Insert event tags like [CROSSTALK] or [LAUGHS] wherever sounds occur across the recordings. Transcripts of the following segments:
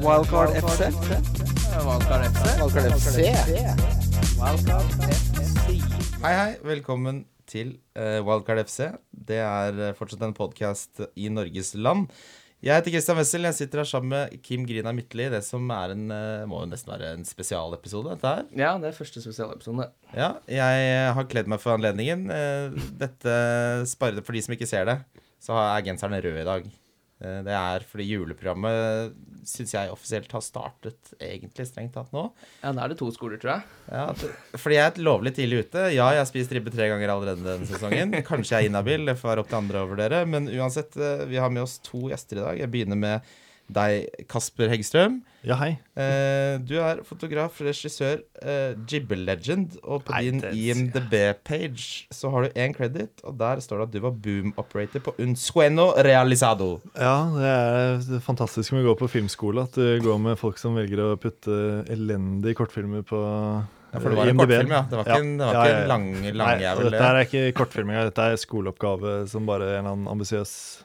Wildcard FC. Valgkart FC. Wildcard FC. Hei, hei. Velkommen til eh, Wildcard FC. Det er eh, fortsatt en podkast i Norges land. Jeg heter Christian Wessel. Jeg sitter her sammen med Kim Grina Midtli. Det som er en, eh, må jo nesten være en spesialepisode, dette her. Ja, det er første spesialepisoden, det. Ja, jeg eh, har kledd meg for anledningen. Eh, Dette sparret for de som ikke ser det, så er genseren rød i dag. Eh, Det er fordi juleprogrammet syns jeg offisielt har startet, egentlig strengt tatt nå. Ja, Da er det to skoler, tror jeg. Ja, det- fordi jeg er et lovlig tidlig ute. Ja, jeg har spist ribbe tre ganger allerede denne sesongen. Kanskje jeg er inhabil, det får være opp til andre å vurdere. Men uansett, eh, vi har med oss to gjester i dag. Jeg begynner med deg, Kasper Heggstrøm. Ja, hei. Eh, du er fotograf, regissør, uh, Gibber-legend, og på Nei, din det- IMDb-page så har du én credit, og der står det at du var boom-operator på Unsueno Realizado. Ja, det er det fantastiske med å gå på filmskole, at du går med folk som velger å putte elendige kortfilmer på Ja, for det var en IMDb. kortfilm, ja. Det var ikke en- det var ikke en lang- lang Nei, jævel, det. Dette her er ikke kortfilm engang, dette er skoleoppgave som bare en eller annen ambisiøs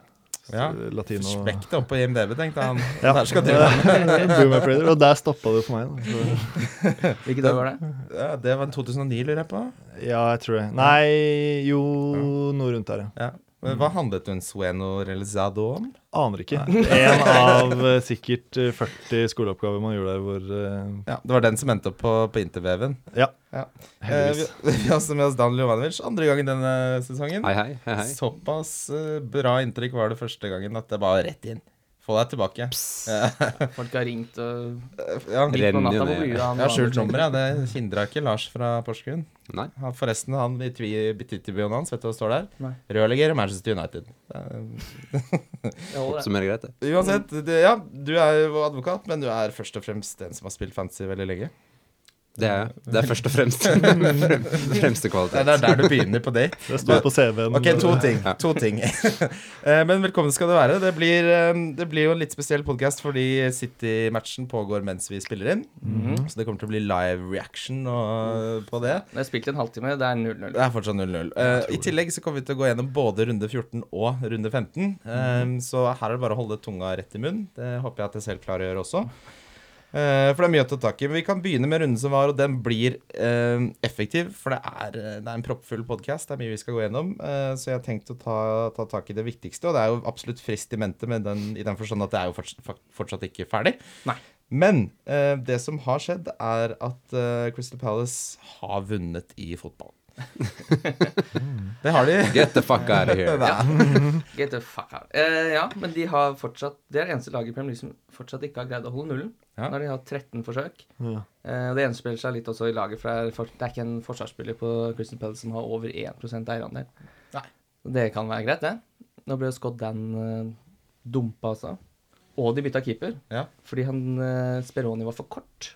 Ja. eh, latino Smekk det opp på IMDb, tenkte han. Ja. Der skal du [LAUGHS] være. Boom Operator, og der stoppa det for meg. Da. Så, Hvilket år var det? Ja, det var 2009, lurer jeg på. ja, jeg tror det. Nei, jo, noe rundt der, ja. Ja. Men hva handlet Unsueno Realizado om? Aner ikke. En av eh, sikkert eh, 40 skoleoppgaver man gjorde der hvor eh, Ja, Det var den som endte opp på, på interveven. Ja, Eh, vi, heldigvis. vi [LAUGHS] har også med oss Dan Ljovanovic, andre gangen denne sesongen. Hei, hei. hei, hei. Såpass eh, bra inntrykk var det første gangen at det var rett inn. Få deg tilbake. Folk har ringt og Ja, Rett midt på Renner natta ned. på brua. jeg har skjult nummeret, det hindra ikke Lars fra Porsgrunn. Nei. Han- Forresten, han i Twitter-bioen hans, vet du hva det står der? Nei. Rødlegger Manchester United. Eh, Jeg holder det. Oppsummerer greit, det. Uansett, det, ja, du er jo advokat, men du er først og fremst den som har spilt fantasy veldig lenge. Det er, det er først og [LAUGHS] fremst frem- fremste Det er, kvalitet. det er der du begynner på date. Det står på CV-en. Ok, to ting. Ja. To [LAUGHS] ting. Eh, Men velkommen skal det være. Det blir, eh, det blir jo en litt spesiell podkast fordi City-matchen pågår mens vi spiller inn. Mhm. Så det kommer til å bli live reaction og, på det. Jeg har spilt en halvtime, det er 0-0. Det er fortsatt 0-0. Eh, I tillegg så kommer vi til å gå gjennom både runde 14 og runde 15. Eh, Så her er det bare å holde tunga rett i munnen. Det håper jeg at jeg selv klarer å gjøre også. Eh, For det er mye å ta tak i. Men vi kan begynne med runden som var, og den blir eh, effektiv. For det er, eh, det er en proppfull podkast. Det er mye vi skal gå gjennom. Eh, Så jeg har tenkt å ta, ta tak i det viktigste. Og det er jo absolutt frist i mente, men den, i den forstand at det er jo fortsatt, fortsatt ikke ferdig. Nei. Men eh, det som har skjedd, er at eh, Crystal Palace har vunnet i fotball. [LAUGHS] det har de. Get the fuck out of here. Ja. Get the fuck out. Eh, ja, men de har fortsatt Det er det eneste laget i Premier League som fortsatt ikke har greid å holde nullen. Ja. Nå har de hatt 13 forsøk. Ja. Eh, og det gjenspeiler seg litt også i laget, for det er, for, det er ikke en forsvarsspiller på Crystal Palace som har over 1 eierandel. Nei. Så Det kan være greit, det. Nå ble jo Scott Dan eh, dumpa, altså. Og de bytta keeper, Ja. fordi han eh, Speroni var for kort.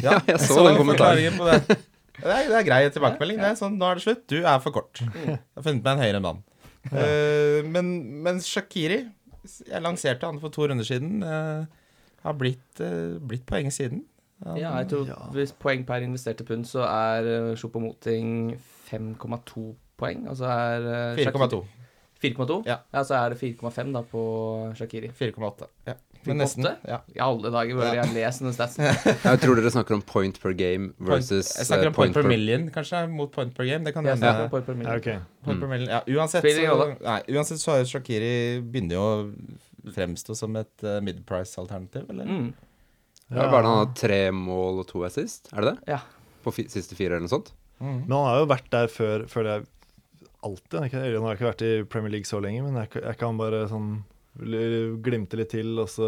Ja, jeg så den kommentaren. forklaringen på det. Det er, det er grei tilbakemelding. Det er sånn, nå er det slutt. Du er for kort. Jeg har funnet meg en høyere mann. Eh, men, men Shakiri Jeg lanserte han for to runder siden. eh, har blitt, eh, blitt poeng siden. Han- Ja, jeg tror ja. Hvis poeng per investerte pund, så er eh, Choupo-Moting 5,2 poeng. Altså er eh, Shakiri- 4,2. 4,2? Ja. så er det 4,5 da på Shakiri. 4,8. Ja. Men nesten. 4,8? Ja. I alle dager bør jeg lese den statsen. Jeg tror dere snakker om point per game versus jeg snakker eh, om point per million, kanskje, mot point per game. Det kan Jeg hende. snakker om point per Ja, million. ok. Point per million. Ja, uansett, Spiller ingen så, rolle. nei, uansett så har jo Shakiri begynner jo å fremstå som et uh, mid-price-alternativ, eller? Mm, Det er bare han har tre mål og to assist, er det det? ja. På fi siste fire eller noe sånt? Men han har jo vært der før, før det er alltid. Han, er ikke, eller han har ikke vært i Premier League så lenge, men er ikke er ikke han bare sånn l- glimter litt til, og så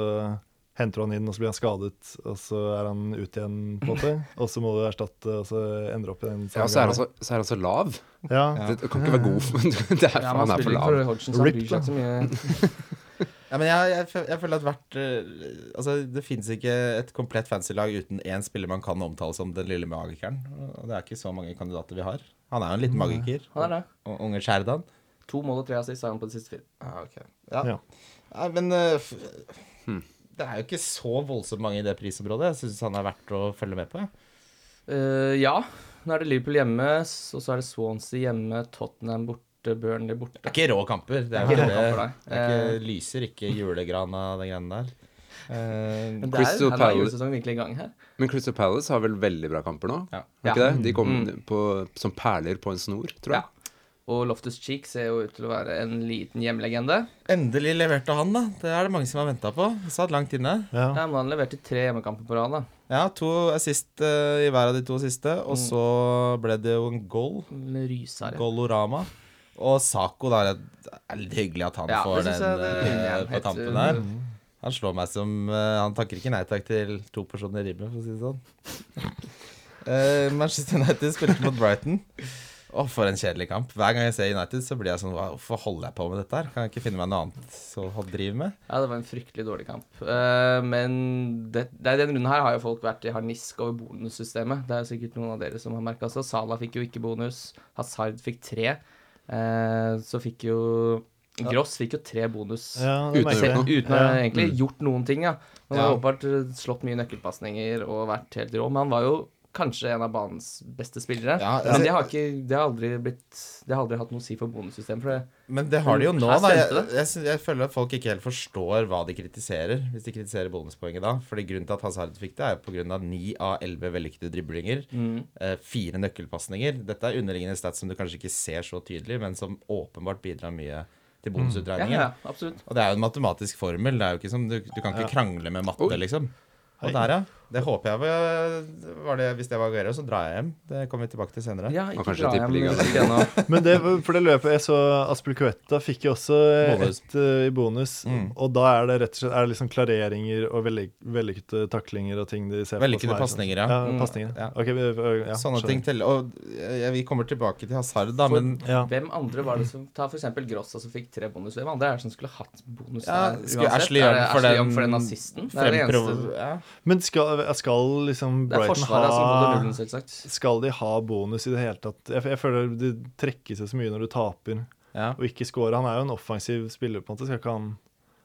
henter han inn, og så blir han skadet, og så er han ute igjen, på en måte. [LAUGHS] Og så må du erstatte, og så endre opp i den Ja, så er han så, så, er han så lav. Ja. Det, det kan ikke være god for [LAUGHS] det er, ja, for man Han er for spiller ikke lav. for Hodgson, så han Rip, bryr seg ikke så mye. Ja, men jeg, jeg, fø- jeg føler at hvert eh, Altså, det fins ikke et komplett fancy lag uten én spiller man kan omtale som den lille magikeren. Og det er ikke så mange kandidater vi har. Han er jo en liten magiker. Han er det. Og unge Sherdan. To mål og tre assist har han på de siste fire. Ah, ok. Ja. Ja. Nei, men eh, f Det er jo ikke så voldsomt mange i det prisområdet. Jeg syns han er verdt å følge med på. jeg. Eh, ja, nå er det Liverpool hjemme, s- og så er det Swansea hjemme, Tottenham borte, Burnley borte. Det er ikke rå kamper. Eh. Det er, Det er ikke, ikke rå kamper, nei. det, det er ikke, lyser ikke julegran av de greiene der. Eh, Men det er, Crystal her var Palace. julesesongen virkelig i gang her. Men Crystal Palace har vel veldig bra kamper nå? Ja. Er ikke Ja. det? De kom på, som perler på en snor, tror jeg. Og Loftus Cheek ser jo ut til å være en liten hjemlegende. endelig leverte han, da. Det er det mange som har venta på. Satt langt inne. Ja. Ja, men han leverte tre hjemmekamper på rad, da. Ja, to assist eh, i hver av de to siste, og så ble det jo en goal. Rysare. Golorama. Og Saco, da. Det er litt hyggelig at han Ja, får det synes den jeg det er eh, helt, på tampen eh, der. Han slår meg som eh, Han takker ikke nei takk til to personer i ribben, for å si det sånn. [LAUGHS] Eh, Manchester United spilte mot Brighton. Å, for en kjedelig kamp. Hver gang jeg ser United, så blir jeg sånn "Hva- Hvorfor holder jeg på med dette her? Kan jeg ikke finne meg noe annet å drive med? Ja, det var en fryktelig dårlig kamp. Eh, men det, det, denne runden her har jo folk vært i harnisk over bonussystemet. Det er jo sikkert noen av dere som har merka seg. Salah fikk jo ikke bonus. Hazard fikk tre. Eh, så fikk jo Gross fikk jo tre bonus. ja det Uten å merker gjøre jeg. noe. Uten å ha egentlig gjort noen ting, ja. Han har Ja. åpenbart eh, slått mye nøkkelpasninger og vært helt rå, men han var jo kanskje en av banens beste spillere. Ja, altså- men det har, ikke, det har aldri blitt Det har aldri hatt noe å si for bonussystemet, for det Men det har de jo nå, Mm. Her da. Jeg, stemte det. jeg, sy- jeg føler at folk ikke helt forstår hva de kritiserer, hvis de kritiserer bonuspoenget da. Fordi grunnen til at Hazard fikk det, er jo pga. 9 av 11 vellykkede driblinger. Mm. Eh, fire nøkkelpasninger. Dette er underliggende stats som du kanskje ikke ser så tydelig, men som åpenbart bidrar mye til Ja, Mm. bonusutregningen. ja, absolutt. Og det er jo en matematisk formel. Det er jo ikke som, du, du kan ikke krangle med matte, Oi. liksom. Hei. Og der, ja. Det håper jeg var- var det, Hvis det var Guerrero, så drar jeg hjem. Det kommer vi tilbake til senere. Ja, Og ikke kanskje dra hjem tippeligaen. hvis ikke ennå. Men det, for det løpet jeg så Aspelkuetta fikk jo også Bonus. ett eh, i bonus. Mm. Og da er det rett og slett er det liksom klareringer og vellyk- vellykkede taklinger og ting de ser Vellykkede på. som er sånn- pasninger, ja. ja. Mm. pasninger. Ja. Ok, vi- ja, Sånne skjønner. ting teller. Og eh, vi kommer tilbake til Hazard, da, For- men Ja. Hvem andre var det som Ta for eksempel Grossa som fikk tre bonus. Hvem andre er det som skulle hatt bonus Ja, der skulle uansett? Ashley Er det Young for Ashley den- Young for den assisten? Det er det Fremprov... eneste Ja. Men skal, skal liksom Det er Brighton Forsvaret altså, som holder Ah. nullen, ha selvsagt. Skal de ha bonus i det hele tatt? Jeg, jeg føler det trekker seg så mye når du taper Ja. og ikke scorer. Han er jo en offensiv spiller, på en måte. Skal ikke han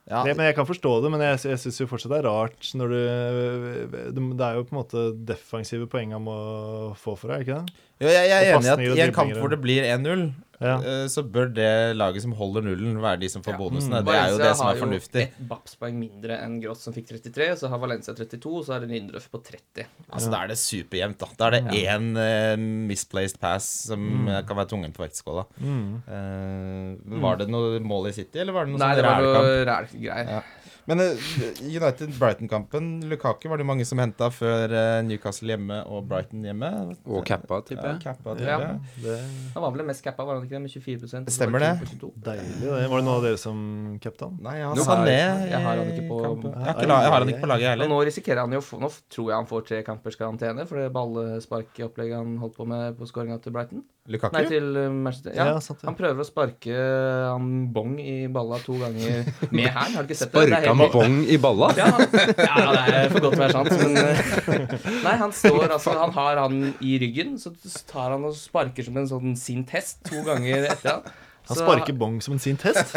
Ja. Det, men Jeg kan forstå det, men jeg, jeg syns jo fortsatt det er rart når du Det det er jo på en måte defensive poeng han må få for deg, ikke det? Jo, jeg, jeg er enig i at Og pasninger og i en kamp driblinger. hvor det blir 1-0, Ja. eh, så bør det laget som holder nullen, være de som får Ja. Mm. bonusene. Det er jo Valencia det som har er jo fornuftig. Ett Babspoeng mindre enn Gross som fikk 33, så har Valencia 32, så er det Lindrøff på 30. Altså, Da er det superjevnt. Da Da er det én eh, misplaced pass som eh, kan være tungen på vektskåla. Mm. Eh, var det noe mål i City, eller var det noe Nei, sånn det var rælekamp? noe ræl greier. Ja. Men eh, United-Brighton-kampen Lukaku var det mange som henta før eh, Newcastle hjemme og Brighton hjemme. Og cappa, tipper ja, jeg. cappa, til Ja. det. Det er Han var vel den mest cappa, var han ikke det? Med 24 og så Stemmer var det. 22 på 22. deilig. Det. Var det noen av dere som capta han? Nei, jeg har Nå har Sané. jeg- jeg har han ikke i på- kampen. jeg, Nei, har ikke, la- jeg har han jeg- ikke på laget, Men jeg heller. nå risikerer han jo å få Nå tror jeg han får tre kampers karantene for det ballesparkopplegget han holdt på med på skåringa til Brighton. Lukaku? Nei, til uh, Manchester. Ja. Ja, sant det. Han prøver å sparke eh, han Bong i balla to ganger [LAUGHS] med hælen. Har du ikke sett det? det? er Sparka med helt- bong i balla? Ja, han- ja, det er for godt til å være sant, men uh, Nei, han står altså Han har han i ryggen, så tar han og sparker som en sånn sint hest to ganger etter han. Han Så- sparker bong som en sint [LAUGHS] hest.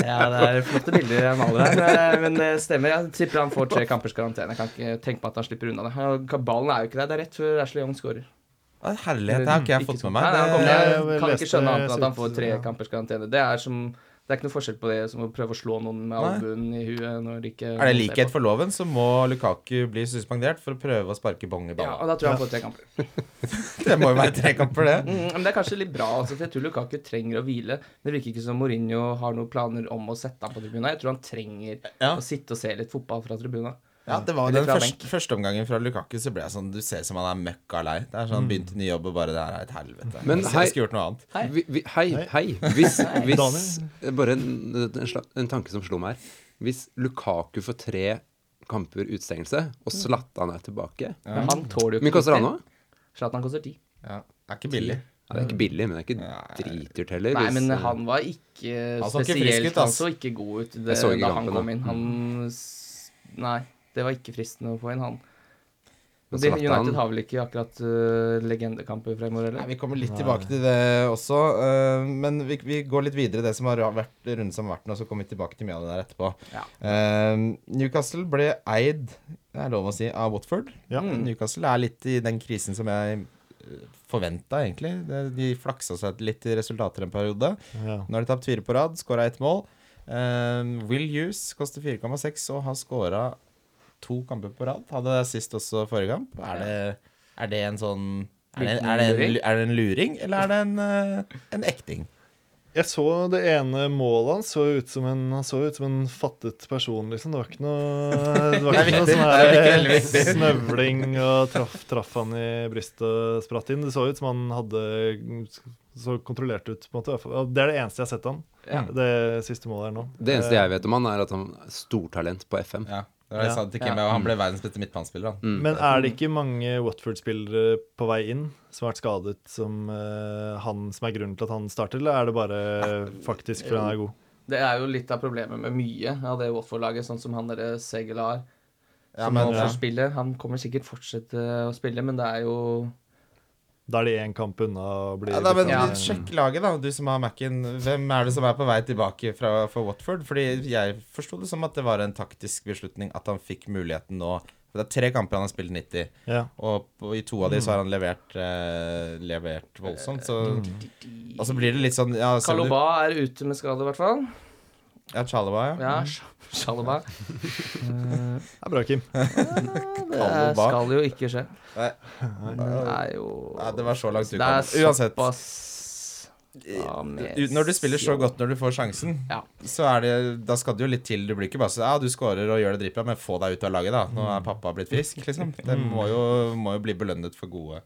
Ja, det er flotte bilder jeg maler her, men det stemmer. Jeg tipper han får tre kampers karantene. Jeg kan ikke tenke meg at han slipper unna det. Han- Ballen er jo ikke der. Det er rett før Ashley Young scorer. Å, Herlighet, det har ikke jeg Ikke fått sånn. med meg. Nei, han kommer, Det- Nei, jeg, jeg kan leste- ikke skjønne annet enn at han jeg får synes- tre ja. kampers karantene. Det er, som, det er ikke noe forskjell på det som å prøve å slå noen med Nei. albuen i huet når de ikke Er det likhet for loven, så må Lukaku bli suspendert for å prøve å sparke bong Ja, i balla. og da tror jeg han får tre kamper. Det må jo være tre kamper, det. Mm, men det er kanskje litt bra, altså, for jeg tror Lukaku trenger å hvile. Det virker ikke som Mourinho har noen planer om å sette ham på tribunen. Jeg tror han trenger Ja. å sitte og se litt fotball fra tribunen. [LAUGHS] Ja, det var Eller Den fra første, første omgangen fra Lukaku så ble jeg sånn Du ser som han er møkka lei. Det er sånn, Begynte ny jobb og bare Det her er et helvete. Men Jeg hei- skulle gjort noe annet. Hei. Vi, vi, hei, hei. Hvis, hvis Bare en, en, sla- en tanke som slo meg her. Hvis Lukaku får tre kamper utestengelse, Mm. og Zlatan er tilbake Hvor Men han tåler jo mye koster han nå? Zlatan koster ti. Ja, det er ikke billig. Ja, det er ikke billig, men det er ikke dritdyrt heller. Nei, hvis- men han var ikke eh, Han så ikke spesielt frisk ut, Han ass. så ikke god ut det, Jeg så ikke da han kampen, kom da. inn. Han s- Nei, det var ikke fristende å få inn han. Men Og de, Zlatan- United har vel ikke akkurat øh, legendekamper fremover, Nei, eller? vi kommer litt tilbake til det også, øh, men vi, vi går litt videre i det som har vært runden som har vært nå, så kommer vi tilbake til mye av det der etterpå. Ja. Ehm, Newcastle ble eid, det er lov å si, av Watford. Ja. Mm, Newcastle er litt i den krisen som jeg eh, forventa, egentlig. Det- De flaksa seg litt i resultater en periode. Ja. Nå har de tapt fire på rad, skåra ett mål. Eh, Will Hughes koster 4,6 og har skåra to kamper på rad. Hadde det sist også forrige kamp. Er det, er det en sånn er det, er, det en, er det en luring, eller er det en, eh, en ekting? Jeg så det ene målet hans. Så ut som en, han så ut som en fattet person, liksom. Det var ikke [LAUGHS] noe, det var Det er ikke noe viktig. sånn Det er her veldig, veldig viktig. snøvling og traff, traff han i brystet og spratt inn. Det så ut som han hadde så kontrollert ut, på en måte. Og Det er det eneste jeg har sett han. Ja. Det siste målet her nå. Det eneste jeg vet om han, er at han er stortalent på FM. Ja, det var det jeg sa til Kim. og Han ble verdens beste midtbanespiller. Han. Men er det ikke mange Watford-spillere på vei inn som har vært skadet, som, eh, han, som er grunnen til at han starter, eller er det bare faktisk fordi han er god? Det er jo litt av problemet med mye av det Watford-laget, sånn som han derre Segel har. Ja, som men, nå ja. får spille. Han kommer sikkert fortsette eh, å spille, men det er jo Da er de én kamp unna å bli Ja, da, men Ja. Sjekk laget, da, du som har Mac-en. Hvem er det som er på vei tilbake fra, for Watford? Fordi jeg forsto det som at det var en taktisk beslutning at han fikk muligheten nå. For Det er tre kamper han har spilt 90, Ja. og på- i to av de så har han levert, eh, levert voldsomt. Så, Mm. og så blir det litt sånn ja, selv om du- Kaloba er ute med skade, i hvert fall. Ja, Chalaba, ja. Ja, Sh- Shalaba. Det er bra, Kim. Det Chalobah. skal jo ikke skje. Nei. Det Mm. er jo Nei, det var så langt du Det kom. er Uansett. såpass Eh, Ja, Du- Når du spiller så godt når du får sjansen, Ja. så er det, da skal det jo litt til. Du blir ikke bare så, ja, du scorer og gjør det dritbra, men få deg ut av laget, da. Nå Mm. er pappa blitt [LAUGHS] frisk, liksom. Det må jo, må jo bli belønnet for gode,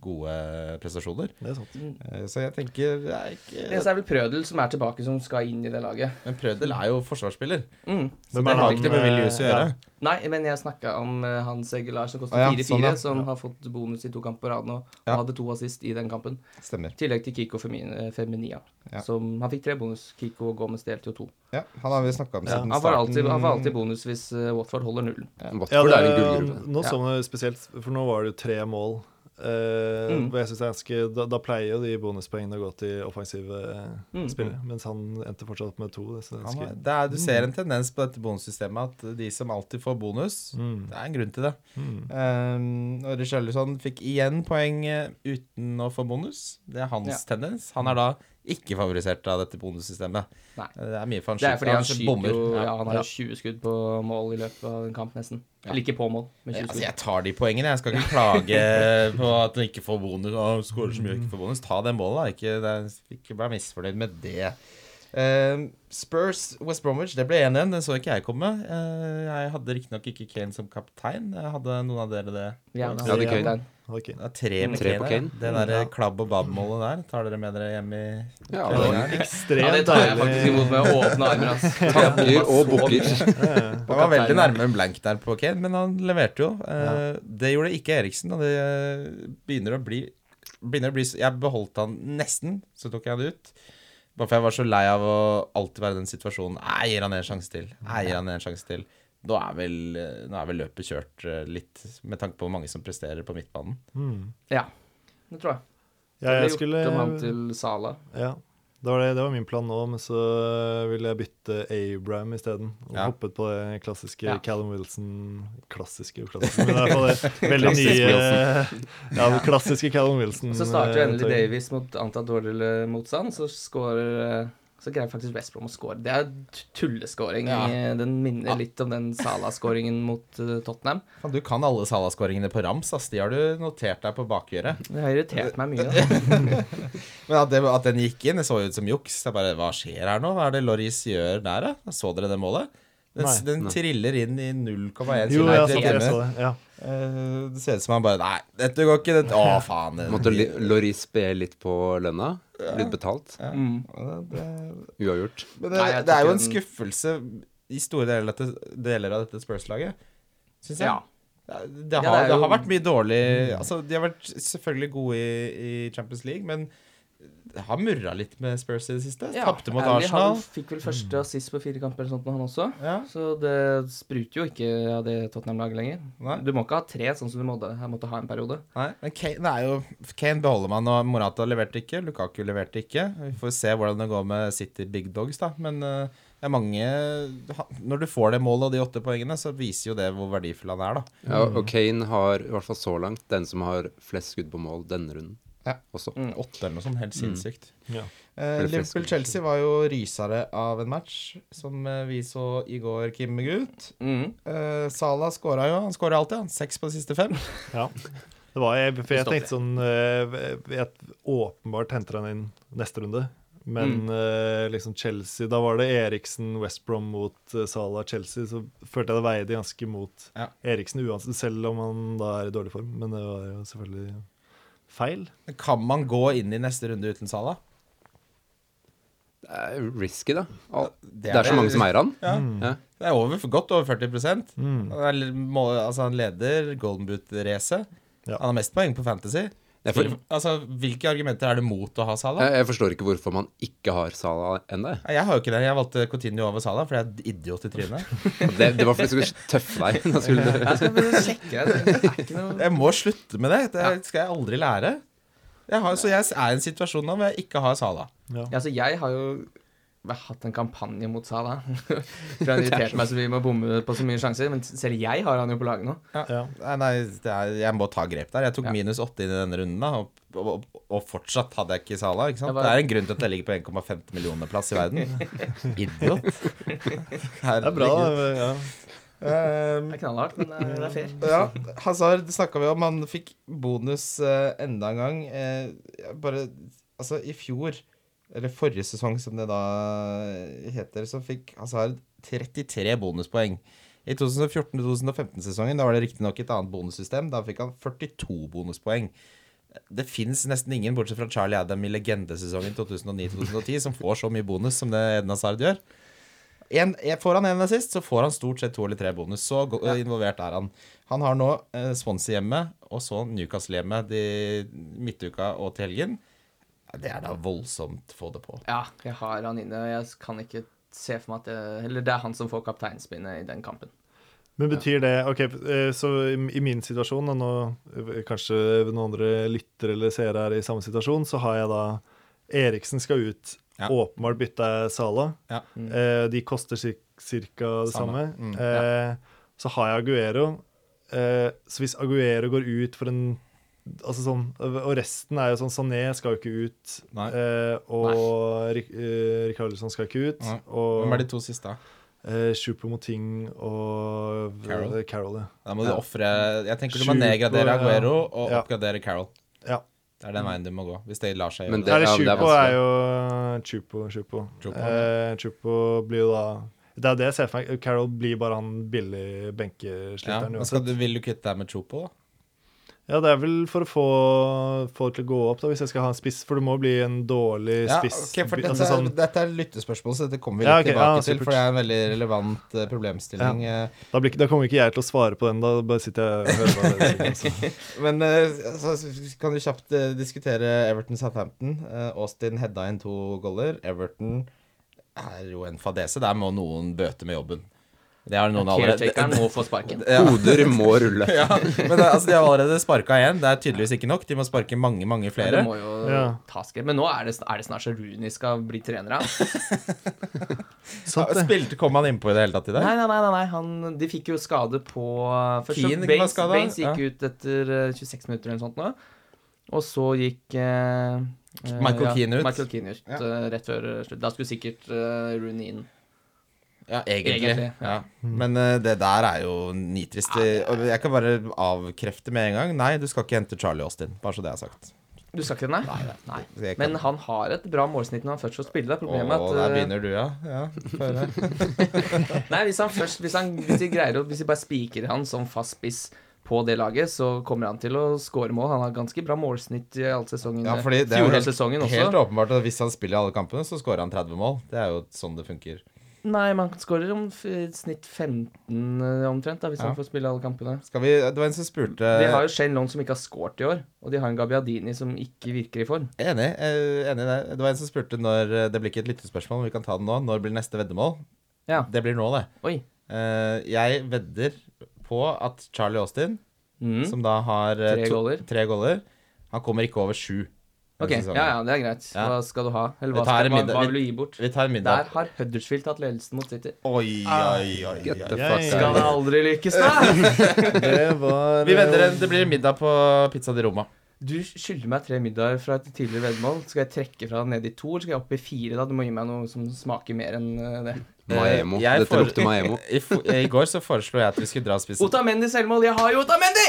gode eh, prestasjoner. Det er sant. Eh, Så jeg tenker det er Det eneste ikke er vel Prødel som er tilbake, som skal inn i det laget. Men Prødel er jo forsvarsspiller, Mm. så Hvem det har er han, ikke noe med Villius å eh, gjøre. ja. Nei, men jeg snakka om eh, Hans Egelar som koster Å ja, 4-4, sånn, ja. som har fått bonus i to kamper på rad nå, og Ja. hadde to assist i den kampen. Stemmer. I tillegg til Kiko Femin- eh, Feminia. Ja. Som, han fikk tre bonus. Kiko og Gomez delte jo to. Ja, han har vi snakka om Ja, siden Han får starten. alltid, han får alltid bonus hvis eh, Watford holder nullen. Ja, Watford det, er en gullgruppe. nå så man det spesielt, for nå var det jo tre mål. Eh, Mm. og jeg synes det er ganske, da, da pleier jo de bonuspoengene å gå til offensive eh, Mm. spillere, mens han endte fortsatt opp med to. Det, så det er Han er, ganske, det er, du ser en tendens på dette bonussystemet at de som alltid får bonus, Mm. det er en grunn til det. Mm. Um, og Richarlison fikk igjen poeng eh, uten å få bonus. Det er hans tendens. Han er da ikke favorisert av dette bonussystemet. Nei. Det er mye for han Det er fordi han skyter skyter jo Ja. ja, Han har Ja. jo 20 skudd på mål i løpet av en kamp, nesten. Eller ikke på mål, men 20 Altså, skudd. jeg tar de poengene. Jeg skal ikke [LAUGHS] klage på at han ikke får bonus. Og skårer så mye og ikke får bonus. Ta det målet, da. Ikke, det er, ikke vær misfornøyd med det. Um, Spurs West Bromwich, det ble 1-1. Den så ikke jeg komme. Eh, jeg hadde riktignok ikke Kane som kaptein. Hadde noen av dere det? Ja, Ja, han det er er gøy. kaptein. Ok. Det er tre Mm. med Tre Kane, på ja. Kane. Mm. Det derre klabb og babb-målet der, tar dere med dere hjem i Ja, Det var det Ja, det ekstremt tar jeg faktisk deilig. imot med åpne armer, ass. er Tanker og bukker. Han var veldig nærme en blank der på Kane, men han leverte jo. Eh, Det gjorde ikke Eriksen, og det eh, begynner å bli, begynner å bli s- Jeg beholdt han nesten, så tok jeg han ut. Bare for jeg var så lei av å alltid være i den situasjonen. Nei, gir han en sjanse til? Nei, gir han en sjanse til? Nå er, vel, eh, nå er vel løpet kjørt eh, litt, med tanke på hvor mange som presterer på midtbanen. Ja, det tror jeg. Mm. Ja, Det jeg ble skulle gjort om han til Sala. Ja, det var, det, det var min plan nå, men så ville jeg bytte Abraham isteden. Og Ja. hoppet på det klassiske Ja. Callum Wilson Klassiske og klassiske, men i hvert fall [LAUGHS] det veldig Klassisk nye Ja, det klassiske Callum Mm, Wilson. Og så starter eh, endelig tog. Davies mot antatt dårligere motstand, så skårer eh, så greier faktisk West Brom å score. Det er t- tulleskåring. Ja. eh, Den minner litt om den Sala-skåringen mot eh, Tottenham. Faen, du kan alle Salah-skåringene på rams, ass. De har du notert deg på bakgjøret. Det har irritert meg mye. Da. Men at, det, at den gikk inn, det så jo ut som juks. Jeg bare, Hva skjer her nå? Hva er det Loris gjør der, da? Så dere det målet? Den, Nei. den triller inn i 0,1 Jo, centimeter jeg, så, jeg hjemme. så det. Ja. Eh, det ser ut som han bare Nei, dette går ikke. Dette. Å, faen. det- Måtte Li- Loris be litt på lønna. Blitt betalt. Mm. Ja, det- Uavgjort. Men det, Nei, jeg det er jo en tror ikke skuffelse i store deler av dette, deler av dette Spurs-laget, syns jeg. Ja. Det, det, Ja, har, det er det har jo- vært mye dårlig Altså, De har vært selvfølgelig gode i, i Champions League, men det har murra litt med Spurs i det siste. Tapte mot Ally han Arsenal. Mm. Fikk vel første assist på fire kamper eller sånt, nå, han også. Ja. Så det spruter jo ikke av det Tottenham-laget lenger. Nei. Du må ikke ha tre sånn som du måtte, jeg måtte ha en periode. Nei, men Kane, det er jo, Kane beholder man, og Morata leverte ikke. Lukaku leverte ikke. Vi får se hvordan det går med City Big Dogs, da. Men eh, det er mange ha- Når du får det målet og de åtte poengene, så viser jo det hvor verdifull han er, da. Ja, og Kane har, i hvert fall så langt, den som har flest skudd på mål denne runden. Ja. også. Åtte eller noe sånt. Helt Mm. sinnssykt. Ja. Eh, Ble frisk. Liverpool-Chelsea var jo rysere av en match, som eh, vi så i går, Kim Gutt. Mm. Eh, Salah skåra jo. Han skåra alltid, han. Seks på de siste fem. Ja. Det var, jeg, for jeg Forståelig. tenkte sånn eh, Jeg åpenbart henter han inn neste runde. Men eh, liksom Chelsea Da var det Eriksen, West Brom mot eh, Salah, Chelsea. Så følte jeg det veide ganske mot Ja. Eriksen, uansett, selv om han da er i dårlig form. Men det var jo selvfølgelig feil. Kan man gå inn i neste runde uten Salah? Det er risky, da. Al- det Det er er det. så mange som eier han. Ja. Ja. Det er over, godt over 40 Mm. Han, er, litt- må, altså, han leder Golden Boot-racet. Ja. Han har mest poeng på Fantasy. Jeg, for, Altså, Hvilke argumenter er det mot å ha Salah? Eh. jeg, jeg forstår ikke hvorfor man ikke har Salah ennå. jeg. Nei, Jeg har jo ikke det. Jeg valgte Coutinho over Salah fordi jeg er et idiot i [LAUGHS] trynet. Det, det var faktisk en tøff [LAUGHS] vei. Da skulle du Jeg skal [LAUGHS] bare sjekke det. Det er ikke noe Jeg må slutte med det. Det skal jeg aldri lære. Jeg har, så jeg er i en situasjon nå hvor jeg ikke har Salah. Ja. Ja, Altså, jeg har jo hatt en kampanje mot Salah. [LAUGHS] For han irriterte meg så mye med å bomme på så mye sjanser. Men selv jeg har han jo på laget nå. Ja. Nei, nei det er, jeg må ta grep der. Jeg tok Ja. minus åtte inn i denne runden, da, og, og, og fortsatt hadde jeg ikke Salah. Ikke sant? Jeg bare- Det er en grunn til at jeg ligger på 1,15 millioner plass i verden. [LAUGHS] Idiot. Det er bra. eh, Ja. Um, Det er knallhardt, men eh, det er- det er fair. Ja, Hazard snakka vi om. Han fikk bonus eh, enda en gang. Eh, jeg bare Altså, i fjor, eller forrige sesong som det da eh, heter, så fikk Hazard 33 bonuspoeng. I 2014-2015-sesongen, da var det riktignok et annet bonussystem. Da fikk han 42 bonuspoeng. Det fins nesten ingen, bortsett fra Charlie Adam i legendesesongen 2009-2010, som får så mye bonus som det Eden Hazard gjør. En, en- får han en assist, så får han stort sett to eller tre bonus. Så go- involvert er han. Han har nå eh, Swansea hjemme, og så Newcastle hjemme de midtuka og til helgen. Ja, Det er da voldsomt få det på. Ja, jeg har han inne. og Jeg kan ikke se for meg at det Eller det er han som får kapteinspinnet i den kampen. Men betyr det OK, eh, så i i min situasjon, og nå eh, kanskje noen andre lyttere eller seere er i samme situasjon, så har jeg da Eriksen skal ut. Ja. Åpenbart bytta jeg Sala. Ja. Eh, de koster ca. det samme. Samme. Mm. Eh, så har jeg Aguero. Eh, så hvis Aguero går ut for en Altså sånn, og resten er jo sånn Sané skal jo ikke ut. Nei. Eh, og Rik eh, Rikardlisson skal ikke ut. Nei. Og Hvem er de to siste? da? Eh, Choupo-Moting og Carroll. Carol. Carol ja. Da må du Ja. ofre Jeg tenker du må Sju på- nedgradere Aguero og Ja. Mm. oppgradere Carol. ja. Det er den veien du må gå, hvis det lar seg Men gjøre. det- Eller ja, det er Choupo er, vanskelig. jo eh, Chupo. Chupo. Choupo, eh, Choupo blir jo da Det er det jeg ser for meg. Eh, Carol blir bare han billig Ja, altså- benkesliteren men skal uansett. du, vil du kvitte deg med Chopo, da? Ja, det er vel for å få folk til å gå opp, da, hvis jeg skal ha en spiss. For det må bli en dårlig Ja, spiss. ok, for by- dette, altså sånn, er, dette er lyttespørsmål, så dette kommer vi litt Ja, ok, tilbake ja, til. supert. For det er en veldig relevant eh, problemstilling. eh, da, blir, ikke- da kommer ikke jeg til å svare på den, da bare sitter jeg og hører hva dere sier. [LAUGHS] altså. Men eh, altså, kan du kjapt eh, diskutere Everton-Southampton. Eh, Austin hedda inn to goller. Everton er jo en fadese. Der må noen bøte med jobben. Det har noen allerede [LAUGHS] Caretakeren må få [LAUGHS] [LAUGHS] sparken. Hoder må rulle. ja, men det, altså, De har allerede sparka én. Det er tydeligvis ikke nok. De må sparke mange, mange flere. Det må jo Ja. tas grep. Men nå er det, er det snart så Rooney skal bli trener av. Sant, det. Spilte, kom han innpå i det hele tatt i dag? Nei, nei, nei, nei, nei. Han, de fikk jo skade på eh, Først så Keane var Baines, skada, Baines ja. gikk ut etter eh, 26 minutter eller noe sånt nå. Og så gikk eh, eh, Michael Keane ut. Michael Keane ut Ja. eh, rett før eh, slutt. Da skulle sikkert eh, Rooney inn. Ja, egentlig. Egentlig, ja. Men eh, det der er jo nitrist. Og Jeg kan bare avkrefte med en gang. Nei, du skal ikke hente Charlie Austin. Bare så det er sagt. Du skal ikke det, nei? nei. Så jeg kan- Men han har et bra målsnitt når han først får spille. Problemet Å, er der at eh, begynner du, ja. ja får høre. Nei, hvis han først Hvis, han, hvis de greier å Hvis de bare spiker han som fast spiss på det laget, så kommer han til å skåre mål. Han har ganske bra målsnitt i all sesongen. eh, Ja, fordi det er jo helt, Fjorårssesongen også. helt åpenbart at hvis han spiller alle kampene, så scorer han 30 mål. Det er jo sånn det funker. Nei, man skårer om f snitt 15 eh, omtrent, da, hvis Ja. Eh. han får spille alle kampene. Skal vi, det var en som spurte De har jo Shane Long som ikke har skåret i år, og de har en Gabiadini som ikke virker i form. Enig. eh, enig i det. Det var en som spurte når eh, Det blir ikke et lyttespørsmål, men vi kan ta det nå. Når blir neste veddemål? Ja. Det blir nå, det. Oi. Eh, jeg vedder på at Charlie Austin, Mm. som da har eh, Tre to- goller. tre goller, han kommer ikke over sju. denne Ok, ja sesongen. ja, det er greit. sånn. Ja. Hva skal du ha? Eller Vi hva, tar skal, en hva, middag- hva vi- vil du gi bort? Vi tar en middag. Der har Huddersfield tatt ledelsen mot City. Oi, oi, oi. Get the oi. fuck Jeg- Skal out. det [LAUGHS] aldri lykkes, da? Det var Vi venter en, det blir middag på Pizza di Roma. Du skylder meg tre middager fra et tidligere veddemål. Skal jeg trekke fra ned i to, eller skal jeg opp i fire? da? Du må gi meg noe som smaker mer enn eh, [LAUGHS] det. Maemo. Eh, jeg Dette får- lukter Maemo. [LAUGHS] I, fo- I går så foreslo jeg at vi skulle dra og spise Otamendi selvmål! Jeg har jo Otamendi!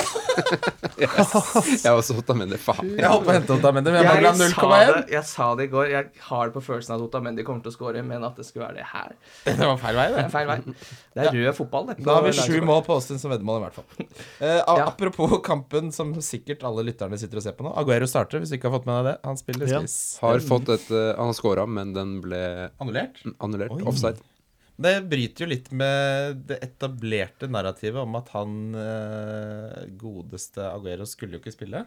Jeg har også tatt med det. Faen. Jeg holdt på å hente opp men jeg Jeg, mangla sa 0,1. det, jeg sa det i går. Jeg har det på følelsen at Otamendi kommer til å score, men at det skulle være det her [LAUGHS] Det var feil vei, Det det. er feil vei. Det er rød fotball, det. Da har vi På sju landslaget. mål på Austin som veddemål, i hvert fall. Eh, a- Ja. Apropos kampen som sikkert alle lytterne sitter og ser på nå. Aguero starter, hvis du ikke har fått med deg det. Han spiller Ja. spiss. Har fått et eh, Han scora, men den ble Annullert? annullert. Oi. Offside. Det bryter jo litt med det etablerte narrativet om at han eh, godeste Aguero skulle jo ikke spille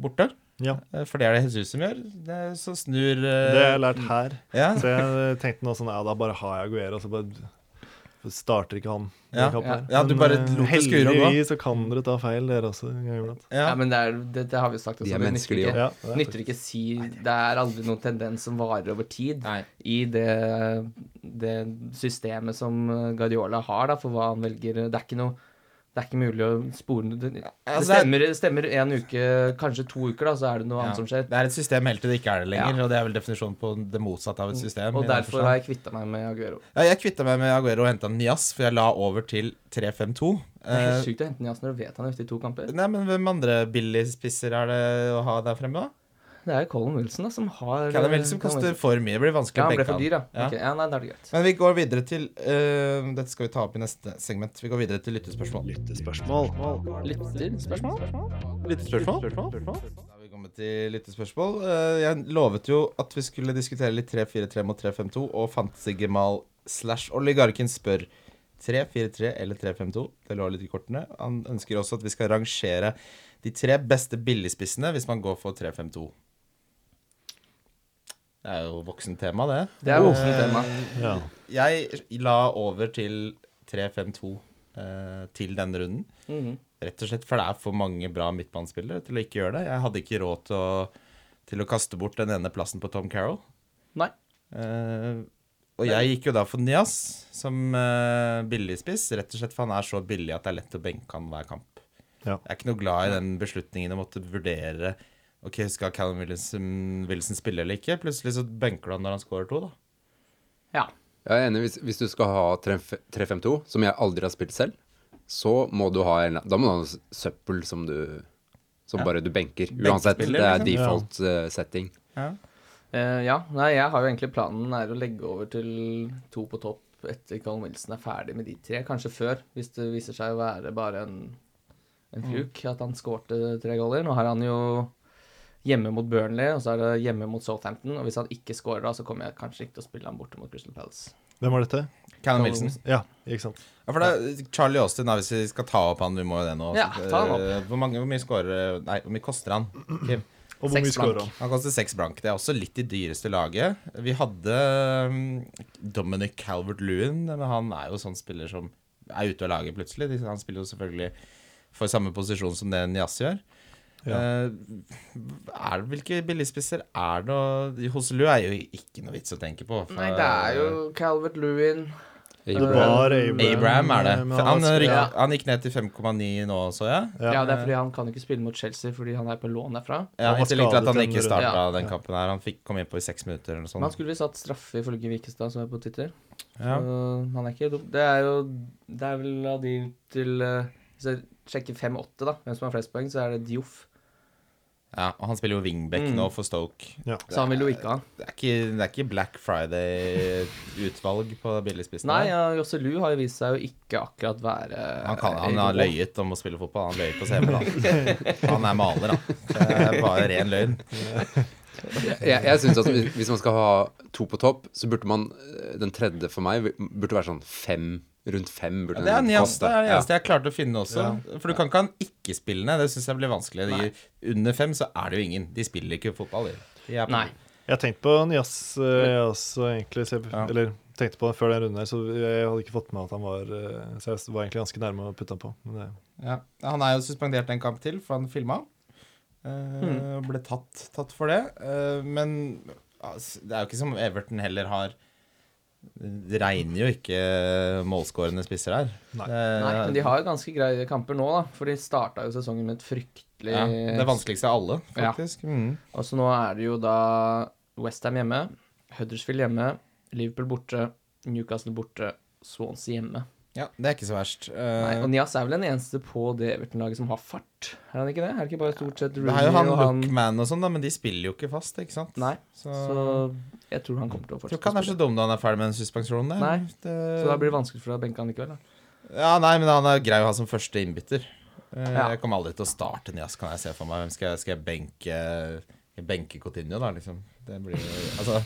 borte. Ja. Eh, For det er det Jesus som gjør. Det, så snur eh, Det har jeg lært her. ja. Så jeg tenkte nå sånn Ja, da bare har jeg Aguero, så bare starter ikke han. den Ja, kampen ja. her. Ja, du bare eh, lot det skure og gå. Heldigvis så kan dere ta feil, dere også. en gang iblant. Ja. Ja, men det, er, det, det har vi jo sagt De også. er det nytter menneskelige, ikke- ja. Ja, det er Nytter ikke å si Det er aldri noen tendens som varer over tid Nei. i det, det systemet som Guardiola har da, for hva han velger. Det er ikke noe det er ikke mulig å spore Det, det Altså, det er- stemmer, stemmer en uke, kanskje to uker, da, så er det noe Ja. annet som skjer. Det er et system helt til det ikke er det lenger, Ja. Mm. og det er vel definisjonen på det motsatte av et system. i Og den derfor forstand. har jeg kvitta meg med Aguero. ja, Jeg kvitta meg med Aguero og henta Nias, for jeg la over til 3-5-2. Det er Eh, helt sykt å hente Nias når du vet han er ute i to kamper. Nei, men Hvem andre billigspisser er det å ha der fremme, da? Det er jo Colin Wilson da, som har Callum Wilson Callum koster Wilson. for mye. Det blir vanskelig Ja, han å ble benke for han. dyr, ja. Ja. Ok, ja nei, da er det greit. Men vi går videre til eh, Dette skal vi ta opp i neste segment. Vi går videre til lyttespørsmål. Lyttespørsmål? Da har vi kommet til lyttespørsmål. Eh, jeg lovet jo at vi skulle diskutere litt 3-4-3 mot 3-5-2, og Fantasy-Gemal slash oligarken spør 3-4-3 eller 3-5-2. Det lå litt i kortene. Han ønsker også at vi skal rangere de tre beste billigspissene hvis man går for 3-5-2. Det er jo voksentema, det. Det er voksent tema. Ja. Jeg la over til 3-5-2 eh, til denne runden. Mhm. Rett og slett, for det er for mange bra midtbanespillere til å ikke gjøre det. Jeg hadde ikke råd til å, til å kaste bort den ene plassen på Tom Carroll. Nei. Eh, og jeg gikk jo da for Nias som eh, billigspiss, rett og slett for han er så billig at det er lett å benke han hver kamp. Ja. Jeg er ikke noe glad i den beslutningen å måtte vurdere Ok, skal Callum Wilson, Wilson spille eller ikke. Plutselig så benker du han når han scorer to, da. Ja. Jeg er enig, hvis, hvis du skal ha 3-5-2, som jeg aldri har spilt selv, så må du ha en Da må du ha noe søppel som du Som Ja. bare du benker. Benkespiller, Uansett, det er liksom. default eh, setting. Eh, ja, nei, jeg har jo egentlig planen er å legge over til to på topp etter Colin Wilson er ferdig med de tre. Kanskje før, hvis det viser seg å være bare en, en fluk at han skårte tre goller. Nå har han jo hjemme mot Burnley, og så er det hjemme mot Southampton. Og hvis han ikke scorer da, så kommer jeg kanskje ikke til å spille han borte mot Crystal Palace. Hvem var dette? Callum Wilson. Ja, ikke sant. Ja, for det er Charlie Austin, da, hvis vi skal ta opp han, vi må jo det nå. Ja, Så, ta han opp. eh, Hvor, mange, hvor mye scorer Nei, hvor mye koster han? Kim? Og hvor Seks mye scorer blank. han? Han koster seks blank. Det er også litt i dyreste laget. Vi hadde mm, Dominic Calvert-Lewin, men han er jo sånn spiller som er ute av laget plutselig. De- Han spiller jo selvfølgelig for samme posisjon som det Nias gjør. Ja. Eh, er, det- hvilke billigspisser er det å Hoselu er jo ikke noe vits å tenke på. for- Nei, det er jo Calvert Lewin. Det var Abraham. Um, eh, Abraham er det. men For han, har- ryk, Ja. han gikk ned til 5,9 nå, så jeg. Ja, Ja. det er fordi han kan jo ikke spille mot Chelsea fordi han er på lån derfra. Ja, Han var I tillegg til at skadet han en ikke runde. starta Ja. den kampen her. Han fikk kom inn på i seks minutter eller noe Men han sånt. skulle visst hatt straffe, ifølge Vikestad, som er på Twitter. Sånn. Ja. Så han er ikke dum. Det er jo Det er vel av de til eh, Hvis jeg sjekker 5-8, da, hvem som har flest poeng, så er det Dioff. ja, og han spiller jo wingback Mm. nå for Stoke. Så han vil jo ikke ha. Det er ikke, det er ikke Black Friday-utvalg på billigspissen. Nei, her. ja, Josse Lu har jo vist seg å ikke akkurat være Han, kan, han eh, har god. løyet om å spille fotball. Han løy på [LAUGHS] CV-en. Han er maler, han. Det er bare ren løgn. Jeg, jeg synes at hvis- hvis man skal ha to på topp, så burde man eh, Den tredje for meg burde være sånn fem. Rundt fem burde Ja, det er den Nias, det er det Ja. eneste jeg klarte å finne også. For du kan ikke ha en ikke-spillende. Det syns jeg blir vanskelig. De, under fem så er det jo ingen. De spiller ikke fotball. De, de er på- Nei. Jeg tenkte på Nias eh, også, egentlig. Så jeg, Ja. Eller tenkte på det før den runden her, så jeg hadde ikke fått med at han var eh, Så jeg var egentlig ganske nærme å putte han på. Men det, Ja. Han er jo suspendert en kamp til, for han filma. Eh, og Ble tatt, tatt for det. Eh, men altså, det er jo ikke som Everton heller har Det regner jo ikke målskårende spisser her. Nei. Nei, men de har jo ganske greie kamper nå, da. For de starta jo sesongen med et fryktelig ja, Det vanskeligste av alle, faktisk. Mm. Og så Altså, nå er det jo da Westham hjemme, Huddersfield hjemme, Liverpool borte, Newcastle borte, Swansea hjemme. Ja, Det er ikke så verst. Eh, Nei, og Nias er vel den eneste på det Everton-laget som har fart? Er han ikke det? Er det ikke bare stort sett det Rooney er jo han og han Lookman og sånn, da, men de spiller jo ikke fast, ikke sant? Nei, så, Så jeg tror han kommer til å jeg tror fortsette. ikke han å er så spille. dum da han er ferdig med den suspensjonen. der. Nei, det, Så da blir det vanskelig for deg å benke han likevel. Da. Ja, nei, men han er grei å ha som første innbytter. Eh, Ja. Jeg kommer aldri til å starte Nias, kan jeg se for meg. Hvem skal, jeg- skal jeg benke jeg benker Coutinho, da, liksom? Det blir, altså,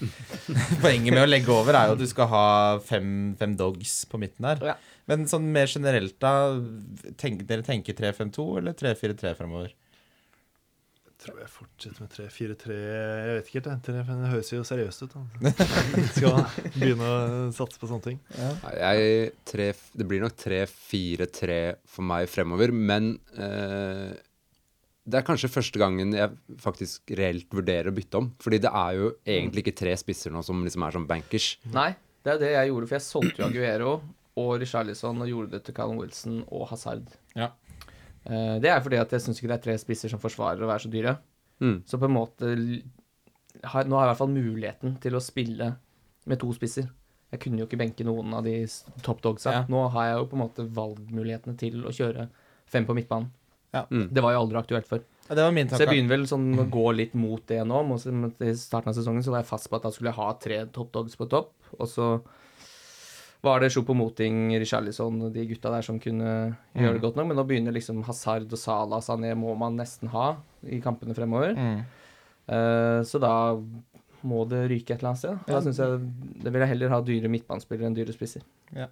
[LAUGHS] poenget med å legge over er jo at du skal ha fem, fem dogs på midten der. Ja. Men sånn mer generelt, da. Tenk, dere tenker 3-5-2 eller 3-4-3 fremover? Jeg tror jeg fortsetter med 3-4-3. Jeg vet ikke helt, jeg. 3, men det høres jo seriøst ut. Da. Skal begynne å satse på sånne ting. Nei, Jeg, tre, det blir nok 3-4-3 for meg fremover, men eh, det er kanskje første gangen jeg faktisk reelt vurderer å bytte om. Fordi det er jo egentlig ikke tre spisser nå som liksom er som bankers. Nei, det er det jeg gjorde, for jeg solgte jo Aguero og Richarlison og gjorde det til Callum Wilson og Hazard. Ja. Eh, Det er fordi at jeg syns ikke det er tre spisser som forsvarer å være så dyre. Mm. Så på en måte l- har, Nå har jeg i hvert fall muligheten til å spille med to spisser. Jeg kunne jo ikke benke noen av de s- top dogsa. Ja. Nå har jeg jo på en måte valgmulighetene til å kjøre fem på midtbanen. Ja. Mm. Det var jo aldri aktuelt før. Ja, det var min Så jeg tanke. begynner vel sånn å gå litt mot det nå. må si- men I starten av sesongen så var jeg fast på at da skulle jeg ha tre top dogs på topp. Og så var det Sjopo Moting, Richarlison og de gutta der som kunne gjøre det godt nok. Men nå begynner liksom Hazard og Salah Sané må man nesten ha i kampene fremover. Mm. Eh, så da må det ryke et eller annet sted. Da synes jeg det vil jeg heller ha dyre midtbanespillere enn dyre spisser. Ja,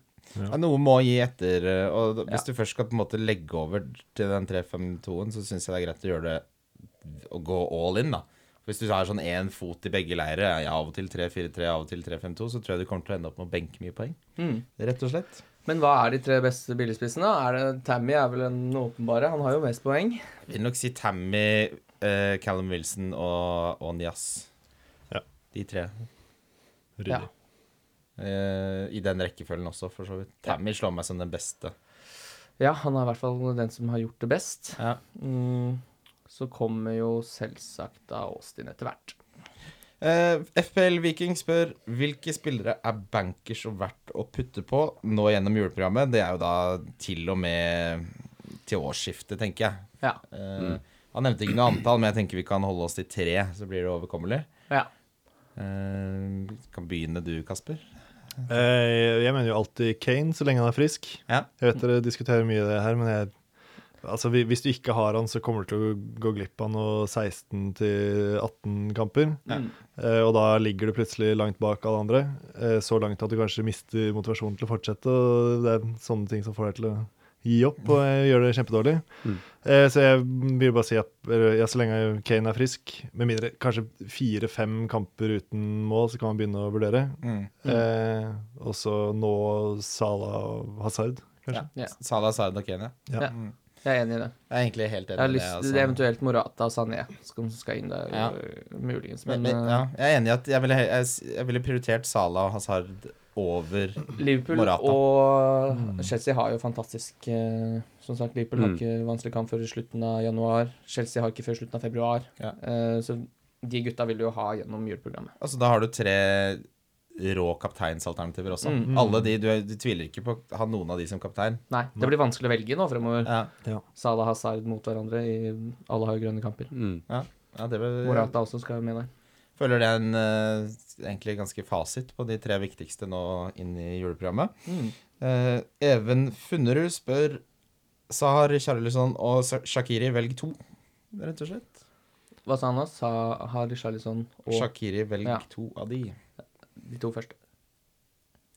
noe må gi etter. eh, Og da- Ja. hvis du først skal på en måte legge over til den 3-5-2-en, så syns jeg det er greit å gjøre det Å gå all in, da. Hvis du har sånn én fot i begge leirer, ja, av og til 3-4-3, av og til 3-5-2, så tror jeg du kommer til å ende opp med å benke mye poeng. Rett og slett. Men hva er de tre beste billigspissene? Er det, Tammy er vel den åpenbare. Han har jo mest poeng. Jeg vil nok si Tammy, eh, Callum Wilson og, og Nias. Ja. De tre. Ryddig. Ja. Eh, I den rekkefølgen også, for så vidt. Tammy slår meg som den beste. Ja, han er i hvert fall den som har gjort det best. Ja. Mm, så kommer jo selvsagt da Austin etter hvert. Eh, FPL Viking spør hvilke spillere er bankers og verdt å putte på nå gjennom juleprogrammet. Det er jo da til og med til årsskiftet, tenker jeg. Ja. Mm. Eh, Han nevnte ikke noe antall, men jeg tenker vi kan holde oss til tre, så blir det overkommelig. ja. Eh, vi kan begynne du, Kasper. Eh, Jeg mener jo alltid Kane, så lenge han er frisk. Ja. Jeg vet dere diskuterer mye det her, men jeg, altså, hvi- hvis du ikke har han, så kommer du til å gå glipp av noe 16-18 kamper. Eh, Og da ligger du plutselig langt bak alle andre. eh, Så langt at du kanskje mister motivasjonen til å fortsette. Og det er sånne ting som får deg til å gi opp og eh, gjøre det kjempedårlig. Eh, Så jeg vil bare si at eller, ja, så lenge Kane er frisk, med mindre kanskje fire-fem kamper uten mål, så kan man begynne å vurdere. Mm. Eh, og så nå Salah og Hazard, kanskje. Ja. Salah Sard og Kenya. Ja. Jeg er enig i det. Jeg er egentlig helt enig Jeg har med lyst til altså. eventuelt Morata og Sané som skal inn der, Ja. øh, muligens. Men, Men, men, ja, jeg er enig i at jeg ville, he- jeg, s- jeg ville prioritert Salah og Hazard over øh, Liverpool Morata. Mm. og Chelsea har jo fantastisk øh, Som sagt, Liverpool har Mm. ikke vanskelig kamp før i slutten av januar. Chelsea har ikke før slutten av februar. Ja. Eh, så de gutta vil du jo ha gjennom juleprogrammet. Altså, da har du tre rå kapteinsalternativer også. Mm. Alle de, du, du tviler ikke på å ha noen av de som kaptein. Nei, det blir vanskelig å velge nå fremover. Ja, Salah Hazard mot hverandre i alle har jo grønne kamper. Mm. ja det vil, Morata også skal jo med der. føler det er en eh, egentlig ganske fasit på de tre viktigste nå inn i juleprogrammet. Mm. Eh, Even Funnerud spør Sahar Charlesson og Sa- Shakiri velg to, rett og slett. Hva sa han da? Sa Harry Charlison og Shakiri velg Ja. to av de. de to første.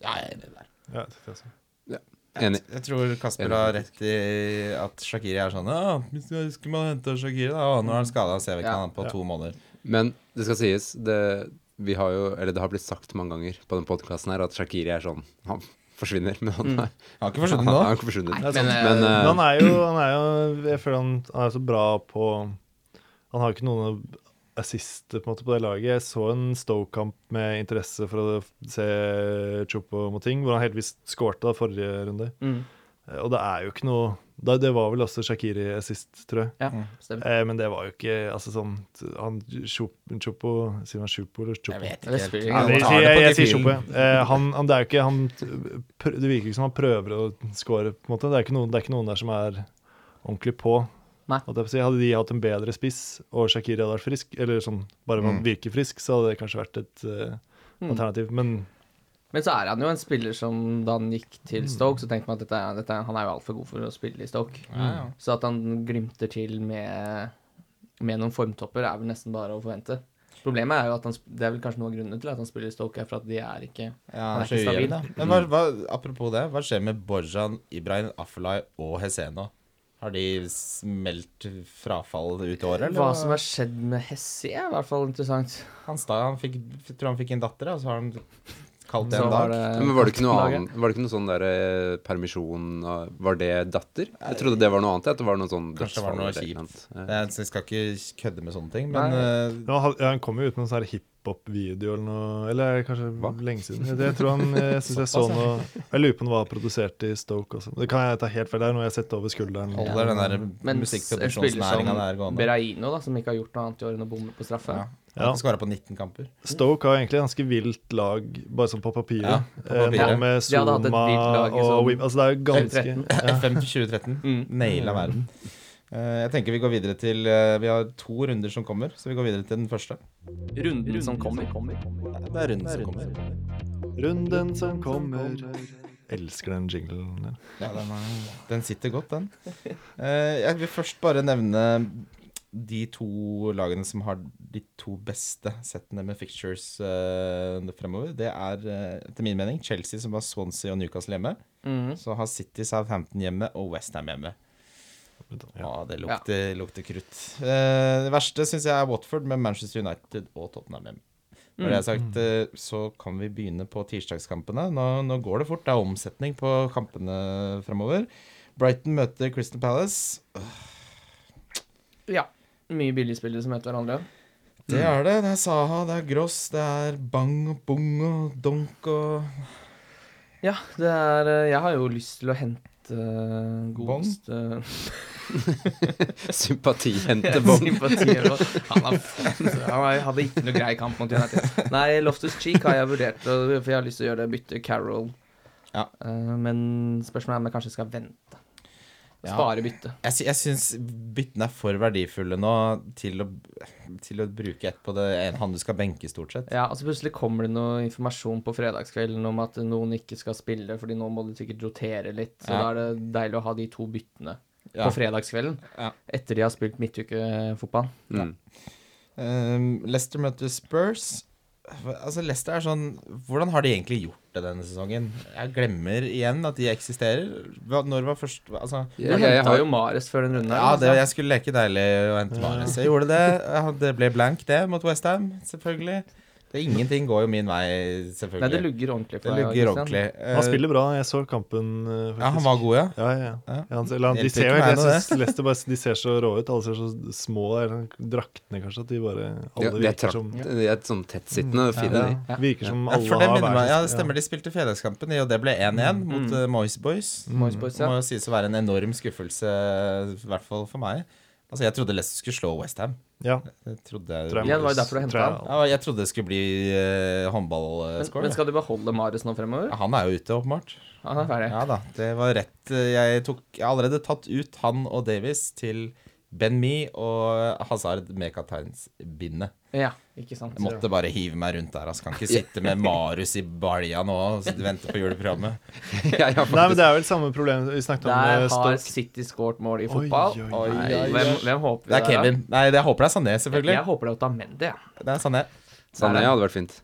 Ja, jeg er enig der. Ja, jeg tenkte jeg også. Enig. Jeg tror Kasper har rett i at Shakiri er sånn Ja, hvis du- skulle man hente Shakiri, da? Og nå er han skada, ser vi ikke Ja. han på to måneder. Men det skal sies, det, vi har jo, eller det har blitt sagt mange ganger på den podkasten her, at Shakiri er sånn Han forsvinner, men han er, Mm. Han har ikke forsvunnet han nå. er ikke forsvunnet. Det er sant. Men, eh, Men han er jo, han er jo Jeg føler han, han er så bra på Han har jo ikke noen å assist på, en måte, på det laget. Jeg så en Stoke-kamp med interesse for å se Chopo Moting, hvor han heldigvis skårte da forrige runde. Mm. Eh, Og det er jo ikke noe da- Det var vel også Shakiri assist, tror jeg. Ja, stemmer. Eh, Men det var jo ikke altså sånn han, Chopo Sier man Chopo eller Chopo? Det spiller Ja, ingen Jeg, vi rolle. tar jeg, det på jeg, sier gefühlen. Chopo, ja. Eh, Han, han, det, er jo ikke, han, pr- det virker ikke som han prøver å score, på en måte. Det er ikke noen, det er ikke noen der som er ordentlig på. Nei. Holdt jeg på å si. Hadde de hatt en bedre spiss, og Shakiri hadde vært frisk, eller sånn, bare Mm. man virker frisk, så hadde det kanskje vært et eh, Mm. alternativ. Men Men så er han jo en spiller som da han gikk til Stoke, så tenkte man at dette, er- dette, er- han er jo altfor god for å spille i Stoke. Ja, ja. Så at han glimter til med, med noen formtopper, er vel nesten bare å forvente. Problemet er jo at han, sp- det er vel kanskje noen av grunnene til at han spiller i Stoke, er for at de er ikke Ja, Han er så ikke stabil. gjør det. Men hva, hva, apropos det, hva skjer med Borjan, Ibrahim, Afalai og Heseno? Har de smelt frafall ut året, eller? Hva som har skjedd med Hessie, er i hvert fall interessant. Han, sta, han fikk, jeg tror han fikk en datter, og så har han kalt det Så en var dag. det, Men var det ikke noe Laget. annet? Var det ikke noe sånn der eh, permisjon av- Var det datter? Jeg trodde det var noe annet. At det var noe sånn Kanskje det var noe dødsfall eller et eller annet. Jeg, jeg skal ikke kødde med sånne ting, men eh, ja, han, ja, han kom jo ut med en sånn her hiphop-video eller noe, eller kanskje Hva? lenge siden. Jeg, jeg tror han, eh, jeg synes jeg så Såpass, noe, jeg lurer på om det var produsert i Stoke også. Det kan jeg ta helt feil, det er noe jeg har sett over skulderen. holder den der Men en spiller musikkproduksjonsnæringa der som gående. Beraino, da, som ikke har gjort noe annet i år enn å bomme på straffe. Ja. Ja. Han skåra på 19 [LAUGHS] kamper. Stoke har egentlig ganske vilt lag, bare sånn på papiret. Ja, på papiret. Eh, nå med De hadde hatt et Zuma vilt lag i og sånn Wim. Altså, det er jo ganske 2013. ja. FM 2013. Mm. Naila verden. Eh, jeg tenker vi går videre til eh, Vi har to runder som kommer, så vi går videre til den første. Runden som kommer. Det er runden som kommer. Runden som kommer Elsker den jinglen der. Ja, den, er, den sitter godt, den. Eh, jeg vil først bare nevne de to lagene som har de to beste settene med fictures eh, fremover. Det er eh, etter min mening Chelsea, som har Swansea og Newcastle hjemme. Mm. Så har City Southampton hjemme og Westham hjemme. Ja, Ja. Ah, det lukter, lukter krutt. Eh, det verste syns jeg er Watford med Manchester United og Tottenham hjemme. Når det er sagt, eh, så kan vi begynne på tirsdagskampene. Nå, nå går det fort. Det er omsetning på kampene fremover. Brighton møter Crystal Palace. Ja. Mye billigspillere som møter hverandre. Det er det. Det er Saha, det er Gross, det er Bang og Bung og Donk og Ja, det er eh, Jeg har jo lyst til å hente eh, godeste Eh, [LAUGHS] Sympatihentebånd. sympatier. og- Han, har fått- han har- hadde ikke noe grei kamp mot United. Nei, Loftus Cheek har jeg vurdert, og- for jeg har lyst til å gjøre det, bytte Carol. Ja. Eh, men spørsmålet er om jeg kanskje skal vente. Ja. Spare bytte. Jeg, sy jeg syns byttene er for verdifulle nå til å, til å bruke ett på det en han du skal benke, stort sett. Ja, altså plutselig kommer det noe informasjon på fredagskvelden om at noen ikke skal spille, fordi nå må du sikkert rotere litt, så Ja. da er det deilig å ha de to byttene Ja. på fredagskvelden, Ja. etter de har spilt midtukefotball. Mm. Um, Leicester møter Spurs. Altså Leicester er sånn Hvordan har de egentlig gjort det denne sesongen? Jeg glemmer igjen at de eksisterer. Hva, når var først altså, Du Jeg, jeg, henta har, jo Mares før den runden her. Ja, altså. det, jeg skulle leke deilig å hente Mares. Jeg gjorde det. Ja, Det ble blank, det, mot Westham, selvfølgelig. Det, ingenting går jo min vei, Nei, det selvfølgelig. lugger ordentlig det for deg. lugger Christian. ordentlig. Eh, Han spiller bra, jeg så kampen eh, faktisk. Ja, han var god, ja. Ja, ja, ja. Ja. Ja, han, eller han, de Hjelper ser jo ikke meg helt, noe, jeg synes Leicester bare, de ser så rå ut, alle ser så små, eller draktene kanskje, at de bare, ja, alle de er virker som... trakt- de er sånn tettsittende og fine, Mm. Ja. de. Ja, virker som Ja, alle for det har minner hver meg, sin- ja, det stemmer. De spilte fredagskampen, og det ble 1-1 mot uh, Moyes Boys. Moyes Boys, Det ja. må jo sies å være en enorm skuffelse, i hvert fall for meg. Altså, Jeg trodde Leicester skulle slå Westham. Ja, Jeg trodde, tror jeg Ja, det var jo derfor du hentet tror jeg- ja, jeg trodde det skulle bli uh, Men, håndballscore. men skal du beholde Mares nå fremover? ja, han er jo ute, åpenbart. Han er ferdig. Ja da, det var rett. eh, Jeg tok jeg har allerede tatt ut han og Davies til Ben Me og Hazard med kapteinsbindet. Ja, ikke sant. Jeg måtte bare hive meg rundt der. Altså. Kan ikke sitte med Marius i balja nå og s- vente på [LAUGHS] juleprogrammet. Jeg har Nei, men faktisk det er vel samme problem vi snakket om Der eh, har Stoke. City skåret mål i Oi, fotball. oi, oi, Nei, oi. Hvem, hvem håper vi Det er da? Kevin. Nei, det jeg håper det er Sané, selvfølgelig. Jeg håper det er Otamendi, ja. Det er Sané. Sané hadde vært fint.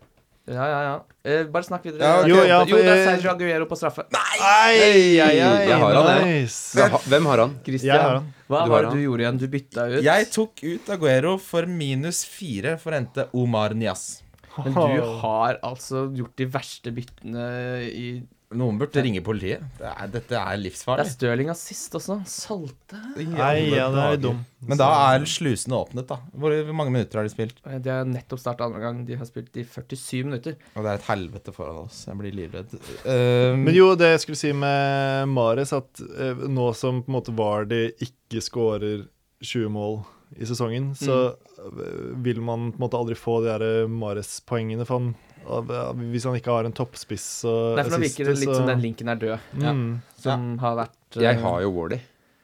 Ja, ja, ja. Eh, bare snakk videre. Ja, ok. jo, eh, Jo, ja, jo, det er for- Sergio Aguero på straffe. Ei, ei, ei, jeg har han, jeg. Nice. Hvem har- Hvem har han? Jeg har Christian, han. hva Du har var det han. du gjorde igjen? Du bytta ut. [LAUGHS] Jeg tok ut Aguero for minus fire for å hente Omar Nias. Men du har altså gjort de verste byttene i Noen burde ringe politiet. Det er, dette er Det er livsfarlig. Stirling assist også. Salte Nei, ja, det er dum. Men da er slusene åpnet, da. Hvor, hvor mange minutter har de spilt? Eh, De har nettopp starta andre gang. De har spilt i 47 minutter. Og det er et helvete foran oss. Jeg blir livredd. Eh, Men jo, det jeg skulle si med Mares, at eh, nå som på en måte Vardy ikke skårer 20 mål i sesongen, så Mm. eh, vil man på en måte aldri få de der Mares-poengene. For han, av- hvis han ikke har en toppspiss og Derfor virker det litt som den linken er død, Mm. som har vært eh, Jeg har jo Wardy.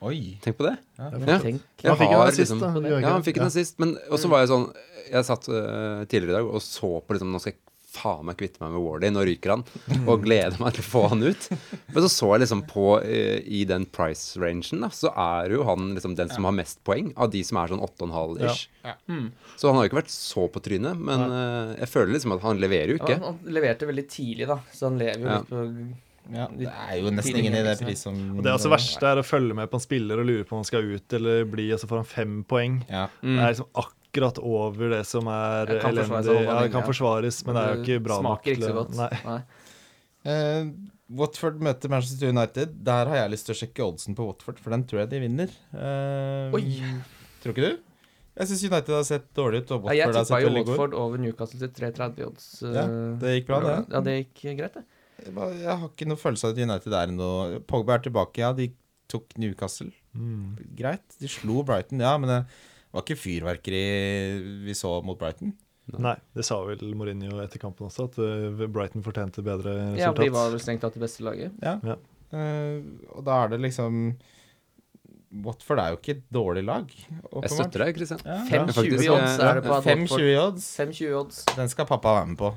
Oi. Tenk på det. ja. Tenk. Jeg Han fikk jo har den sist, liksom- da. gjorde Ja, ikke han det? fikk den sist. Men også var jeg sånn Jeg satt øh, tidligere i dag og så på liksom Nå skal jeg faen meg kvitte meg med Wardy. Nå ryker han. Og gleder meg til å få han ut. Men så så jeg liksom på øh, I den price-rangen, da, så er jo han liksom den som har mest poeng av de som er sånn 8,5-ish. Ja. Så han har jo ikke vært så på trynet, men øh, jeg føler liksom at han leverer jo Ja, ikke. han leverte veldig tidlig, da, så han lever jo Ja. litt på Ja, liksom. det er jo nesten ingen i det pris som Og det er altså også verste er å følge med på en spiller og lure på om han skal ut eller bli, og så får han fem poeng. Ja. Det er liksom akkurat over det som Mm. er Det kan forsvares elendig. over Ja, det lenge, kan ja. forsvares, men det er jo ikke bra nok. Smaker ikke så til å- godt. Nei. Nei. Eh, Watford møter Manchester United. Der har jeg lyst til å sjekke oddsen på Watford, for den tror jeg de vinner. Eh, Oi. Tror ikke du? Jeg syns United har sett dårlig ut, og Nei, jeg Watford har tippa sett jo veldig god ut. Watford over Newcastle til 3,30 odds. Ja, eh, det gikk bra, det. Ja, det gikk greit, det. Jeg bare- jeg har ikke noe følelse av at United er noe Pogba er tilbake, ja. De tok Newcastle. Mm. Greit. De slo Brighton, ja, men det var ikke fyrverkeri vi så mot Brighton. Nei, det sa vel Mourinho etter kampen også, at eh, Brighton fortjente bedre Ja, resultat. De var vel strengt tatt det beste laget. Ja. Ja. Eh, og da er det liksom Watford er jo ikke et dårlig lag, Jeg åpenbart. støtter deg, Christian. Ja. Ja, 5,20 faktisk, i odds ja. er det på at Watford 5-20 i odds. 5,20 odds. Den skal pappa være med på.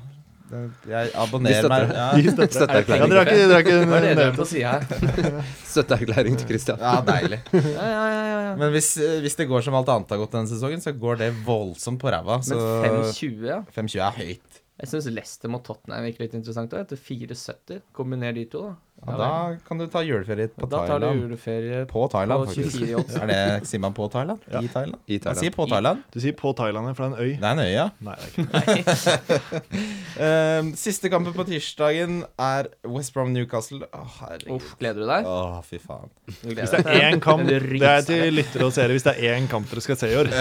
Den- Jeg [LAUGHS] Vi abonnerer støtter meg. Ja. Ja, Støtteerklæring dere har ikke, Hva er [LAUGHS] dere har ikke det dere har nevnt på sida her? Støtteerklæring til Christian. ja, deilig. Ja, ja, ja, ja, ja. eh, Men hvis, eh, hvis det går som alt annet har gått denne sesongen, så går det voldsomt på ræva. Så Men 5,20, ja. 5,20 er høyt. Jeg syns Leicester mot Tottenham virker litt interessant òg, etter 4,70. Kombiner de to, da. Og da kan du ta juleferie på da tar du Thailand. juleferie På Thailand, på faktisk. 24 i odds. [LAUGHS] Er det, sier man på Thailand? Ja. I Thailand? I Man Thailand. sier på Thailand. Du sier på Thailand, ja, for det er en øy. Det er en øy, ja. Nei, det er ikke det. Ehm, siste kampen på tirsdagen er West Brom Newcastle. Å, herregud. Uff, gleder du deg? Å, fy faen. Du gleder Hvis det [LAUGHS] deg. er én kamp Det Det er til lyttere og seere hvis det er én kamp dere skal se i år.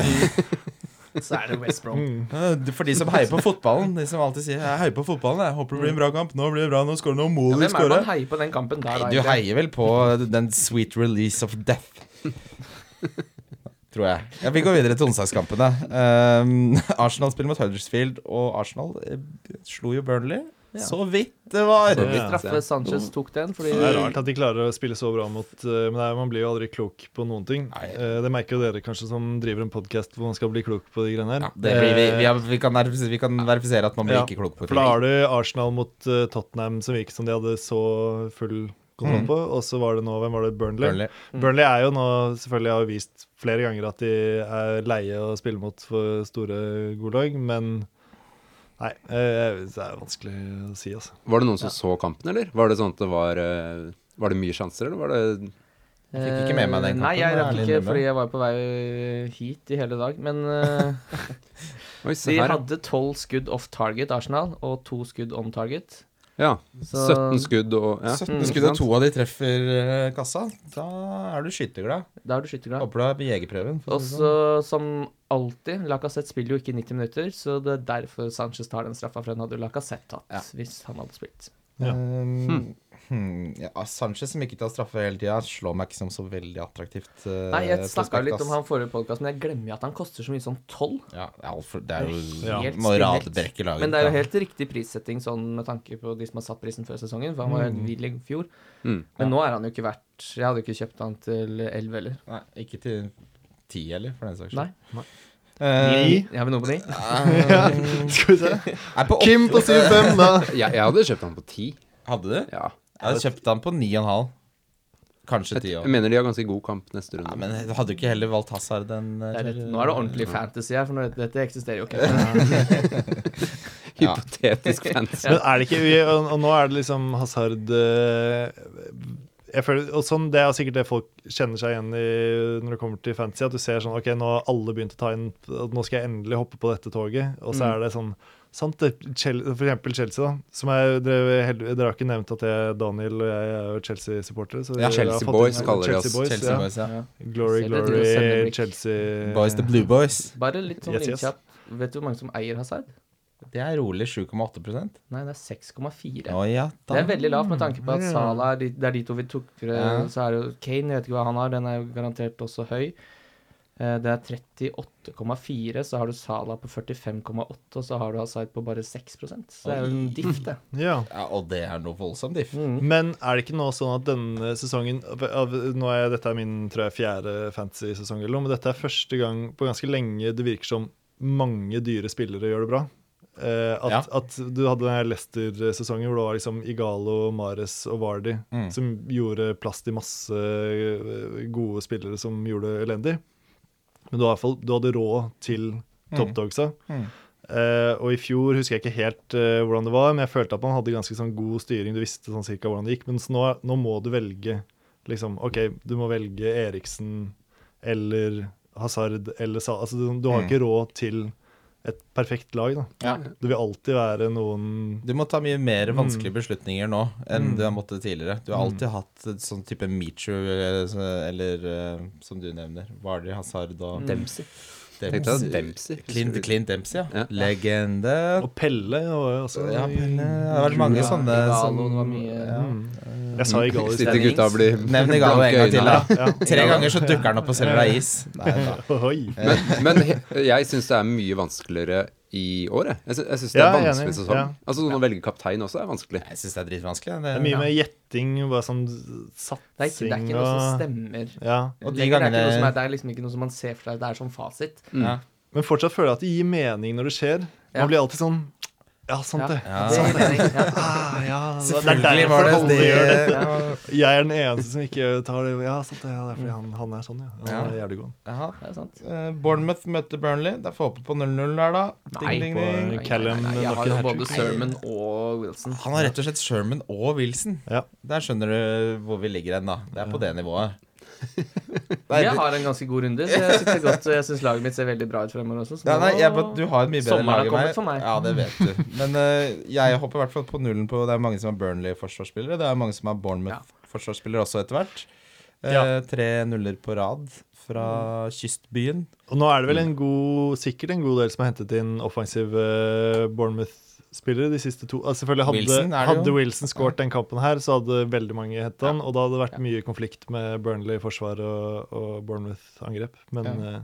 Så er det West Brom. Eh, For de som heier på fotballen, de som alltid sier 'jeg heier på fotballen', jeg håper det blir en bra kamp, nå blir det bra, nå skårer nå må Ja, de hvem er det man skåre. heier på den kampen der, da? Du egentlig? heier vel på den sweet release of death. Tror jeg. Ja, vi går videre til onsdagskampene. Um, Arsenal spiller mot Huddersfield, og Arsenal eh, slo jo Burnley. Ja. Så vidt det var! Så vidt. Eh, Straffe Sanchez tok den, fordi Det er rart at de klarer å spille så bra mot eh, Men nei, man blir jo aldri klok på noen ting. Nei. Eh, Det merker jo dere kanskje som driver en podkast hvor man skal bli klok på de greiene her. Ja, det blir, vi, vi, har, vi, kan verifisere, vi kan verifisere at man blir Ja, ikke klok på Eh, For da har du Arsenal mot eh, Tottenham som virket som de hadde så full kontroll på. Og så var det nå Hvem var det? Burnley? Burnley. Burnley er jo nå selvfølgelig har vist flere ganger at de er leie å spille mot for store godlag, men Nei, eh, det er vanskelig å si, altså. [LAUGHS] Var det noen som så kampen, eller? Var det sånn at det var øh, Var det mye sjanser, eller var det Jeg fikk ikke med meg den Eh, Nei, kampen, jeg det er rakk litt ikke, innrømme. fordi jeg var på vei hit i hele dag. Men [LAUGHS] eh, Oi, se de her. hadde tolv skudd off target, Arsenal, og to skudd on target. Ja. Så- 17 skudd og ja. 17 Mm, skudd, og sant? to av de treffer eh, kassa. Da er du skytterglad. Da er du skytterglad. Håper du er på jegerprøven. for å Og si det så, som alltid, Lacassette spiller jo ikke 90 minutter, så det er derfor Sanchez tar den straffa, for den hadde jo Lacassette tatt Ja. hvis han hadde spilt. Ja. Hm. Um, hmm, ja, Sanchez som ikke tar straffe hele tida, slår meg ikke som så veldig attraktivt. eh, Nei, jeg snakka prospekt, litt om ass. han forrige podkast, men jeg glemmer jo at han koster så mye sånn tolv. Ja, det er altfor- det er jo Ja. Helt Må spinnvilt. radbrekke laget. Men det er jo da. helt riktig prissetting sånn med tanke på de som har satt prisen før sesongen, for han var helt vill i fjor. Mm. Men nå er han jo ikke verdt Jeg hadde jo ikke kjøpt han til 11 heller. Nei, ikke til ti, eller, for den saks Nei. Eh, Jeg har vi noe på de? Skal vi se. er på åtte. Kim på 7-5, da. Jeg, jeg hadde kjøpt han på 10. Hadde du? Jeg Ja. hadde kjøpt han på ni og en halv. Kanskje Jeg, ti jeg òg. mener de har ganske god kamp neste Ja, runde. men hadde du ikke heller valgt Hazard enn Det er eh, litt, nå er det ordentlig fantasy her, for nå, dette eksisterer jo ikke. ja. Hypotetisk [LAUGHS] fancy. Men er det ikke vi, og, og nå er det liksom Hazard eh, jeg føler, og sånn, Det er sikkert det folk kjenner seg igjen i når det kommer til fantasy. At du ser sånn OK, nå har alle begynt å ta inn at Nå skal jeg endelig hoppe på dette toget. Og så er det sånn Sant, det, Chel- for eksempel Chelsea, da. Som er, dere, hel- dere har ikke nevnt at jeg, Daniel og jeg er jo Chelsea-supportere. så Ja, dere Chelsea har fått Boys inn- kaller de Chelsea oss. Boys, Chelsea ja. Boys, ja. Glory, Ser dere til å sende glory, blikk? Chelsea Boys the Blue Boys. Bare litt sånn Yes, yes. innkjapt. Vet du hvor mange som eier Hazard? Det er rolig 7,8 Nei, det er 6,4. Å ja, Det er veldig lavt med tanke på at Ja. Salah er de, Det er de to vi tok fra, Mm. Ja. Så er det jo Kane, jeg vet ikke hva han har. Den er jo garantert også høy. Eh, Det er 38,4, så har du Salah på 45,8, og så har du Hazard på bare 6 Så det er jo en diff, [LAUGHS] det. Ja. Ja, og det er noe voldsomt diff. Mm. Men er det ikke nå sånn at denne sesongen av, av, nå er Dette er min tror jeg, fjerde fantasy-sesong, eller noe, men dette er første gang på ganske lenge det virker som mange dyre spillere gjør det bra. Eh, Ja. at, at du hadde den her Leicester-sesongen hvor det var liksom Igalo, Mares og Vardy Mm. som gjorde plass til masse eh, gode spillere som gjorde det elendig. Men du, har i hvert fall, du hadde råd til toppdogsa. Mm. Eh, og i fjor husker jeg ikke helt eh, hvordan det var, men jeg følte at man hadde ganske sånn god styring. Du visste sånn cirka hvordan det gikk. Mens nå, nå må du velge liksom, OK, du må velge Eriksen eller Hazard eller Sa... Altså, du, du har Mm. ikke råd til et perfekt lag, da. Ja. Det vil alltid være noen Du må ta mye mer vanskelige beslutninger nå enn Mm. du har måttet tidligere. Du har alltid hatt et sånn type Meechu, eller eh, som du nevner, Vardy Hazard Mm. og Dempsey. Dempsey. Tenkte jeg at Dempsey. Clint, Clint Dempsey, ja. Ja. Legende. Og altså, Pelle var jo også Ja, Pelle. Det har vært mange Ja, sånne som Igalo, det var mye- ja. Mm. Jeg sa i Gallis Sitter gutta og blir Nevn Igalo en blanke i gang til, øynene. da. Ja. Tre ganger så dukker han opp og selger deg is. Nei da. [LAUGHS] Ohoi. Men, men he- jeg syns det er mye vanskeligere i år, jeg. Jeg sy- Jeg syns det Ja, er jeg er vanskelig enig, sesong. ja. Altså sånn å velge kaptein også er vanskelig. Jeg syns det er dritvanskelig. Det Det, er mye mer gjetting, bare sånn satsing Det, er ikke, det er ikke noe som stemmer. Ja. Lenger, det, er Og de ikke gangene- noe som er, det er liksom ikke noe som man ser for seg. Det er som fasit. Mm. ja. Men fortsatt føler jeg at det gir mening når det skjer. Man Ja. blir alltid sånn Ja, sant Ja. det. Ja. Det gir [LAUGHS] mening. Ja. Ah, ja, det er Selvfølgelig derfor var det alle det. gjør det. Ja. Jeg er den eneste som ikke tar det. Ja, sant det. Ja, det er fordi han, han er sånn, ja. Han er jævlig god. Jaha. Det er sant. Eh, Bournemouth møter Burnley. Det er få opp på 0-0 der, da. Nei. Ding, ding, På- ding. Nei, Callum nei, nei, Jeg har jo Knockin' både Sermon og Wilson. Han har rett og slett Sherman og Wilson. Ja. Der skjønner du hvor vi ligger hen, da. Det er på det [LAUGHS] nivået. Nei, Jeg du- har en ganske god runde, så jeg syns det er godt. Jeg synes laget mitt ser veldig bra ut fremover også. så Ja, nå- nei, jeg, bare- du har et mye bedre Sommeren har lag enn kommet meg. for meg. Ja, det vet du. Men eh, jeg hopper i hvert fall på nullen på Det er mange som er Burnley-forsvarsspillere. Det er mange som er Bournemouth-forsvarsspillere også etter hvert. Eh, Ja. Tre nuller på rad fra kystbyen. Og nå er det vel en god, sikkert en god del som har hentet inn offensiv eh, Bournemouth-spillere de siste to. Altså, selvfølgelig Hadde Wilson Wilson, er det jo. hadde Wilson skåret den kampen her, så hadde veldig mange hentet han. Og da hadde det vært mye konflikt med Burnley-forsvar og, og Bournemouth-angrep. Men eh,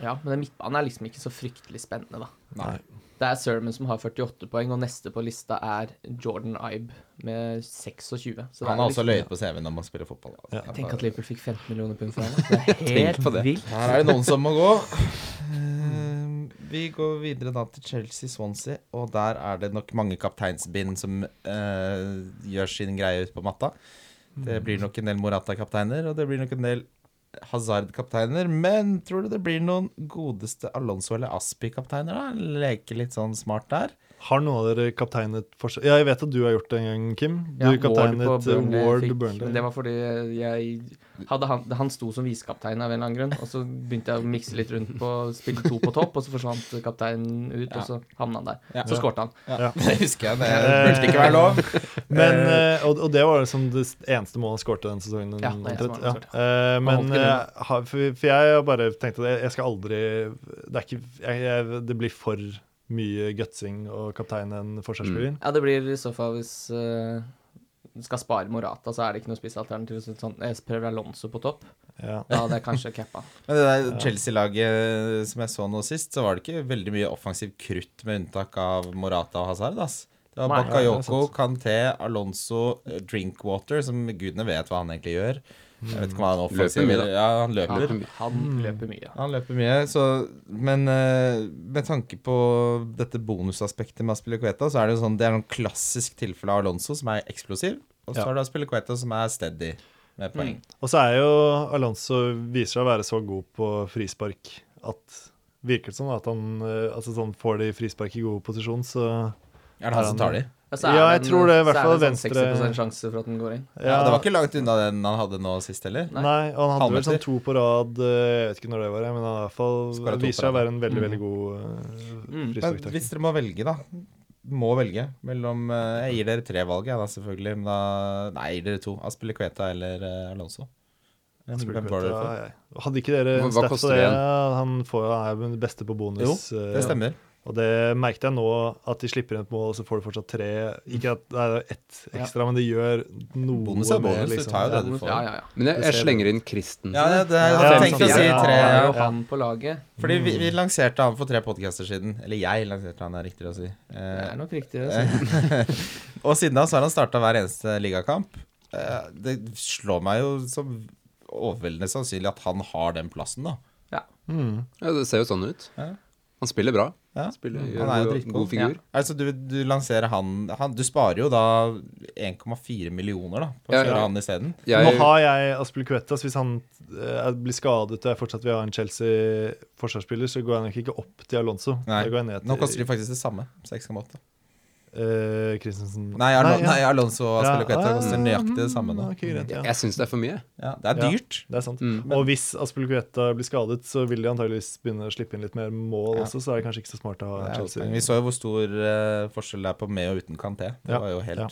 Ja, men den midtbanen er liksom ikke så fryktelig spennende, da. Nei. Det er Sermon som har 48 poeng, og neste på lista er Jordan Ibe med 26. Så det Han er har også liksom- løyet på CV-en om han spiller fotball. altså. Ja. Tenk at Liverpool fikk 15 millioner pund for ham. da. Det er Tenk på det. helt vilt. Her er det noen som må gå. Eh, Vi går videre da til Chelsea-Swansea, og der er det nok mange kapteinsbind som eh, gjør sin greie ut på matta. Det blir nok en del Morata-kapteiner, og det blir nok en del Hazard-kapteiner. Men tror du det blir noen godeste Alonso eller Aspi-kapteiner? da? Leke litt sånn smart der. Har noen av dere kapteinet forskjell? Ja, jeg vet at du har gjort det en gang, Kim. Du Ja, kapteinet Ward eh, Ward på Burnley Burnley. fikk- Men det var fordi jeg hadde han, han sto som visekaptein av en eller annen grunn, og så begynte jeg å mikse litt rundt på spille to på topp, og så forsvant kapteinen ut, og så havna han der. Ja. Så skårte han. Ja. Det husker jeg. Det burde ikke være lov. Men, eh, og, og det var liksom det eneste målet han skårte denne sesongen. Ja, det er eneste målet han omtrent. Ja. Eh, men holdt ikke eh, har- for, for jeg har bare tenkt at jeg, jeg skal aldri Det, er ikke, jeg, jeg, det blir for mye gutsing å kapteine en forsvarsspiller. Ja, det blir i så fall hvis eh, du skal spare Morata, så er det ikke noe spissalternativ. så Sånn, jeg prøver Alonso på topp. Ja. Da hadde jeg kanskje cappa. Men det der Chelsea-laget som jeg så nå sist, så var det ikke veldig mye offensivt krutt, med unntak av Morata og Hazard. ass. Det var Nei, ja, det er Bakayoko, sant. Kanté, Alonso, eh, Drinkwater, som gudene vet hva han egentlig gjør. Jeg vet ikke hva han er offensiv Mm. Løper mye, da. Ja, [LAUGHS] han løper. Ja. Han Mm. løper mye. Han løper mye, så Men eh, med tanke på dette bonusaspektet med Aspilicueta, så er det jo sånn Det er noen klassisk tilfelle av Alonso, som er eksplosiv, og så Ja. har du Aspilicueta, som er steady med poeng. Mm. Og så er jo Alonso viser seg å være så god på frispark at virker det som at han eh, altså sånn, får de frispark i god posisjon, så Er det han som tar de? så er Ja, jeg en- tror det er i hvert så fall sånn 60 venstre- sjanse for at den går inn. Ja, Det var ikke langt unna den han hadde nå sist heller. Nei. Nei, og han hadde vel Halvmeter. sånn to på rad eh, Jeg vet ikke når det var, men han har i hvert fall Skåret to viser på seg å rad. være en veldig, Mm. veldig god Mm. uh, Men hvis dere må velge, da. Må velge mellom eh, Jeg gir dere tre valg, jeg da, selvfølgelig. Men da Nei, jeg gir dere to. Aspilicueta eller eh, Alonso. Hvem hvem var det for? Hadde ikke dere Hva- en hva stat koster for det? det Han får, han er jo den beste på bonus. eh, Det stemmer. Og det merket jeg nå, at de slipper inn et mål, og så får du fortsatt tre. Ikke at det er ett ekstra, men det gjør noe liksom. Bonus er bonus, du tar jo Ja, det du får. ja, ja, ja. Men jeg, Det jeg ser slenger inn Kristen. Ja, det, det, jeg Ja, hadde tenkt å samtidig. si Ja, tre. Det er jo Ja. Mm. han på laget. Fordi vi, vi lanserte han for tre podcaster siden. Eller jeg lanserte han, er riktigere å si. Det Eh, er nok riktig. det, så. og siden da så har han starta hver eneste ligakamp. Eh, det slår meg jo som overveldende sannsynlig at han har den plassen, da. Mm. Ja, det ser jo sånn ut. Ja. Han spiller bra. Ja. Spiller, Han gjør er jo god, drittgod. god figur. Altså, du, du lanserer han, han Du sparer jo da 1,4 millioner da på å Ja, kjøre ja. han isteden. Jeg, Nå har jeg Aspilicueta, så hvis han eh, blir skadet og jeg fortsatt vil ha en Chelsea-forsvarsspiller, så går jeg nok ikke opp til Alonso. Nei. Da går jeg ned til Nå koster de faktisk det samme. 6,8. eh, Christensen. Nei, Arlo, ja. nei, Alonso og Ja, Aspilicueta ah, koster nøyaktig det samme nå. Mm, ok, greit, ja. jeg syns det er for mye. Ja, det er Ja. dyrt. Det er sant. Mm. og hvis Aspilicueta blir skadet, så vil de antageligvis begynne å slippe inn litt mer mål Ja. også, så er det kanskje ikke så smart å ha Det er jo- Chelsea. Vi så jo hvor stor eh, forskjell det er på med og uten Kanté. Det Ja, var jo helt ja.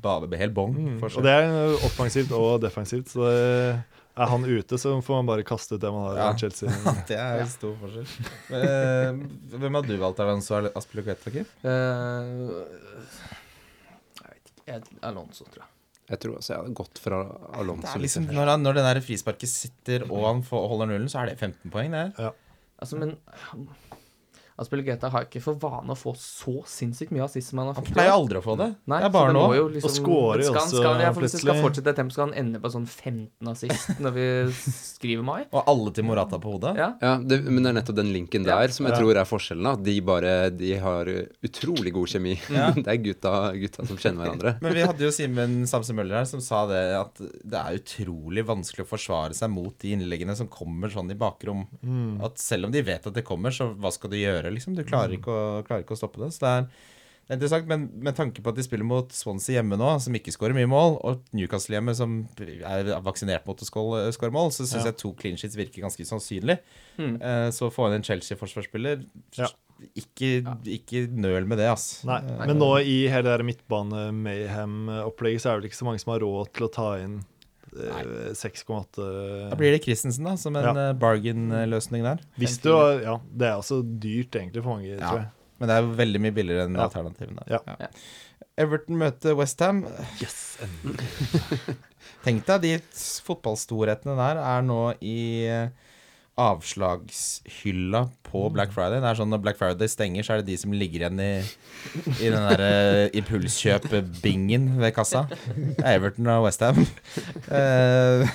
Bare helt bong Mm. Og forskjell. det er offensivt og defensivt, så eh, er han ute, så får man bare kaste ut det man har Ja. av [LAUGHS] Chelsea. Det er jo stor forskjell. Eh, Hvem har du valgt, Alonso eller Aspilicueta, Kim? Eh, jeg vet ikke. Jeg- Alonso, tror jeg. Jeg tror altså jeg hadde gått fra Det Alonso. er litt. liksom, når, han, når det der frisparket sitter og han får, holder nullen, så er det 15 poeng. det her. Altså, men Aspellegeta har ikke for vane å få så sinnssykt mye assist som han har Han fått. pleier aldri å få det. Nei, det er bare så nå. må jo liksom- Og scorer jo skal han- også skal han- ja, for Hvis det skal plutselig. fortsette dette, tempoet, skal han ende på sånn 15 assist når vi skriver mai. Og alle til Morata på hodet. Ja. Ja, det, men det er nettopp den linken der som jeg Ja. tror er forskjellen. da. De bare, de har utrolig god kjemi. [LAUGHS] det er gutta, gutta som kjenner hverandre. [LAUGHS] Men vi hadde jo Simen Samse Møller her som sa det at det er utrolig vanskelig å forsvare seg mot de innleggene som kommer sånn i bakrom. Mm. At selv om de vet at det kommer, så hva skal du gjøre, liksom? Du Mm. klarer ikke å, klarer ikke å stoppe det. Så det er, det er interessant, men med tanke på at de spiller mot Swansea hjemme nå, som ikke skårer mye mål, og Newcastle hjemme, som er vaksinert mot å skål- skåre mål, så syns Ja. jeg to clean sheets virker ganske sannsynlig. Mm. Eh, Så få inn en Chelsea-forsvarsspiller Ja. ikke, ikke nøl med det, ass. Nei, Eh, men nå i hele det her midtbane-mayhem-opplegget, så er det ikke så mange som har råd til å ta inn eh, 6,8 Da blir det Christensen, da, som en Ja. eh, bargain-løsning der. Hvis du har Ja, det er også dyrt egentlig for mange, tror jeg. Men det er jo veldig mye billigere enn Ja. alternativene. Ja. Ja. Everton møter Westham. Yes! [LAUGHS] Tenk deg de s- fotballstorhetene der er nå i eh, avslagshylla Mm. på Black Friday. Det er sånn Når Black Friday stenger, så er det de som ligger igjen i, i den der eh, impulskjøp-bingen ved kassa. Det er Everton og [LAUGHS] Westham. [LAUGHS] Uh,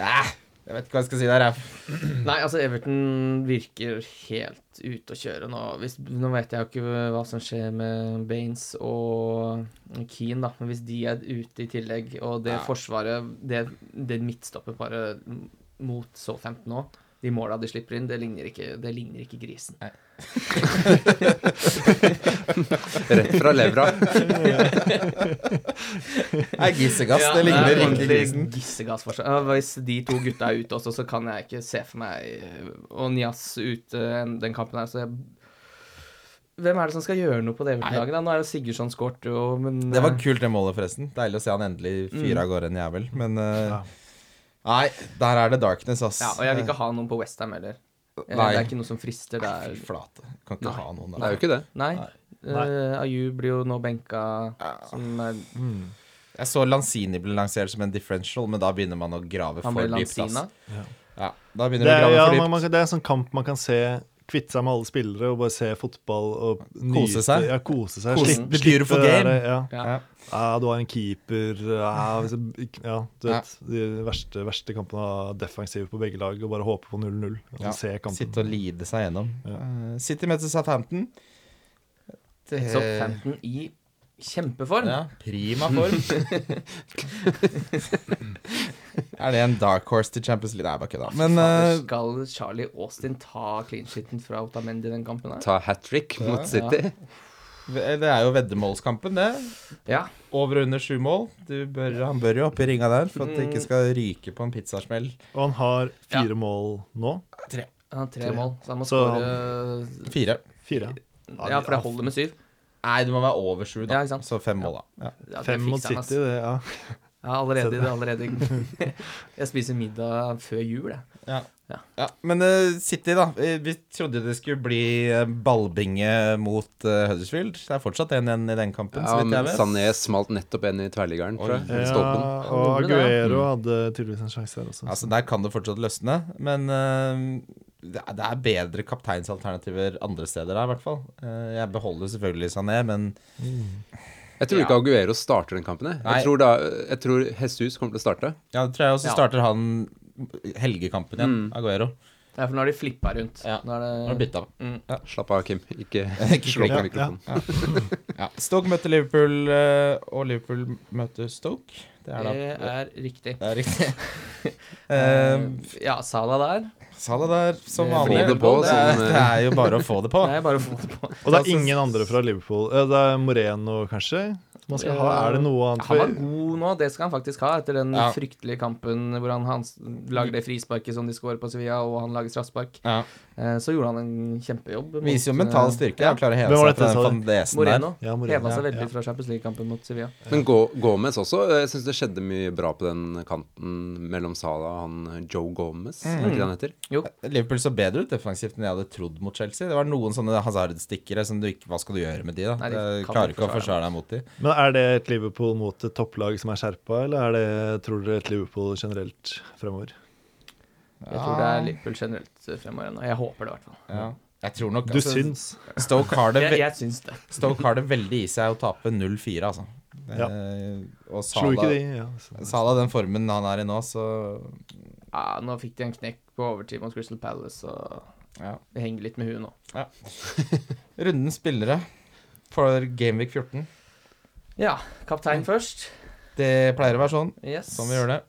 ah, jeg vet ikke hva jeg skal si der. Jeg. [CLEARS THROAT] Nei, altså Everton virker helt ute å kjøre nå. Hvis, nå vet jeg jo ikke hva som skjer med Baines og Keane, da. Men hvis de er ute i tillegg, og det Ja. forsvaret, det, det midtstopperparet mot Southampton nå de måla de slipper inn, det ligner ikke, det ligner ikke grisen. Rett fra levra. Nei, Gissegass. Ja, det ligner er ikke ordentlig grisen. Gissegass for seg. Ja, Hvis de to gutta er ute også, så kan jeg ikke se for meg eh, Og Nias ute en- den kampen her, så jeg Hvem er det som skal gjøre noe på det Everton-laget? da? Nå er jo Sigurdsson skåret, jo, men Det var eh, kult, det målet, forresten. Deilig å se han endelig fyre Mm. av gårde en jævel. Men eh, Ja. Nei, der er det darkness, ass. Ja, og jeg vil ikke ha noen på Westham heller. Eh, Nei. Det er ikke noe som frister. Det Fy er flate. Kan ikke Nei. ha noen Det er der. jo ikke det. Nei. Nei. Eh, Ayu blir jo nå benka Ja. som eh, er Jeg så Lanzini ble lansert som en differential, men da begynner man å grave Han for ble dypt. Lanzina. Ass. Ja, da begynner Det man er, å ja, grave man, man, for dypt. kan- det er en sånn kamp man kan se kvitte seg med alle spillere og bare se fotball og Kose seg. Ja, kose seg. Kose- Slipp- the beautiful slippe det game. der, ja. Ja. Ja. Ja, du har en keeper ja, hvis jeg- ja, du vet. De verste, verste kampene av defensiv på begge lag og bare håpe på 0-0. Og så Ja, se kampen. Sitte og lide seg gjennom. Ja. Eh, City møter Southampton. Det, Southampton i kjempeform. ja, prima [LAUGHS] form. er det en dark horse til Champions League? Nei, bare kødda. Men Fader, [LAUGHS] eh, skal Charlie Austin ta clean shiten fra Otamendi i den kampen her? Ta hat trick mot City. Det er jo veddemålskampen, det. Ja. Over og under sju mål. Du bør, Mm. han bør jo opp i ringa der for at det ikke skal ryke på en pizzasmell. Og han har fire Ja. mål nå. Han har tre mål, så han må Så skåre Fire. Fire. Ja, for det holder med syv. Nei, det må være over sju, da. Ja, ikke sant. Så fem mål, da. Ja. Ja, det Fem mot fikser han, ass. City, det, ja. Ja, allerede, det er allerede. [LAUGHS] Jeg spiser middag før jul, jeg. Ja. Ja. Ja, Men eh, City, da. eh, Vi trodde det skulle bli eh, ballbinge mot eh, Huddersfield. Det er fortsatt 1-1 i den kampen, Ja, så vidt jeg men vet. Sané smalt nettopp en i tverrliggeren, tror jeg. ja. i Stolpen. Og Han gjorde det, ja. Mm. Aguero hadde tydeligvis en sjanse der også. Altså, der kan det fortsatt løsne, men eh, det er- det er bedre kapteinsalternativer andre steder der, i hvert fall. Eh, jeg beholder selvfølgelig Sané, men Jeg tror ikke Aguero starter den kampen. Jeg, Nei. jeg, tror, da, jeg tror Jesus kommer til å starte. ja, Mm. det tror jeg også Ja. starter han helgekampen igjen, Aguero. Ja, for nå har de flippa rundt. Ja. Nå Nå er er det det bytta. Slapp av, Kim. Ikke Ikke slå på klikk. Ja, ja. mikrofonen. Ja. Stoke møter Liverpool, eh, og Liverpool møter Stoke. Det er da Det er riktig. Det er riktig. Ehm. Eh, Eh, ja, Sala der. Sala der, som Det vanlig. blir det på, det, er, som, eh, det er jo bare å få det på. Det er bare å få [LAUGHS] det på. Og det er ingen andre fra Liverpool. Eh, Det er Moreno, kanskje? Man skal ha, er det noe annet Han var for- god nå, det skal han faktisk ha, etter den Ja. fryktelige kampen hvor han, han s- lagde det frisparket som de skårer på Sevilla, og han lager straffespark. Ja. Eh, så gjorde han en kjempejobb. mot, Viser jo mental eh, styrke. ja. Ja. Klarer å Hvem heve var seg dette, fra den sa du? fandesen der. Moreno. Ja, Moreno. Heva seg Ja, veldig fra Champions League-kampen mot Sevilla. Men Go- Gomez også. Jeg syns det skjedde mye bra på den kanten mellom Sala og han Joe Gomez. Er det ikke det han heter? Jo, Liverpool så bedre ut defensivt enn jeg hadde trodd mot Chelsea. Det var noen sånne hazardstikkere som du ikke Hva skal du gjøre med de, da? Nei, de Eh, kan klarer ikke ikke å forsvare forsvare deg mot de. Men er det et Liverpool mot et topplag som er skjerpa, eller er det, tror dere, et Liverpool generelt fremover? jeg tror det er Liverpool generelt eh, fremover ennå. Jeg håper det, i hvert fall. Ja. Jeg tror nok altså, Du syns? Stoke har [LAUGHS] det, Jeg, ve jeg syns det. Stoke har det veldig i seg å tape 0-4, altså. Ja. Eh, og Slo ikke de? Sala, Ja, så- Sala, den formen han er i nå, så Ja, nå fikk de en knekk på overtid mot Crystal Palace, så ja. det henger litt med huet nå. Runden spillere for Gameweek 14. Ja, kaptein først. Det pleier å være sånn. Yes. Sånn vi gjør det.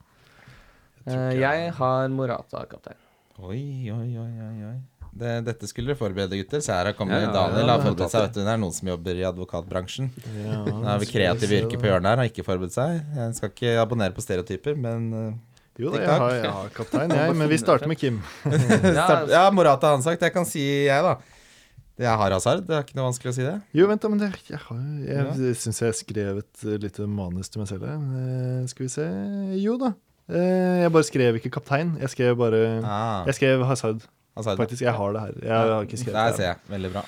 Eh, jeg har Morata kaptein. Oi, oi, oi, oi, oi. Det, dette skulle dere forberede, gutter. Så her har kommet Ja, ja, Daniel. ja, har ja. forberedt seg, vet du. Det er noen som jobber i advokatbransjen. [LAUGHS] Ja, Da er vi kreative yrker på hjørnet her, har ikke forberedt seg. Jeg skal ikke abonnere på stereotyper, men [LAUGHS] eh, Jo da, Tikk jeg takk. har, jeg har kaptein, jeg, [LAUGHS] men vi starter med Kim. Ja, altså. Ja, Morata har han sagt. Jeg kan si jeg, da. Jeg har hasard. Det er ikke noe vanskelig å si det. Jo, vent da, men det, jeg, har, jeg, jeg syns jeg skrev et eh, lite manus til meg selv her. Eh, Skal vi se Jo da. Eh, Jeg bare skrev ikke kaptein. Jeg skrev bare Ah, Jeg skrev Hazard, hasard. faktisk. Jeg har det her. Jeg har ikke skrevet Der det. ser jeg. Veldig bra.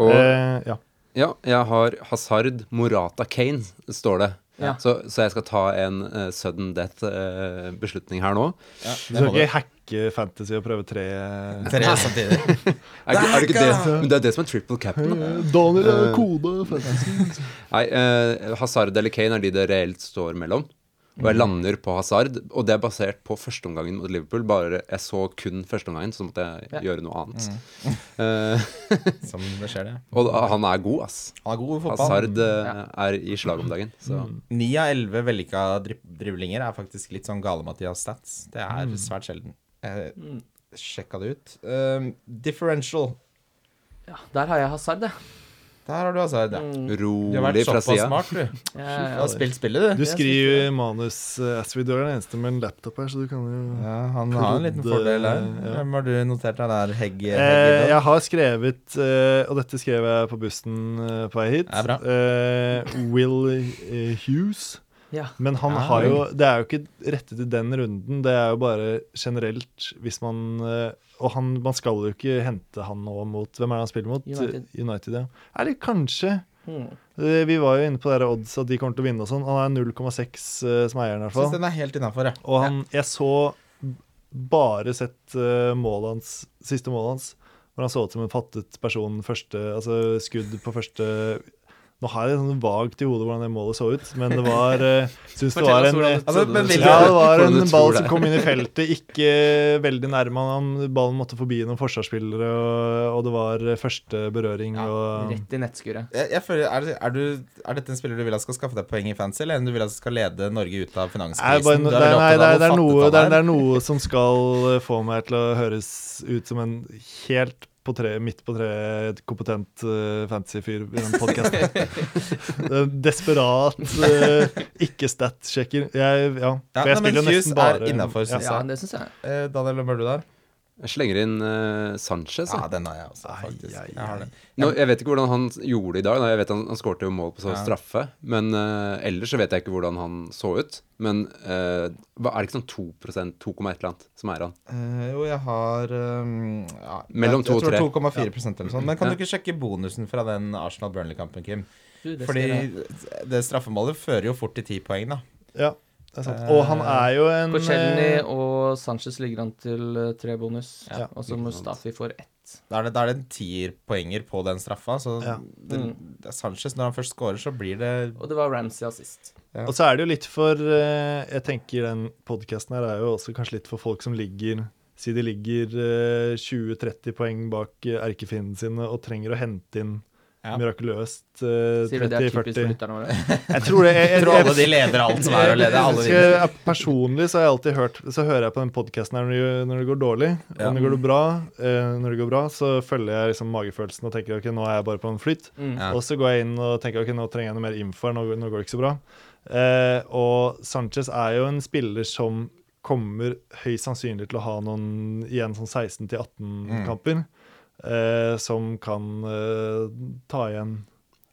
Og Eh, ja. ja, jeg har Hazard Morata Kane, står det. Ja. Så, så jeg skal ta en eh, sudden death-beslutning her nå. Ja, Du det skal må du. ikke hacke fantasy og prøve tre eh, Tre samtidig. Er, ikke- er det ikke det? Dæka! Men det er det som er triple cap'n. da. Daniel er kode fantasy. Nei, eh, Hazard eller Kane er de det reelt står mellom. Og Mm. jeg lander på Hazard, og det er basert på førsteomgangen mot Liverpool. Bare jeg så kun førsteomgangen, så måtte jeg Ja. gjøre noe annet. Mm. [LAUGHS] Eh, Som det skjer, det. og da- han er god, ass. Han er god i fotball. Mm. Hazard eh, er i slaget om dagen. Så. Ni av elleve vellykka drib- driblinger er faktisk litt sånn gale-Mathias stats. Det er svært sjelden. Jeg Mm. sjekka det ut. Um, differential. ja, der har jeg Hazard, Mm. jeg. Der har du Hazard. Ja. Du har Rolig vært fra såpass sida. smart, du. Jeg- [LAUGHS] Du har spilt spillet, du. Du skriver manus eh, as we do. Du er den eneste med en laptop her, så du kan jo Ja, han har en liten fordel der. Ja. Hvem har du notert deg der, Hegg? Eh, Hegg jeg har skrevet, eh, og dette skrev jeg på bussen eh, på vei hit, Det er bra. eh, Will eh, Hughes. Ja. Men han Ja. har jo Det er jo ikke rettet i den runden, det er jo bare generelt hvis man eh, Og han, man skal jo ikke hente han nå mot Hvem er det han spiller mot? United. United ja. Eller kanskje Hmm. Eh, Vi var jo inne på det der odds at de kommer til å vinne og sånn. Han er 0,6 eh, som eieren, i hvert Syns fall. den er helt innafor, ja. Og han, jeg så bare sett eh, målet hans, siste målet hans, hvor han så ut som en fattet person, første, altså skudd på første Nå har jeg det sånn vagt i hodet hvordan det målet så ut, men det var uh, Syns det Fortell var oss en hvordan eh, du Altså, trodde det men vil skulle ja, det var hvordan du en tror ball det. som kom inn i feltet, ikke veldig nærme han. Ballen måtte forbi noen forsvarsspillere, og, og det var eh, første berøring. være. og, Rett i nettskuret. Jeg, jeg føler, er, er, du, er dette en spiller du vil at skal skaffe deg poeng i fancy, eller en du vil at skal lede Norge ut av Nei, bare, finanskrisen? no- Du nei, er veldig nei, opptatt det, av er, det, hvor er noe, fattet det, er, han det er noe som skal eh, få meg til å høres ut som en helt på tre, midt på treet kompetent eh, fantasy-fyr i den podkasten. Desperat eh, ikke-stat-sjekker. Jeg, ja. Ja, nei, For jeg men spiller jo Hughes nesten bare er innafor, syns Ja, jeg. det syns jeg. Eh, Daniel, hvem er du der? Jeg slenger inn eh, Sanchez. Ja, jeg. den har jeg også, Ai, faktisk. ai, Jeg har den. Nå, jeg vet ikke hvordan han gjorde det i dag. da. Jeg vet Han, han skårte jo mål på så Ja. straffe. Men eh, ellers så vet jeg ikke hvordan han så ut. Men eh, hva- er det ikke sånn 2 2,1 eller annet som er han? Eh, jo, jeg har ehm, ja, Mellom to og Jeg tre. tror 2,4 eller sånn. Men kan Ja. du ikke sjekke bonusen fra den Arsenal-Burnley-kampen, Kim? Du, det Fordi skal jeg- det straffemålet fører jo fort til ti poeng, da. Ja, det er sant. Og han er jo Mm, en Korselny eh, og Sanchez ligger an til eh, tre bonus. Ja, og så Mustafi får ett. Da er det, da er det en tierpoenger på den straffa. Så Ja. det, det er Sanchez, når han først scorer, så blir det Mm. Og det var Ramsey assist. Og så er det jo litt for eh, Jeg tenker den podkasten her er jo også kanskje litt for folk som ligger Si de ligger eh, 20-30 poeng bak eh, erkefiendene sine og trenger å hente inn Ja. mirakuløst eh, Sier du det er typisk for 30-40 lytterne våre? Jeg tror det jeg, [LAUGHS] Jeg jeg, tror alle de leder alt som er å lede. Alle jeg, de. jeg, personlig så har jeg alltid hørt Så hører jeg på den podkasten her når det, når det går dårlig. Og Ja. når det går bra, eh, når det går bra, så følger jeg liksom magefølelsen og tenker ok, nå er jeg bare på en flyt. Mm. Ja. Og så går jeg inn og tenker ok, nå trenger jeg noe mer info, her, nå, nå går det ikke så bra. Eh, og Sanchez er jo en spiller som kommer høyst sannsynlig til å ha noen igjen sånn 16-18-kamper, eh, som kan eh, ta igjen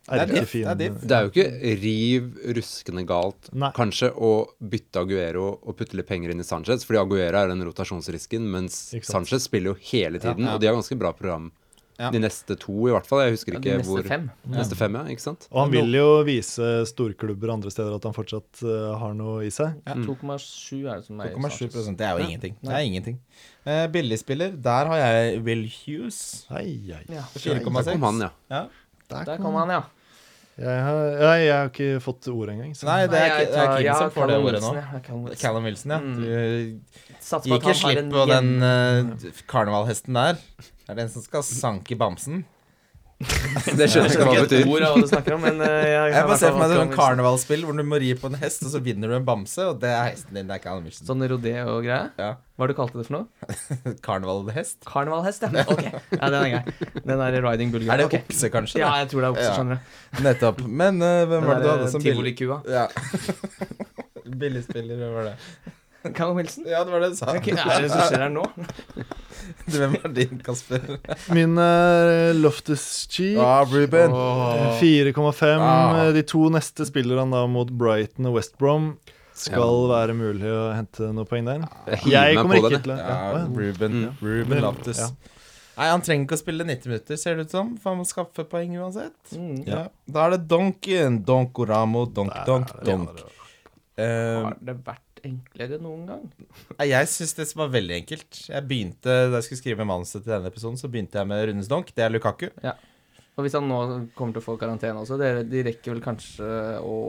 er diff, det er erkefienden. diff. Det er jo ikke riv ruskende galt, Nei. kanskje, å bytte Aguero og putte litt penger inn i Sanchez, fordi Aguero er den rotasjonsrisken, mens Ikke sant. Sanchez spiller jo hele tiden, Ja. og de har ganske bra program. Ja. De neste to, i hvert fall. Jeg husker Ja, ikke de neste hvor fem. Neste fem, ja. Ikke sant? Og han vil jo vise storklubber andre steder at han fortsatt eh, har noe i seg. Mm. 2,7 er det som er i 2,7 Sanchez. Det er jo ingenting. Det er ingenting. Eh, billigspiller, der har jeg Will Hughes. Ai, ai. Ja, Der kom 4,6. han, ja. Ja. der kom han, ja. Jeg har, nei, jeg har ikke fått ordet engang. Så. Nei, det er, jeg det er tar- Kim ja, som får det Callum ordet nå. Wilson, ja, Callum Wilson. Callum Wilson, ja. Du Satser gir på at ikke han har slipp en på den jevn- eh, karnevalhesten der. Det er den som skal sanke bamsen. Det skjønner jeg ikke hva det et betyr. ord av hva du snakker om, men eh, jeg, [LAUGHS] Jeg bare ser for meg Callum det er sånn Wilson. karnevalsspill hvor du må ri på en hest, og så vinner du en bamse, og det er hesten din. Det er Callum Wilson. Sånn rodeo og greie? Ja. Hva er det du kalte det for noe? Sånn Karnevalhest. [LAUGHS] Karnevalhest, ja. Ok, ja, den er grei. Den er riding bulgar. Er det Ok. okse, kanskje? Ja, det? jeg tror det er okse, Ja. skjønner du. [LAUGHS] Nettopp. Men eh, hvem var det du hadde som billig- [LAUGHS] Tivolikua. Ja. Billigspiller, hvem var det? Callum Wilson? Ja, det var det du sa. [LAUGHS] Ok, hva er det som skjer her nå? Hvem var din, Kasper? Min er Loftus Cheek. Ruben. 4,5. Ah. eh, De to neste spiller han da mot Brighton og West Brom. Skal være mulig å hente noen poeng der. Jeg Jeg hiver kommer meg på ikke den. jeg. til å Ja, ja, å ja. Ruben. Mm. Ruben Loftus. Ja. Nei, han trenger ikke å spille 90 minutter, ser det ut som, for han må skaffe poeng uansett. Mm. Ja. Da er det donken. Donkoramo, donk, donk, donk. Eh, Har det vært enklere noen gang? Nei, Jeg syns det som var veldig enkelt Jeg begynte, Da jeg skulle skrive manuset til denne episoden, så begynte jeg med Runes Donk. Det er Lukaku. Og hvis han nå kommer til å få karantene også, det, de rekker vel kanskje å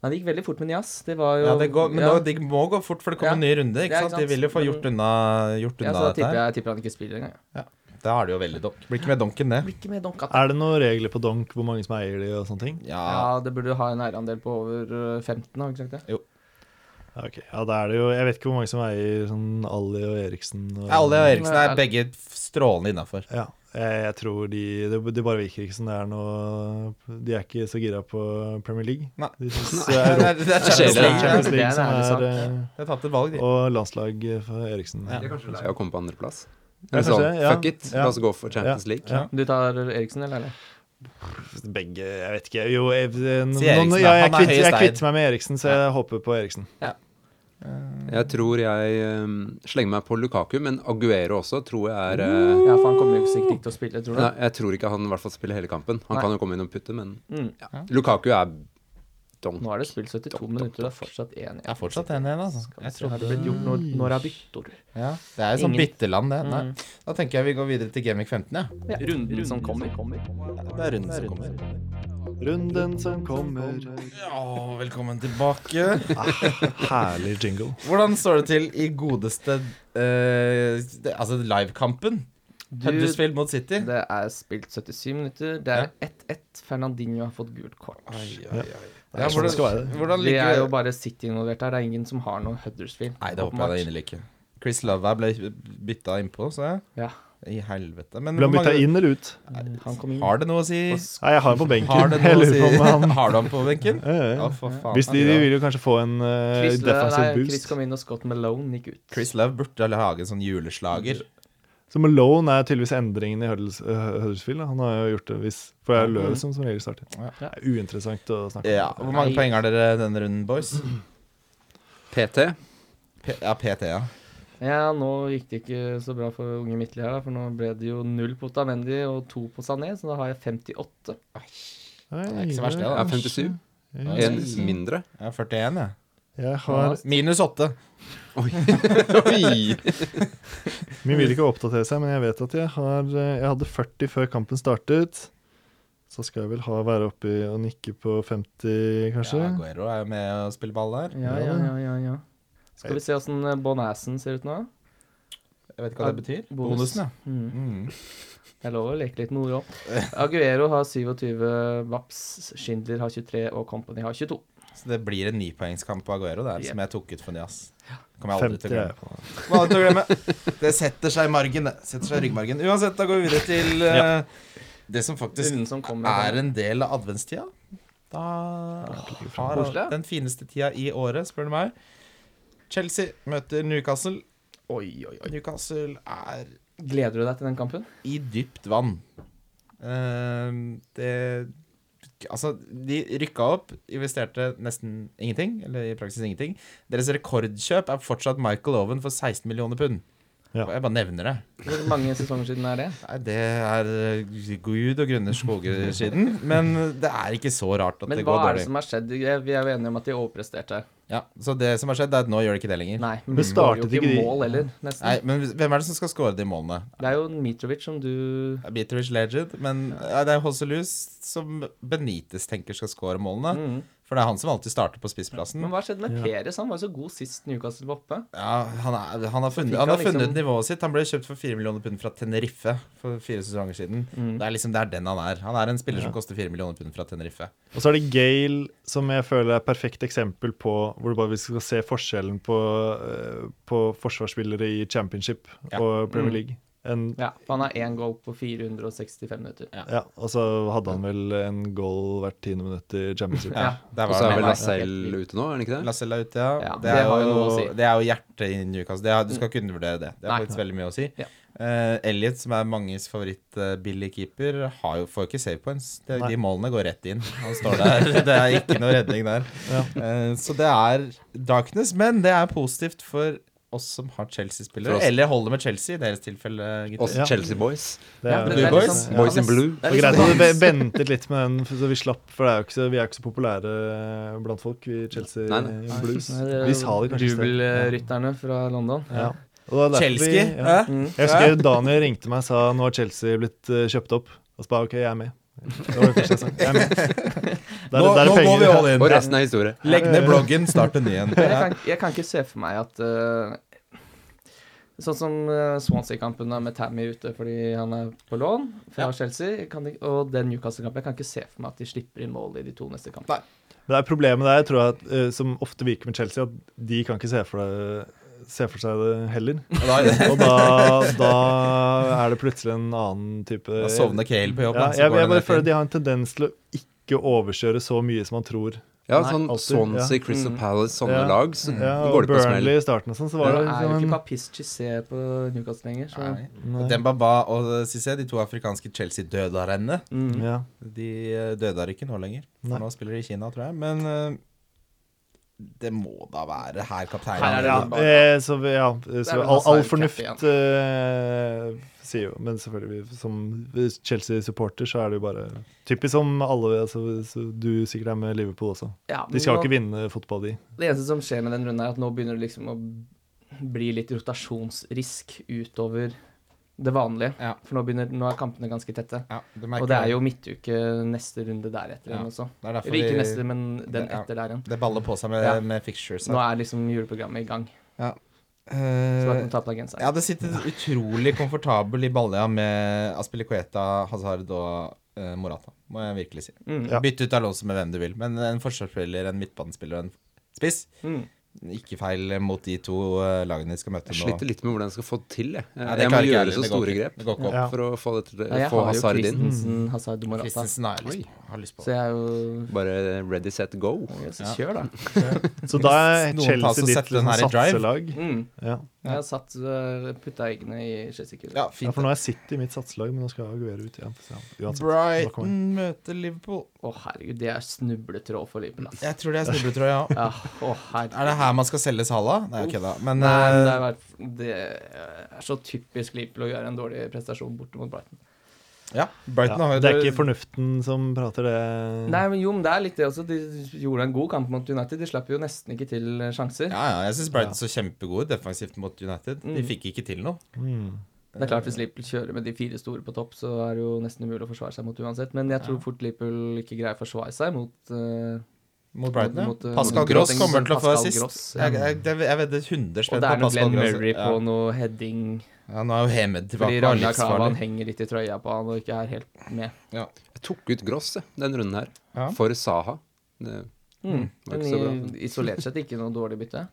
Nei, det gikk veldig fort med Nias. Det var jo Ja, det går, men ja. nå- det må gå fort, for det kommer en ny runde. Ikke Ja, sant? ikke De vil jo sant? få gjort unna, gjort ja, unna så da dette tipper her. jeg, jeg tipper han ikke spiller engang. ja. Da er det jo veldig donk. Blir ikke mer donk enn det. Blir ikke med i Donka. Er det noen regler på donk, hvor mange som eier de og sånne ting? Ja, Ja, det burde ha en eierandel på over eh, 15, har vi ikke sagt det? Ja, ok. ja, da er det jo Jeg vet ikke hvor mange som eier sånn Ali og Eriksen. Og, Ali og Eriksen Nei, er Al- begge strålende innafor. Ja, jeg, jeg tror de det- De bare virker ikke som det er noe De er ikke så gira på Premier League. Nei. De synes Det det er er Champions kjedelig. League. Champions Det er League en som ærlig sak. er eh, Jeg har tatt et valg, de. Og landslag for Eriksen. Ja. Jeg er kanskje lei av å komme på andreplass. Ja, Eller sånn, kanskje, ja. fuck it, Ja. la oss gå for Champions League. Ja. Du tar Eriksen, eller? eller? Begge Jeg vet ikke. Jo, jeg, nå, Si Eriksen, nå, da. ja, jeg, Han er kvitt, jeg høyest eid. kvitter meg med Eriksen, så jeg håper på Eriksen. Jeg tror jeg eh, slenger meg på Lukaku, men Aguero også tror jeg er Uh. eh, Ja, for han kommer jo sikkert ikke til å spille, tror du? Nei, jeg tror ikke han i hvert fall spiller hele kampen. Han Nei. kan jo komme inn og putte, men Mm. ja. Lukaku er donk. Nå er det spilt 72 minutter, det er fortsatt 1-1. Jeg er fortsatt 1-1, altså. Jeg Har trodde det blitt gjort noe- når det er byttor? ja, Det er jo sånn Ingen- bytteland, det. Nei. Da tenker jeg vi går videre til Gaming 15, ja. Runden som kommer. Det er runden som kommer. Runden som kommer. Ja, velkommen tilbake. Ah, Herlig jingle. [LAUGHS] Hvordan står det til i godeste eh, det- Altså livekampen? Huddersfield mot City. Det er spilt 77 minutter. Det er 1-1. Fernandinho har fått gult kort. Det er sånn det skal være. hvordan Det er ligger jo bare City involvert her. Det er ingen som har noe Huddersfield. Nei, det håper jeg da åpenbart. inderlig ikke. Chris Love her ble bytta innpå, så jeg. Ja. I helvete. Men Ble han hvor bytta mange- inn eller ut? Han kom inn. har eh, det noe å si? Nei, jeg har han på Har benken. det Jeg noe å lurer si? på om han Har du ham på benken? Ja, ja, Ja, ja. for faen. altså. Hvis de, de vil jo kanskje få en eh, Chris, Lø- defensive nei, Chris boost. kom inn, og Scott Malone gikk ut. Chris Love burde lage en sånn juleslager. Så Malone er tydeligvis endringen i Huddles- eh, Huddersfield. da. Han har jo gjort det hvis For det er Løv som som regel starter. Ja. Det er uinteressant å snakke om. Ja, Hvor mange Nei. poeng har dere denne runden, boys? PT. P ja, PT, ja. Ja, nå gikk det ikke så bra for unge Midtly her, da, for nå ble det jo null på Otamendi og to på Sané, så da har jeg 58. Nei, Det er ikke så verst, det, Jeg da. er 57. Ja. En mindre. Jeg er 41, jeg. Jeg har Minus 8. [LAUGHS] Oi. Oi. Vi vil ikke oppdatere seg, men jeg vet at jeg har eh, Jeg hadde 40 før kampen startet. Så skal jeg vel ha være oppe i og nikke på 50, kanskje. Ja, Guerro er jo med og spiller ball der. Ja, ja, ja, ja, ja. Skal vi se åssen eh, Bonassen ser ut nå? Jeg vet ikke hva det betyr. Bonus. Bonusen, ja. Mm. Mm. Jeg lover å leke litt med ord òg. [LAUGHS] Aguero har 27, Vaps, Schindler har 23 og Company har 22. Så det blir en nipoengskamp på Aguero der, som jeg tok ut for Nias. Kommer jeg aldri 50 til å glemme. er jeg på. Kommer aldri til å glemme. Det setter seg i margen, det. Setter seg i ryggmargen. Uansett, da går vi videre til eh, det som faktisk Runden som kommer. er en del av adventstida. Da har Koselig, ja. den fineste tida i året, spør du meg. Chelsea møter Newcastle. Oi, oi, oi. Newcastle er Gleder du deg til den kampen? i dypt vann. Ehm, det Altså, de rykka opp, investerte nesten ingenting, eller i praksis ingenting. Deres rekordkjøp er fortsatt Michael Owen for 16 millioner pund. Ja. Jeg bare nevner det. Hvor mange sesonger siden er det? Nei, det er eh, gud og grunne skoger siden. Men det er ikke så rart at Men det hva går er det dårlig. som har skjedd? Vi er jo enige om at de overpresterte. Ja, så det som har skjedd, er at nå gjør de ikke det lenger. Nei, Men de går jo startet ikke i ikke de- mål heller, nesten. Nei, Men hvem er det som skal score de målene? Det er jo Mitrovic som du Beatrice Legend, men eh, det er Hosselus som Benitez tenker skal score målene. mm. For det er han som alltid starter på spissplassen. Men hva skjedde med Peres? Han var jo så god sist Newcastle var oppe. Ja, han, er, han har funnet, fikk han har han liksom- funnet nivået sitt. Han ble kjøpt for 4 millioner pund fra Tenerife for fire sesonger siden. Mm. Det er liksom det er den han er. Han er en spiller som koster 4 millioner pund fra Tenerife. Og så er det Gale, som jeg føler er et perfekt eksempel på hvor du bare skal se forskjellen på, eh, på forsvarsspillere i championship Ja. og Mm. Premier League. En, Ja, for han har én goal på 465 minutter. ja, og så hadde han vel en goal hvert tiende minutt i championship. Ja. Der Og var så er han vel med. Lasse- Lacelle ute nå, er han ikke det? Lassell er ute, ja. Ja, det, det er har jo jo, noe å si. det er jo hjertet i Newcastle. Det er, du skal ikke undervurdere det. Det har Nei. faktisk veldig mye å si. Ja. Eh, Elliot, som er manges favoritt eh, billig keeper, har jo, får jo ikke save points. De, Nei. de målene går rett inn. Han står der. [LAUGHS] det er ikke noe redning der. Eh, så det er darkness, men det er positivt for oss som har For Chelsea-spillere. oss. Eller holder med Chelsea, i deres tilfelle, gutter. Oss Ja. Chelsea Boys. Det Ja, er- men Blue det er Boys? liksom- Boys ja, in men- blue. det er Det liksom- var greit altså, at vi ventet litt med den, så vi slapp, for det er jo ikke så, vi er jo ikke så populære blant folk, vi Chelsea Nei, nei. Blues. Det er Vi sa det kanskje i sted. Jubelrytterne fra London. Ja. Og det var derfor eh, Chelsea? vi- ja. hæ? Mm. Jeg husker Daniel ringte meg og sa nå har Chelsea blitt eh, kjøpt opp. Og så bare OK, jeg er med. Det var det første jeg sa. Jeg er [LAUGHS] med. Der, Nå, der er nå penger. går vi all Og in. resten er historie. Legg ned bloggen, start en ny en. Men jeg, kan, jeg kan ikke se for meg at eh, Sånn som eh, Swansea-kampen da med Tammy ute fordi han er på lån fra Ja. Chelsea, jeg kan, ikke- og den Newcastle-kampen Jeg kan ikke se for meg at de slipper inn mål i de to neste kampene. Men det er problemet der, tror jeg, at, eh, som ofte virker med Chelsea, at de kan ikke se for, det, se for seg det heller. Og da- Og [LAUGHS] da, da er det plutselig en annen type Da sovner Cale på jobb. ja, da, så jeg, går jeg han bare rett føler inn. de har en tendens til å ikke overkjøre så mye som man tror. Ja, Nei, sånn alltid, Swansea, ja. Crystal Mm. Palace, sånne Ja. lag. Mm, Så Ja, går og det på smell. Burnley i starten og sånn, så Det var det er jo ikke liksom en- Papis Cissé på Newcastle lenger, så Nei. Nei. Dembaba og Cissé, de to afrikanske Chelsea-dødarene, mm. ja. de eh, dødar ikke nå lenger. For Nei. nå spiller de i Kina, tror jeg. Men eh, det må da være her kapteinen Her er det Ja, Lundbakk, da. eh, så, vi- ja, vel så all, all Hazard cap fornuft eh, sier jo Men selvfølgelig, vi- som Chelsea-supporter, så er det jo bare Typisk som alle altså, så Du sikkert er med Liverpool også. ja, De skal nå- ikke vinne fotball, de. Det eneste som skjer med den runden, er at nå begynner det liksom å bli litt rotasjonsrisk utover det vanlige. Ja. For nå, begynner, nå er kampene ganske tette. Ja, du merker Og det er jo midtuke neste runde deretter igjen Ja. også. Det er derfor Eller ikke de- neste, men den Ja. etter der igjen. Det baller på seg med, Ja. med fixtures. Nå er liksom juleprogrammet i gang. Så da Eh, kan du ta på deg jeg genseren. hadde sittet utrolig komfortabel i balja med Aspilicueta, Hazard og eh, Morata, må jeg virkelig si. Mm. Ja. Bytte ut Alonso med hvem du vil, men en forsvarsspiller, en midtbanespiller og en spiss Mm. Ikke feil mot de to eh, lagene de skal møte Jeg nå. sliter litt med hvordan jeg skal få det til. Jeg, Nei, det jeg må klarer ikke jeg gjøre heller. så Det går store ikke. grep Det går ikke opp. Ja. for å få, dette, til- Ja, få jeg har jo Hazard inn. Christensen, Hazard og Morata. Christensen har jeg lyst på. Har lyst på. Så jeg er jo Bare ready, set, go. ja, så Kjør, da. Så da er Hvis noen tar seg Chelsea og ditt setter den her liksom, i drive. satselag. Mm. Ja. Jeg har satt øh, putta eggene i Chelsea-kurven. Ja, ja, fint. for nå er City mitt satselag, men nå skal Aguero ut igjen. Så, ja, uansett. Da kommer Brighton jeg. møter Liverpool. Å, herregud, det er snubletråd for Liverpool, ass. Jeg tror det er snubletråd, ja. Ja, å, Er det herregud. her man skal selge Sala? Nei, jeg kødda. Men Nei, men det eh, er, vært- det er så typisk Liverpool å gjøre en dårlig prestasjon borte mot Brighton. ja, Brighton har Ja, jo det er ikke fornuften som prater Mm. det. Nei, men jo, men det er litt det også. De gjorde en god kamp mot United. De slapp jo nesten ikke til sjanser. Ja, ja, jeg syns Brighton så kjempegode defensivt mot United. De Mm. fikk ikke til noe. Mm. Det er klart Eh. Hvis Liverpool kjører med de fire store på topp, så er det jo nesten umulig å forsvare seg mot uansett. Men jeg tror fort Liverpool ikke greier å forsvare seg mot eh, Mot Brighton, Mot- ja. mot- Pascal mot Gross Gross. kommer til å få Pascal assist. Gross, ja. Jeg, jeg, jeg, jeg vedder 100 Og det spenn på er noe Glenn Pascal Gross. Murray på Ja. noe heading Ja, nå er jo Hemed fordi tilbake. Ragnar Klavan livsfarlig. henger litt i trøya på han og ikke er helt med. Jeg tok ut Gross jeg, den runden her, Ja. for Saha. Det, Mm. var Men ikke så bra. i- isolert sett ikke noe dårlig bytte.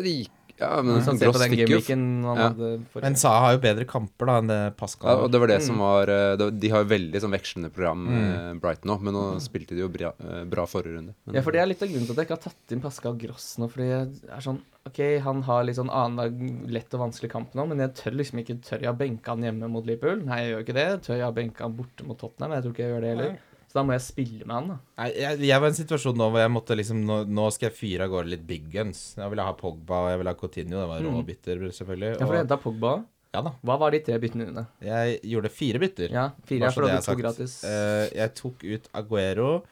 det gikk Ja, men sånn Hvis man ser på Gross den fikk jo gimmicken han Ja. hadde forrige Men Saha har jo bedre kamper da enn det Ja, Pascal og har. det var det Mm. som var eh, det- De har jo veldig sånn vekslende program, eh, Brighton nå, men nå spilte de jo bra, eh, bra forrige runde. Men, [LAUGHS] Mm. Ja, for det er litt av grunnen til at jeg ikke har tatt inn Pascal Gross nå, fordi jeg er sånn OK, han har litt sånn annenhver lett og vanskelig kamp nå, men jeg tør liksom ikke Tør jeg å benke han hjemme mot Liverpool? Nei, jeg gjør ikke det. Tør jeg å benke han borte mot Tottenham? Jeg tror ikke jeg gjør det heller. Så da må jeg spille med han, da. Nei, jeg, jeg var i en situasjon nå hvor jeg måtte liksom Nå, nå skal jeg fyre av gårde litt big guns. Jeg ville ha Pogba og jeg ville ha Coutinho Det var Mm. råbitter, selvfølgelig. Ja, for du Og, henta Pogba. ja da. Hva var de tre byttene dine? Jeg gjorde fire bytter. Ja, fire bare er så for det at du er tok sagt. gratis. Eh, jeg tok ut Aguero,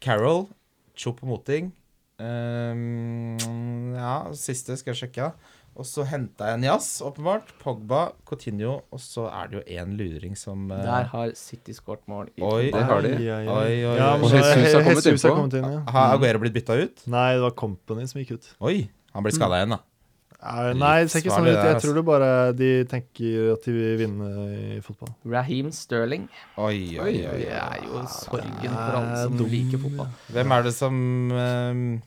Carol, Chopo Moting ehm, Ja, siste skal jeg sjekke. Og så henta jeg Nias, åpenbart. Pogba, Coutinho Og så er det jo én luring som eh, Der har City skåret mål. i Oi, Der har de. Ai, ai, ai. Oi, oi, Ja, oi. men Og da- Jesus har kommet Jesus har innpå. kommet inn, ja. Har Mm. Aguero blitt bytta ut? Nei, det var Company som gikk ut. Oi, han ble skada igjen, da. Er- Nei, det ser ikke Livsfarlig sånn ut. der, altså. Jeg ass. tror det bare de tenker at de vil vinne i fotball. Raheem Sterling. Oi, oi, oi. Det er jo sorgen er for alle som dum, liker fotball. Hvem er det som eh,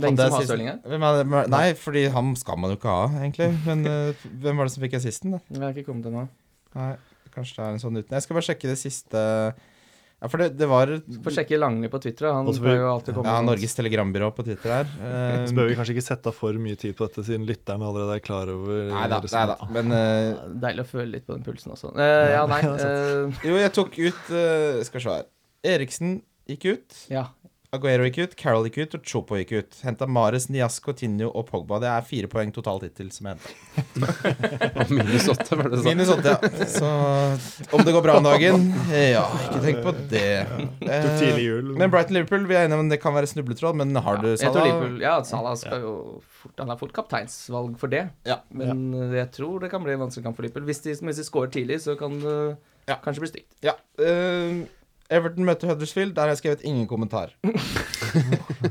Det er hadde ingen som har assisten? Stirling her. Hvem er det? Nei, fordi han skal man jo ikke ha, egentlig. Men eh, hvem var det som fikk assisten, da? Jeg har ikke kommet ennå. Nei, kanskje det er en sånn uten. Jeg skal bare sjekke det siste Ja, for det, det var Få sjekke Langli på Twitter. da. Han Og så får pleier vi- jo alltid sånn. å komme ja, med Norges telegrambyrå på Twitter her. Eh, Så bør vi kanskje ikke sette av for mye tid på dette, siden lytterne allerede er klar over Nei da, nei da. resultatet. Eh, Men eh, sånt. Deilig å føle litt på den pulsen også. Eh, ja, nei eh, Jo, jeg tok ut eh, Skal vi se her. Eriksen gikk ut. Ja. Aguero gikk ut. Carol gikk ut. Og Chopo gikk ut. Henta Mares, Nias, Coutinho og Pogba. Det er fire poeng totalt hittil som jeg henta. minus åtte, var det sånn. Minus åtte, ja. Så om det går bra om dagen Ja, ikke tenk på det. Tok tidlig Eh, jul. men Brighton-Liverpool vi er enige om det kan være snubletråd, men har du Jeg tror Salah? Liverpool- Ja, Salah skal jo fort, han er fort kapteinsvalg for det. Ja. Men eh, jeg tror det kan bli en vanskelig kamp for Liverpool. Hvis de, hvis de scorer tidlig, så kan det Ja. kanskje bli stygt. Ja. eh, Everton møter Huddersfield. Der har jeg skrevet ingen kommentar.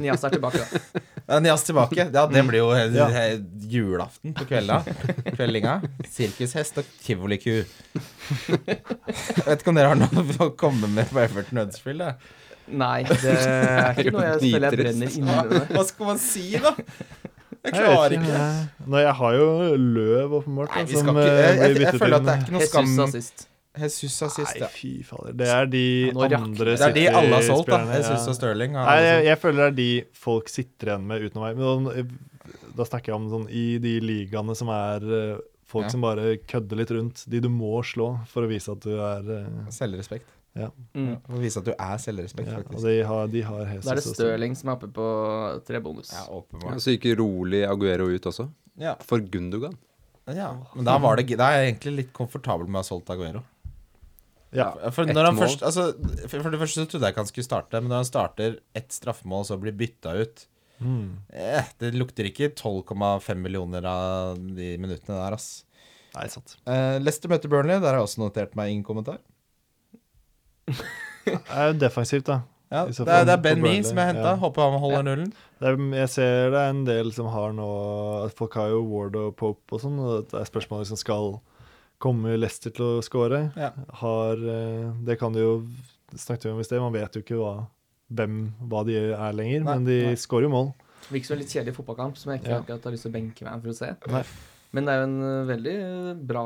Nias er tilbake, [LAUGHS] da. Men Jazz tilbake. Ja, det blir jo eh, Ja. eh, julaften på kvelda. Kveldinga. Sirkushest og tivoliku. Jeg vet ikke om dere har noe å komme med på Everton Huddersfield? da. Nei, det er [LAUGHS] ikke noe jeg føler jeg brenner inne med. Hva skal man si, da? Jeg Jeg vet klarer ikke. jeg- Nei, jeg har jo løv, åpenbart. Nei, da, vi skal som, ikke eh, Jeg, jeg, blir jeg, byttet føler at inn. det er ikke noe skam. Jesus sa sist. Jesus sa sist, Nei, ja. fy fader. Det er de Ja, nå rakner andre det. Det er de alle har solgt, da. City-spillerne, Jeg syns ja. og Stirling. har Nei, alle jeg, solgt. jeg føler det er de folk sitter igjen med utenom meg. Men da, da snakker jeg om sånn i de ligaene som er eh, folk Ja. som bare kødder litt rundt. De du må slå for å vise at du er eh, Selvrespekt. Mm. For å vise at du er selvrespekt, ja, Og faktisk. de har, de har Jesus Da er det og sånn. Stirling som er oppe på tre bonus. Ja, Ja, åpenbart. så gikk rolig Aguero ut også, Ja. for Gundogan. ja. Men da, var det, da er jeg egentlig litt komfortabel med å ha solgt Aguero. Ja. Ja, For, Ett når han mål. først, altså, for for det første så trodde jeg ikke han skulle starte, men når han starter ett straffemål, så blir bytta ut Mm. eh, Det lukter ikke 12,5 millioner av de minuttene der, ass. Nei, sant. Eh, Leicester møter Burnley. Der har jeg også notert meg ingen kommentar. Det er jo defensivt, da. Ja, I det, så er, fall det er Ben på Mee Burnley, som jeg henta. ja. Håper han holder nullen. Det er, jeg ser det er en del som har nå at Folk har jo Ward og Pope og sånn, og det er spørsmålet som skal komme Leicester til å skåre. Ja. Har eh, Det kan de jo snakket vi om i sted, man vet jo ikke hva, hvem, hva de er lenger, Nei, men de nei. skårer jo mål. Virker som en litt kjedelig fotballkamp som jeg ikke Ja. akkurat har lyst til å benke meg for å se. Nei. Men det er jo en eh, veldig eh, bra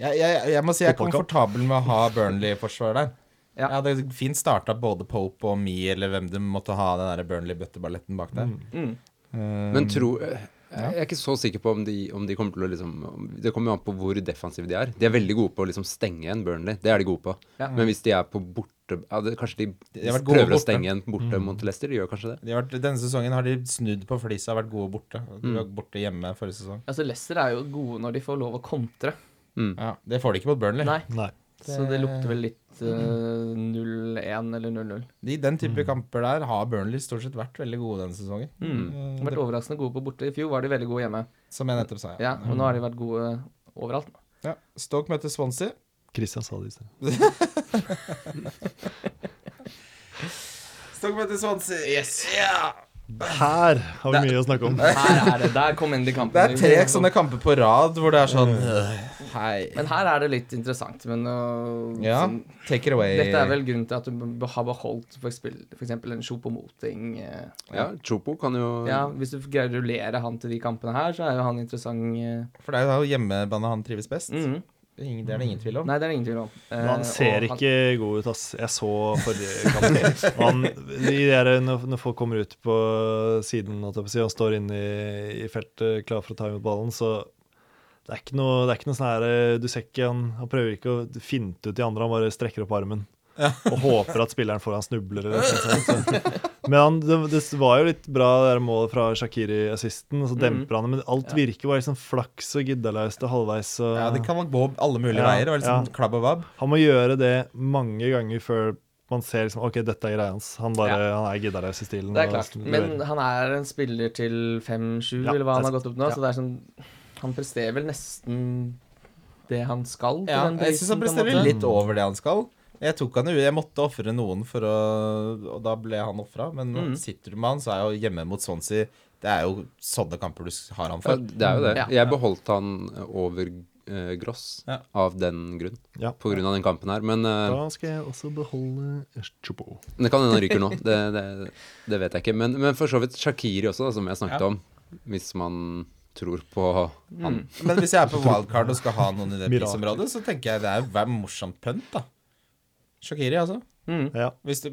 Jeg, jeg, jeg må si jeg er Fotballkamp. komfortabel med å ha Burnley-forsvar der. Ja. Jeg hadde fint starta både Pope og Me, eller hvem det måtte ha den der Burnley-bøtteballetten bak der. mm. Um, Men tro Jeg er ikke så sikker på om de, om de kommer til å liksom om- Det kommer jo an på hvor defensive de er. De er veldig gode på å liksom stenge igjen Burnley. Det er de gode på. Ja. Men hvis de er på borte ja, det, Kanskje de, De har vært gode prøver å borte. Mm. stenge igjen borte mot Leicester? De gjør kanskje det. de har vært, denne sesongen har de snudd på flisa og vært gode borte. Mm. De var borte hjemme forrige sesong. Altså, Leicester er jo gode når de får lov å kontre. Ja, Det får de ikke mot Burnley. Mm. Nei, Nei. så det lukter vel litt eh, 0-1 eller 0-0. I den type kamper der har Burnley stort sett vært veldig gode denne sesongen. Mm. De har Vært overraskende gode på borte. I fjor var de veldig gode hjemme. Som jeg nettopp sa. Ja, og nå har de vært gode eh, overalt. Ja. Stoke møter Swansea. Christian sa det i sted. Stoke møter Swansea. Yes. Her har vi mye å snakke om. [LAUGHS] Her er det. Der kom endelig Det kampen. er tre sånne kamper på rad hvor det er sånn Hei. Men her er det litt interessant. Men øh, Ja, sånn, take it away. dette er vel grunnen til at du b- har beholdt f.eks. en Sjopomoting. eh. Ja, Chopo kan jo Ja, hvis du greier å rullere han til de kampene her, så er jo han interessant. eh. For det er jo hjemmebane han trives best. Mhm. Ingen- Det er det ingen tvil om. Nei, det er det ingen tvil om. Eh, Men han ser og han- ikke god ut, ass. Jeg så forrige kamp. Og Han, de der, når, når folk kommer ut på siden holdt jeg på å si, og står inne i, i feltet klar for å ta imot ballen, så det er ikke noe, det er ikke noe sånn her eh, Du ser ikke han, han prøver ikke å finte ut de andre, han bare strekker opp armen. Og håper at spilleren foran snubler. Eller noe sånt. Så- Men han, det, det var jo litt bra det der målet fra Shakiri-assisten, Mm. og så Mhm. demper han det. Men alt Ja. virker bare liksom flaks og giddalaust og halvveis. Og... Ja, Det kan man gå alle mulige Ja, veier. Og liksom ja. klabb og vabb. Han må gjøre det mange ganger før man ser liksom, ok, dette er greia hans. Han, bare, han er giddalaus i stilen. Det er og klart. liksom Men leverer. han er en spiller til 5-7, Ja, eller hva han det er har gått opp nå. sant. Så det er sånn Han presterer vel nesten det han skal. på Ja, den jeg syns han prisen, på en presterer måte. litt over det han skal. Jeg tok han jo, jeg måtte ofre noen, for å, og da ble han ofra. Men Mhm. sitter du med han, så er jo hjemme mot Swansea Det er jo sånne kamper du har han Ja, for. det er jo det. Ja. Jeg beholdt han over eh, Gross Ja. av den grunn. Ja. På grunn av den kampen her. Men eh, Da skal jeg også beholde Chopo. Men Det kan hende han ryker nå. Det, det, det vet jeg ikke. Men, men for så vidt Shakiri også, da, som jeg snakket om. Hvis man tror på han. Men hvis jeg er på wildcard og skal ha noen i [LAUGHS] det prisområdet, så tenker jeg det er jo hver morsomt pønt, da. Shakiri, altså. Mm. Ja. Hvis du,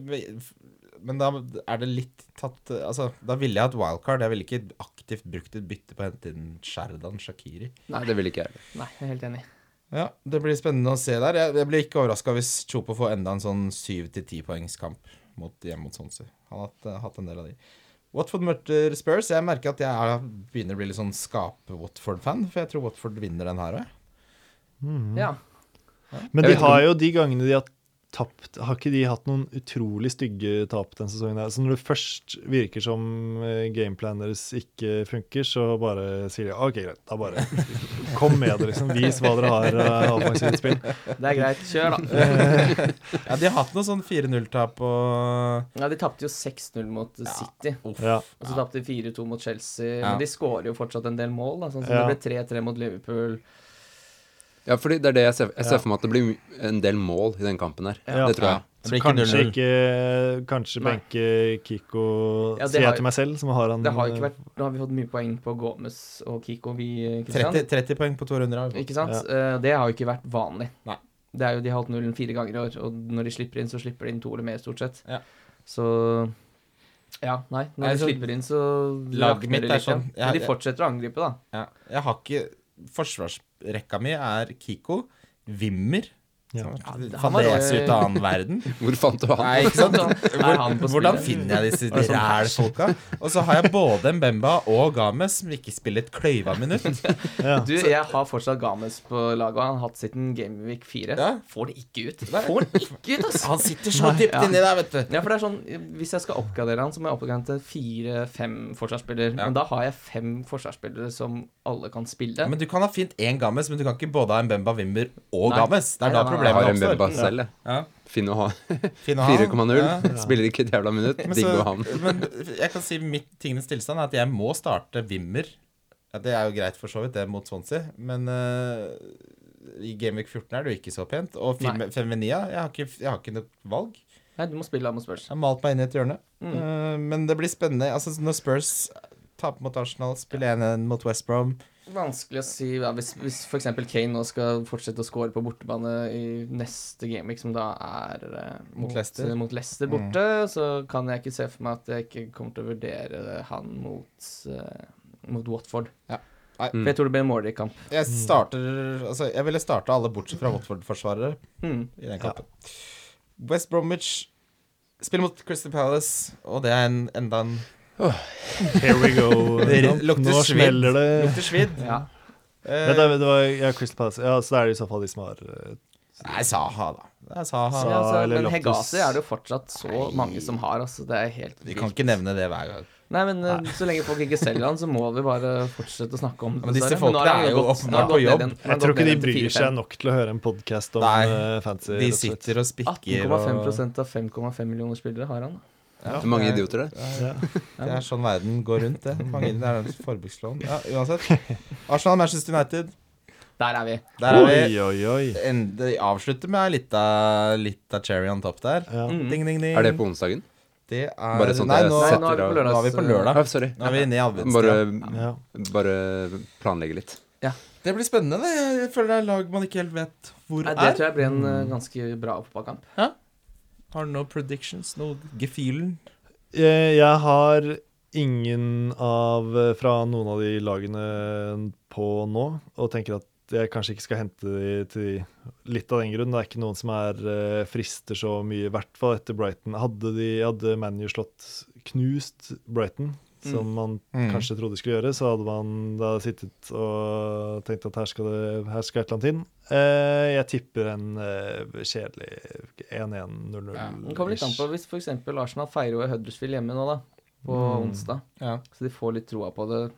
men da er det litt tatt Altså, da ville jeg hatt wildcard. Jeg ville ikke aktivt brukt et bytte på å hente inn Sherdan Shakiri. Nei, det vil ikke jeg. Nei, jeg er helt enig. Ja, det blir spennende å se der. Jeg, jeg blir ikke overraska hvis Chopo får enda en sånn 7-10 poengskamp mot, hjemme mot Swansea. Han har hatt, eh, hatt en del av de. Watford møter Spurs. Jeg merker at jeg er, begynner å bli litt sånn skape-Watford-fan, for jeg tror Watford vinner den her òg. Mm. Ja. Men Jeg de vet har jo de gangene de har tapt Har ikke de hatt noen utrolig stygge tap den sesongen? her? Så når det først virker som eh, gameplanen deres ikke funker, så bare sier de OK, greit, da [LAUGHS] bare Kom med det, liksom. Vis hva dere har av offensivt spill. Det er greit. Kjør, [LAUGHS] da. Ja, de har hatt noe sånn 4-0-tap og Ja, de tapte jo 6-0 mot City. Uff. Ja. Og så tapte de 4-2 mot Chelsea. Ja. Men de skårer jo fortsatt en del mål. Da. Sånn som Ja. det ble 3-3 mot Liverpool. Ja, fordi det er det jeg ser, jeg ser for meg at det blir en del mål i den kampen her. Ja. Det tror jeg. Det Så blir ikke kanskje 0-0. ikke Kanskje Nei. benke Kiko Ja, det har Sier jeg jo- til meg selv, som har han Det har jo ikke vært Nå har vi fått mye poeng på Gomez og Kiko, vi, eh, Christian. 30, 30 poeng på to runder. av. Ikke sant? Eh, Det har jo ikke vært vanlig. Nei. Det er jo, De har holdt nullen fire ganger i år, og når de slipper inn, så slipper de inn to eller mer, stort sett. Ja. Så Ja, nei. Når Nei, de så- slipper inn, så Laget rakner mitt det er litt, ja. sånn- Men de ja, ja. fortsetter å angripe, da. Ja. Jeg har ikke Forsvarsrekka mi er Kiko, Wimmer Ja. som- Ja, han var- Fadese ut av annen verden. Hvor fant du han? [LAUGHS] Nei, ikke sant? Er han på Hvordan spillet? finner jeg [LAUGHS] disse ræl-folka? Og så har jeg både Mbemba og Games som ikke spiller et kløyva [LAUGHS] minutt. ja. Du, jeg har fortsatt Games på laget, og han har hatt siden Gameweek 4. Ja. Får det ikke ut. Nei. Får det ikke ut, altså! Han sitter så dypt ja. inni der, vet du. Ja, for det er sånn, Hvis jeg skal oppgradere han, så må jeg oppgradere han til fire-fem forsvarsspillere. Ja. Men da har jeg fem forsvarsspillere som alle kan spille. Men du kan ha fint én Games, men du kan ikke både ha Mbemba, Wimmer og Nei. Games. Det er Nei, da nei, nei. Jeg har problemet en Bemba oppstår. selv, jeg. Ja. Finn å ha [LAUGHS] [LAUGHS] Fin å ha. 4,0. Ja. [LAUGHS] Spiller ikke et jævla minutt. Men, Digg å ha så, han. men jeg kan si mitt tingenes tilstand er at jeg må starte Wimmer. Ja, det er jo greit for så vidt, det er mot Swansea, men eh, i Gameweek 14 er det jo ikke så pent. Og Fem- Nei. Feminia, jeg har, ikke, jeg har ikke noe valg. Nei, du må spille han mot Spurs. Jeg har malt meg inn i et hjørne. Eh, men det blir spennende. Altså, når Spurs Tape mot Arsenal, spille 1-1 mot West Brom. Vanskelig å si. Ja, hvis hvis f.eks. Kane nå skal fortsette å score på bortebane i neste gameweek, som da er eh, Mot Leicester. Mm. mot Leicester borte, så kan jeg ikke se for meg at jeg ikke kommer til å vurdere han mot, eh, mot Watford. Ja. Nei. For jeg tror det blir en målrik kamp. Jeg starter Altså, jeg ville starta alle bortsett fra Watford-forsvarere Mm. i den kampen. West Bromwich spiller mot Crystal Palace, og det er en, enda en Here we [LAUGHS] go. Det Nå- lukter Nå svidd. smeller det. Lukter svidd. Ja. Eh, Nei, det, det var ja, Crystal Palace. Ja, så det er i så fall de som har eh, Nei, Saha, da. Det er Saha. ja, altså, eller men Loftus. Hegasi er det jo fortsatt så Nei. mange som har. Altså, det er helt Vi vilt. kan ikke nevne det hver gang. Nei, men eh, så lenge folk ikke selger han, så må vi bare fortsette å snakke om det. Men disse dessverre. nå folkene han er jo gått- åpenbart nå har han gått på ned jobb. igjen. Han har Jeg tror gått ikke de ned igjen til bryr seg 4-5. nok til å høre en podkast om Nei, eh, fancy. De rett og slett. sitter og spikker 18,5 av 5,5 millioner spillere har han. Ja, Mange det er- idioter der. Ja. Det er sånn verden går rundt, det. Mange det er en forbrukslån. Ja, uansett. Arsenal, Manchester United. Der er vi. Der er vi. Oi, oi, oi. En, det avslutter med litt av, litt av cherry on top der. Ja. Mm. Ding, ding, ding. Er det på onsdagen? Det er Bare sånn at Nei, jeg nå, Nei, setter nå er vi på av- lørdag. nå er vi på lørdag. Ah, sorry. Nå er vi inne i Bare, adventstida. Mm. Ja. bare planlegge litt. Det blir spennende, det. Jeg føler det er lag man ikke helt vet hvor Nei, det er. tror jeg blir en Mm. eh, ganske bra fotballkamp. Har du noen predictions? Noe gefühlen? Jeg, Eh, jeg har ingen av eh, fra noen av de lagene på nå, og tenker at jeg kanskje ikke skal hente de til de. litt av den grunn. Det er ikke noen som er eh, frister så mye, i hvert fall etter Brighton. Hadde, de, hadde ManU slått knust Brighton, som man Mm. kanskje trodde skulle gjøre, så hadde man da sittet og tenkt at her skal det her skal et eller annet inn. Eh, jeg tipper en eh, kjedelig 1-1-0-0. Ja, Det kommer litt an på hvis f.eks. Arsenal feirer jo Huddersfield hjemme nå, da, på Mm. onsdag. Ja. Så de får litt troa på det,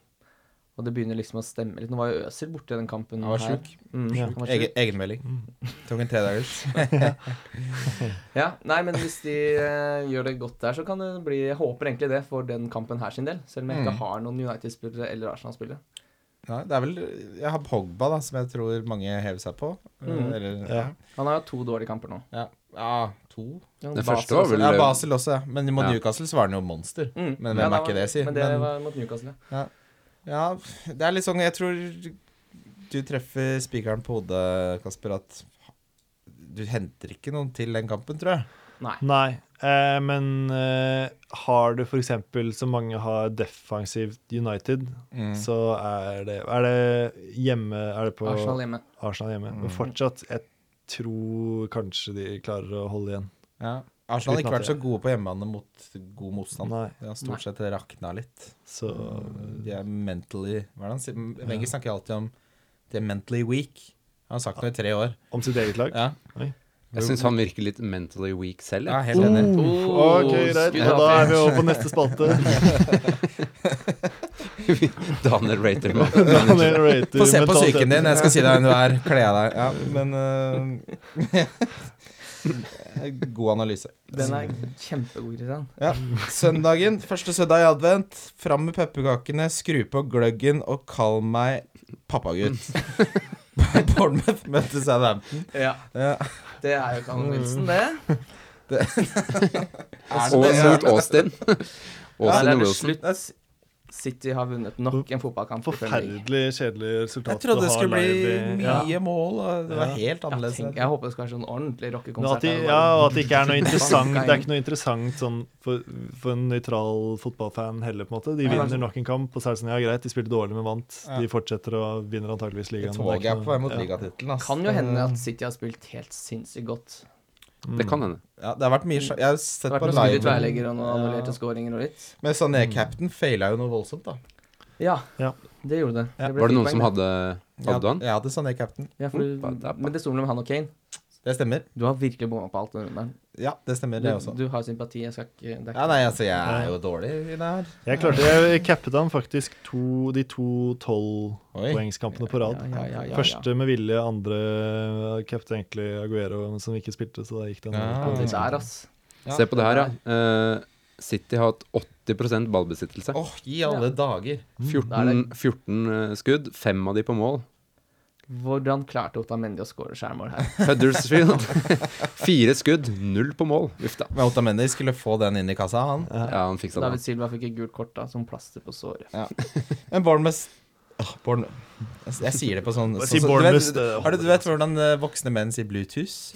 og det begynner liksom å stemme litt. Nå var jo Øzil borte i den kampen. Han var her. sjuk. Mm, Ja. han var sjuk. Mm. Egen, egenmelding. Tok en tredagers. [LAUGHS] Ja, nei, men hvis de eh, gjør det godt der, så kan det bli Jeg håper egentlig det for den kampen her sin del. Selv om jeg ikke Mm. har noen United-spillere eller Arsenal-spillere. Ja, det er vel Jeg har Pogba, da, som jeg tror mange hever seg på. Mm. Eller ja. Ja. Han har jo to dårlige kamper nå. Ja. ja, to Ja, Den Basel første var også. vel eh, Ja, Basel også, ja. Men mot Ja. Newcastle så var den jo monster. Mm. Men hvem Ja, er ikke det, si? Men det Men- var mot Newcastle. ja. Ja, det er litt sånn Jeg tror du treffer spikeren på hodet, Kasper, at du henter ikke noen til den kampen, tror jeg. Nei. Nei, eh, men eh, har du f.eks. så mange har defensivt United, Mm. så er det Er det hjemme Er det på Arsenal hjemme. Arsenal hjemme. Mm. Men fortsatt, jeg tror kanskje de klarer å holde igjen. Ja. Arsenal har Uten ikke at vært så jeg- gode på hjemmebane mot god motstand. Nei, Det har Nei. stort sett rakna litt. så De er mentally Hva er det han sier? Wenger snakker alltid om de er mentally weak. Han har sagt det i tre år. Om sitt eget lag? Ja, Oi. Jeg syns han virker litt mentally weak selv. jeg er jeg. helt enig. Uh. Oh, Uh. OK, greit. skudd Ja, Da av. er vi over på neste [LAUGHS] spalte. [LAUGHS] Daniel rater [LAUGHS] meg. Daniel rater Få se på mentalitet. psyken din, jeg skal si deg hvem du er. Kle av deg. Ja, men eh, [LAUGHS] God analyse. Den er kjempegod, Kristian. Ja. Søndagen, første søndag i advent. Fram med pepperkakene, skru på gløggen og kall meg [LAUGHS] pappagutt. Bournemouth møtte Southampton. Ja, Ja. det er jo Callum Wilson, [LAUGHS] det. [LAUGHS] Er Og det det? mot Austin. [LAUGHS] Austin Der er og det Wilson. slutt. City har vunnet nok en fotballkamp. i Premier League. Forferdelig kjedelig resultat. Jeg trodde å det ha skulle bli live i- Ja. mye mål, og det var helt Ja, annerledes. tenk, jeg håper det skal være sånn ordentlig Men at rockekonsert. de, der, ja, bare- og at det [LAUGHS] ikke er noe interessant Banka Det er inn. ikke noe interessant sånn for, for en nøytral fotballfan heller, på en måte. De Ja, vinner kanskje. nok en kamp, og så er det sånn ja, greit, de spilte dårlig, men vant. Ja. De fortsetter og vinner antageligvis ligaen. Toget er på vei mot Ja. ligatittelen, ass. Kan jo hende at City har spilt helt sinnssykt godt. Det Mm. kan hende. Eh, Ja, det har vært mye sj- Jeg har Det sett har vært på noen skudd i live. tverrlegger og noen annullerte scoringer og litt. Men Sané Mm. Captain faila jo noe voldsomt, da. Ja, Ja. det gjorde det. Ja. ble Var det fire noen poeng, som hadde Hadde du han? Jeg hadde Sané Captain. Ja, for, du- Oppa, dappa. men det sto mellom han og Kane. Det stemmer. Du har virkelig bomma på alt denne runden. Ja, det stemmer, det Du, også. du har sympati. Jeg skal ikke det er Ja, ikke- nei, altså, jeg er jo dårlig i det her. Jeg klarte Jeg cappet han faktisk to, de to Oi. tolvpoengskampene på rad. Ja, ja, ja, ja, ja. Første med vilje, andre cappet egentlig Aguero, men som ikke spilte, så da gikk det Ja. Det en der, ass. Ja. Se på det her, ja. Eh, City har hatt 80 ballbesittelse. Åh, i alle dager. 14, det 14 eh, skudd, fem av de på mål. Hvordan klarte Otamendi å score skjærmål [LAUGHS] her? Huddersfield. [LAUGHS] Fire skudd, null på mål. Uff da. Men Otamendi skulle få den inn i kassa, han. Ja, han fiksa David det. Silva fikk et gult kort da, som plaster på såret. Men Bournemouth Åh, Bournemouth jeg, jeg sier det på sånn, sånn Bare si så- du, vet, Bournemouth, det- har du, du vet hvordan eh, voksne menn sier Bluetooth?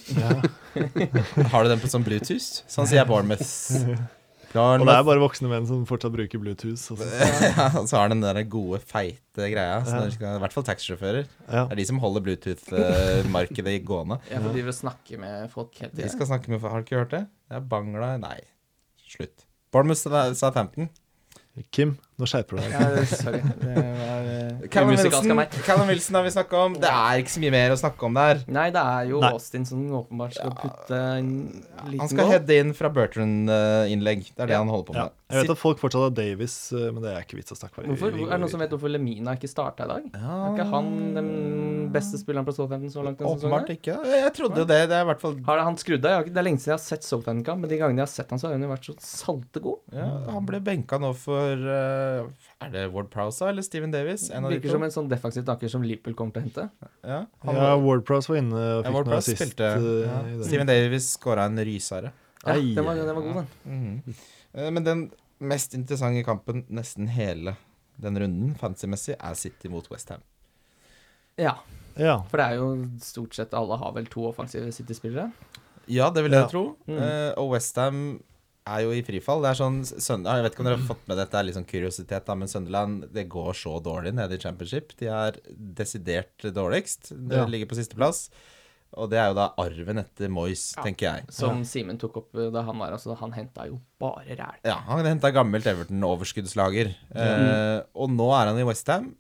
Har du den på sånn Bluetooth? Sånn sier jeg Bournemouth. Og det er Bournemouth. bare voksne menn som fortsatt bruker Bluetooth. [LAUGHS] Altså. Ja, og så har den der gode, feite greia. Så Ja. når du skal, I hvert fall taxisjåfører. Ja. Det er de som holder Bluetooth-markedet gående. Jeg får drive og snakke med folk hele De tiden. skal snakke med Har du ikke hørt det? Det er Bangla Nei, slutt. Bournemouth sa 15. Kim, nå skjerper du deg. Ja, sorry. Det var eh, Callum umusikalsk av Wilson, meg. [LAUGHS] Callum Wilson har vi snakka om. Det er ikke så mye mer å snakke om der. Nei, det er jo Nei. Austin som åpenbart skal putte en liten Han skal goal. heade inn fra Bertrand-innlegg. Det er det Ja. han holder på Ja. med. Jeg vet at folk fortsatt har Davis, eh, men det er ikke vits å snakke om. Vi- Hvorfor, vi er går det noen som videre. vet hvorfor Lemina ikke starta i dag? Ja. Er ikke han den beste spilleren på Southampton så langt denne Åpenbart sesongen? ikke. Jeg trodde jo det. Det er i hvert fall Har det, han skrudd av? Jeg har ikke- Det er lenge siden jeg har sett Southampton-kamp, men de gangene jeg har sett han så har han jo vært så saltegod. ja, Han ble benka nå for eh, Er det Ward Prowse eller Steven Davis? En av de Virker to. som en sånn defensiv takker som Liverpool kommer til å hente. Ja, han, Ja, Ward-Prowse var inne og ja, fikk Ward noe Prowse assist. spilte. eh, Ja. i dag. Steven Davis skåra en rysare. Ja, Ai, den var, den var god, den. Eh, Men den mest interessante kampen nesten hele den runden, fantasy-messig, er City mot Westham. Ja, Ja. for det er jo stort sett alle har vel to offensive City-spillere. Ja, det vil jeg Ja. Mhm. tro. Eh, og Westham er jo i frifall. Det er sånn Søn- Jeg vet ikke om dere har fått med dette, det er litt sånn kuriositet, da, men Sunderland det går så dårlig nede i Championship. De er desidert dårligst. De Ja. ligger på sisteplass. Og det er jo da arven etter Moyes, Ja. tenker jeg. Som Simen tok opp eh, da han var altså, Han henta jo bare ræl. Ja, han henta gammelt Everton-overskuddslager. Eh, og nå er han i Westham.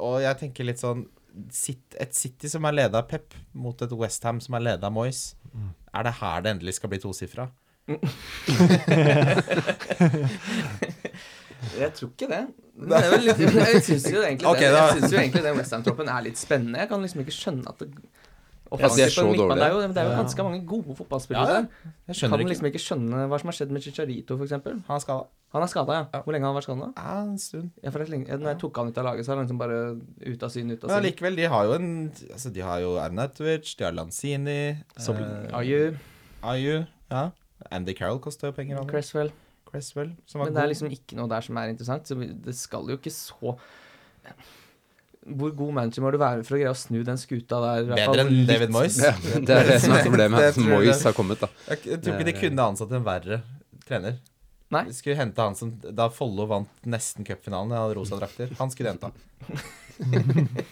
Og jeg tenker litt sånn Sit- Et City som er leda av Pep, mot et Westham som er leda av Moyes. Er det her det endelig skal bli tosifra? Jeg tror ikke det. det er vel litt, jeg syns jo egentlig Ok, det. da. Jeg synes jo egentlig den Westham-troppen er litt spennende. Jeg kan liksom ikke skjønne at det Ja, de er så Offensivt på midtbanen, dårlige. Det er jo, det er jo ganske mange gode fotballspillere Ja, der. Jeg Kan skjønner ikke. liksom ikke skjønne hva som har skjedd med Chicharito, f.eks. Han er skada. Han er skada, ja. Hvor lenge har han vært skada? Ja, en stund. Ja, for det er lenge- eh, Når jeg tok han ut av laget, så er han liksom bare ut av syn, ut av Men syn. allikevel, de har jo en Altså, de har jo Arnautovic, de har Lanzini eh, Aju, Ayu. Ja. Andy Carroll koster jo penger. han. Cresswell Cresswell, som var Mm, Men det er god. liksom ikke noe der som er interessant, så vi- det skal jo ikke så Hvor god manager må du være for å greie å snu den skuta der? i hvert fall Bedre litt- enn David [LAUGHS] Moyes. [LAUGHS] Ja, det er det som er problemet. Det At tror jeg Moyes det. har kommet, da. Jeg, jeg tror ikke de kunne ansatt en verre trener. Nei. De skulle hente han som Da Follo vant nesten cupfinalen, jeg hadde rosa drakter. Han skulle de henta.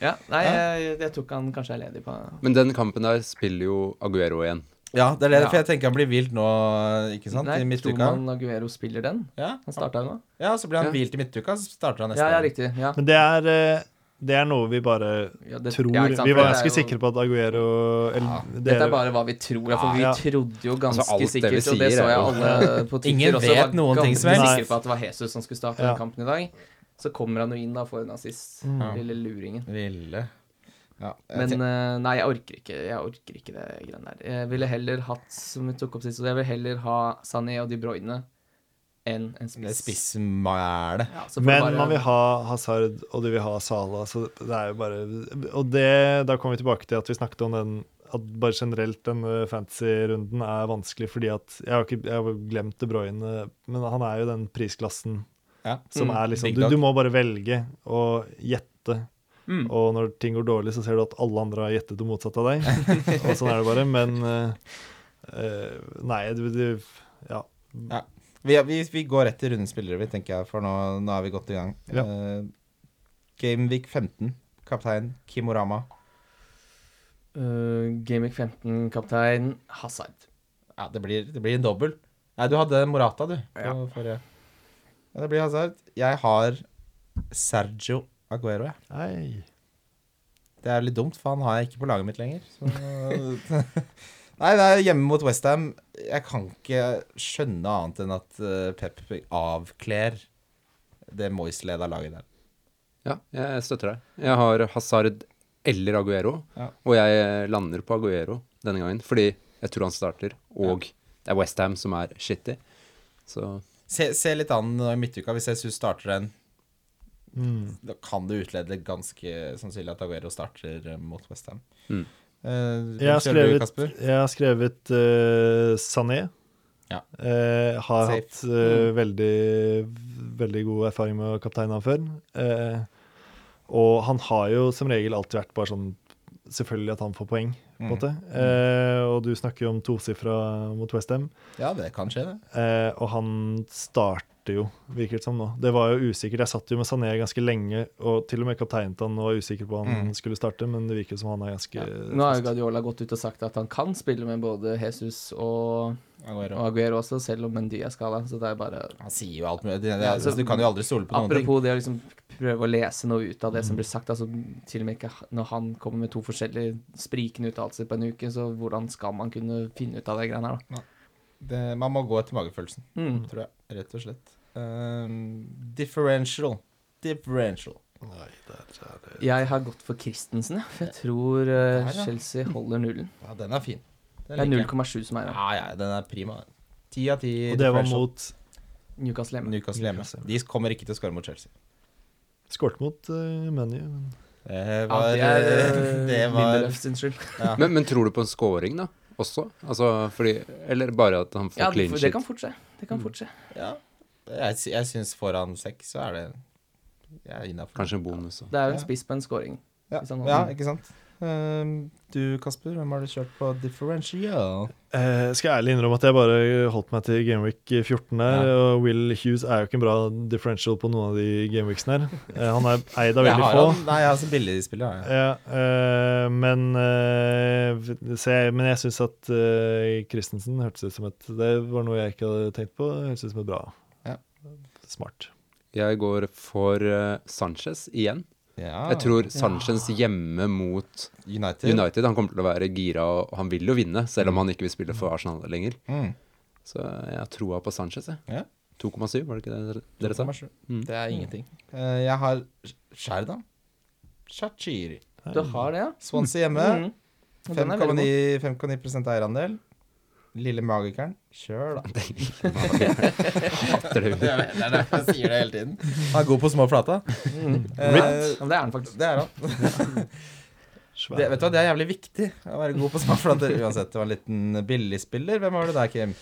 Ja, nei, jeg, jeg tror ikke han kanskje er ledig på Men den kampen der spiller jo Aguero igjen. Ja, det er det, Ja. for jeg tenker han blir hvilt nå, ikke sant? Nei, I tror midtuka. man Aguero spiller den? Ja. Han starta jo nå. ja, så blir Ja. han hvilt i midtuka, så starter han neste Ja, ja, gang. riktig. Ja. Men det er, eh, det er noe vi bare Ja, det- tror ja, ikke sant, Vi for var det er ganske jo- sikre på at Aguero eller, Dette dere- er bare hva vi tror, ja, for vi Ja. trodde jo ganske Altså, alt det vi sikkert, og sier er det så jeg jo- alle på Twitter Ingen også, vet var noen ting, ganske Sven. Nei. sikre på at det var Jesus som skulle starte Ja. den kampen i dag. Så kommer han jo inn da for en assist, lille luringen. Ville. Ja, jeg Men tenker- eh, nei, jeg orker ikke jeg orker ikke det greiene der. Jeg ville heller hatt, som vi tok opp sist, så jeg vil heller ha Sané og De Bruyne enn en Det er spiss. spissmæle. Ja, så får Men du bare- man vil ha Hazard, og de vil ha Salah, så det er jo bare Og det, da kommer vi tilbake til at vi snakket om den at bare generelt den eh, fantasy-runden er vanskelig fordi at Jeg har ikke jeg har glemt De Bruyne, men han er jo den prisklassen Ja. som Mm. er liksom Big du, dog. du må bare velge og gjette. Mm. Og når ting går dårlig, så ser du at alle andre har gjettet det motsatte av deg. og sånn er det bare. Men eh, eh, Nei, du, du Ja. Vi, vi, vi går rett til rundens spillere, vi, tenker jeg, for nå, nå er vi godt i gang. Ja. Eh, Gameweek 15, kaptein Kimorama. Eh, Gameweek 15, kaptein Hazard. Ja, det blir, det blir en dobbel. Nei, du hadde Morata, du. på Ja. forrige. Ja, det blir Hazard. Jeg har Sergio Aguero, jeg. Nei. Det er litt dumt, for han har jeg ikke på laget mitt lenger. Så... [LAUGHS] Nei, det er hjemme mot Westham. Jeg kan ikke skjønne annet enn at eh, Pep avkler det Moyes-leda laget der. Ja, jeg støtter deg. Jeg har Hazard eller Aguero, Ja. og jeg lander på Aguero denne gangen. Fordi jeg tror han starter, og det er Westham som er shitty. Så Se, se litt an nå i midtuka hvis Jesus starter en Mm. Da kan det utlede ganske sannsynlig at Aguero starter eh, mot Eh, Westham. Mm. Jeg har skrevet, jeg har skrevet eh, Sané. Ja. Eh, har Safe. Mm. hatt eh, veldig, veldig god erfaring med å kapteine han før. Eh, og han har jo som regel alltid vært bare sånn Selvfølgelig at han får poeng, på en Mm. måte. Eh, og du snakker jo om tosifra mot Westham. Ja, det kan skje, det. Eh, og han starter jo, virker det som nå. Det var jo usikkert. Jeg satt jo med Sané ganske lenge, og til og med kapteinet han og var usikker på om han Mm. skulle starte, men det virker som han er ganske Nå har jo Guardiola gått ut og sagt at han kan spille med både Jesus og, og Aguero. Aguero også, selv om Mendy er skada. Så det er bare Han sier jo alt mulig. Det, det, Ja, altså, du kan jo aldri stole på noen ting. Apropos det å liksom prøve å lese noe ut av det som blir sagt. altså Til og med ikke når han kommer med to forskjellige sprikende uttalelser på en uke, så hvordan skal man kunne finne ut av det greiene her, da? Det, man må gå etter magefølelsen, Mm. tror jeg. Rett og slett. Ehm, differential. Differential. Nei, der er det Jeg har gått for Christensen, ja, for jeg tror eh, Der, ja. Chelsea holder nullen. Ja, den er fin. Den Det er liker jeg. 0,7 som er ja. Ja, ja, den er prima. Ti av ti. Og det var differential. mot Newcastle hjemme. Newcastle hjemme. Newcastle. De kommer ikke til å skåre mot Chelsea. Skåret mot eh, ManU, men Ja, Det var, det [LAUGHS] er eh, det var Lindelöf sin skyld. ja. Men, men tror du på en scoring, da? Også? Altså, fordi, eller bare at han får Ja, det, clean det shit? kan fort skje. Det Mm. kan fort skje. ja. Jeg, sy- jeg syns foran seks så er det Jeg er innafor. Kanskje en bonus. da. Det er jo Ja. en spiss på en scoring. Ja. Hvis han holder ja, den. ikke sant. Ehm, du, Kasper, hvem har du kjørt på differential? Eh, skal jeg ærlig innrømme at jeg bare holdt meg til Gameweek 14 der. Og Will Hughes er jo ikke en bra differential på noen av de Gameweeksene her. Eh, han er eid av Jeg veldig har få. han- Nei, jeg har så billig spiller, har jeg. Ja, eh, men, eh, v- så jeg, men jeg syns at eh, Christensen hørtes ut som et Det var noe jeg ikke hadde tenkt på. Hørtes ut som et bra Ja. Smart. Jeg går for eh, Sanchez igjen. Ja. Ah, Jeg tror Sanchez hjemme mot United. United Han kommer til å være gira, og han vil jo vinne, selv om han ikke vil spille for Arsenal lenger. Mm. Så jeg har troa på Sanchez, jeg. Ja. 2,7, var det ikke det dere- dere sa? 2,7. Mm. Det er ingenting. Eh, jeg har Sherdan. Shachiri. Du har det, ja? Swansea hjemme. Mm. Og den er veldig 5,9 5,9 eierandel. Lille magikeren. Kjør, [LAUGHS] da. Hater det jo. Jeg vet, [LAUGHS] Det er derfor jeg sier det hele tiden. Han er god på små flata. Mm. [LAUGHS] eh, Ja, men det er den faktisk. Det er han. Svær. Det, vet du hva, det er jævlig viktig å være god på små flater. Uansett, det var en liten billigspiller. Hvem var det der, Kim?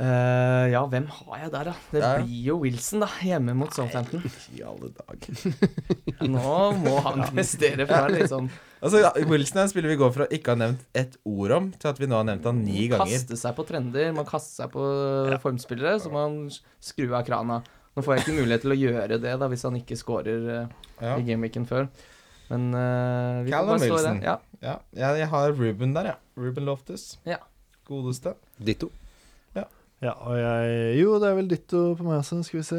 Eh, ja, hvem har jeg der, da? Det Ja. blir jo Wilson, da. Hjemme mot [LAUGHS] Southampton. I alle dager. Nå må han prestere for det, liksom. Altså, ja, Wilson er en spiller vi går fra ikke å ha nevnt ett ord om, til at vi nå har nevnt han ni ganger. Kaste seg på trender, man kaster seg på formspillere, så man skru av krana. Nå får jeg ikke mulighet til å gjøre det da hvis han ikke scorer eh, Ja. i gameweeken før. Men eh, vi får Callum bare stå i det. Wilson. Ja. Ja, jeg, jeg har Ruben der, ja. Ruben Loftus. Ja. Godeste. Ditto. Ja, og jeg Jo, det er vel ditto på meg også. Skal vi se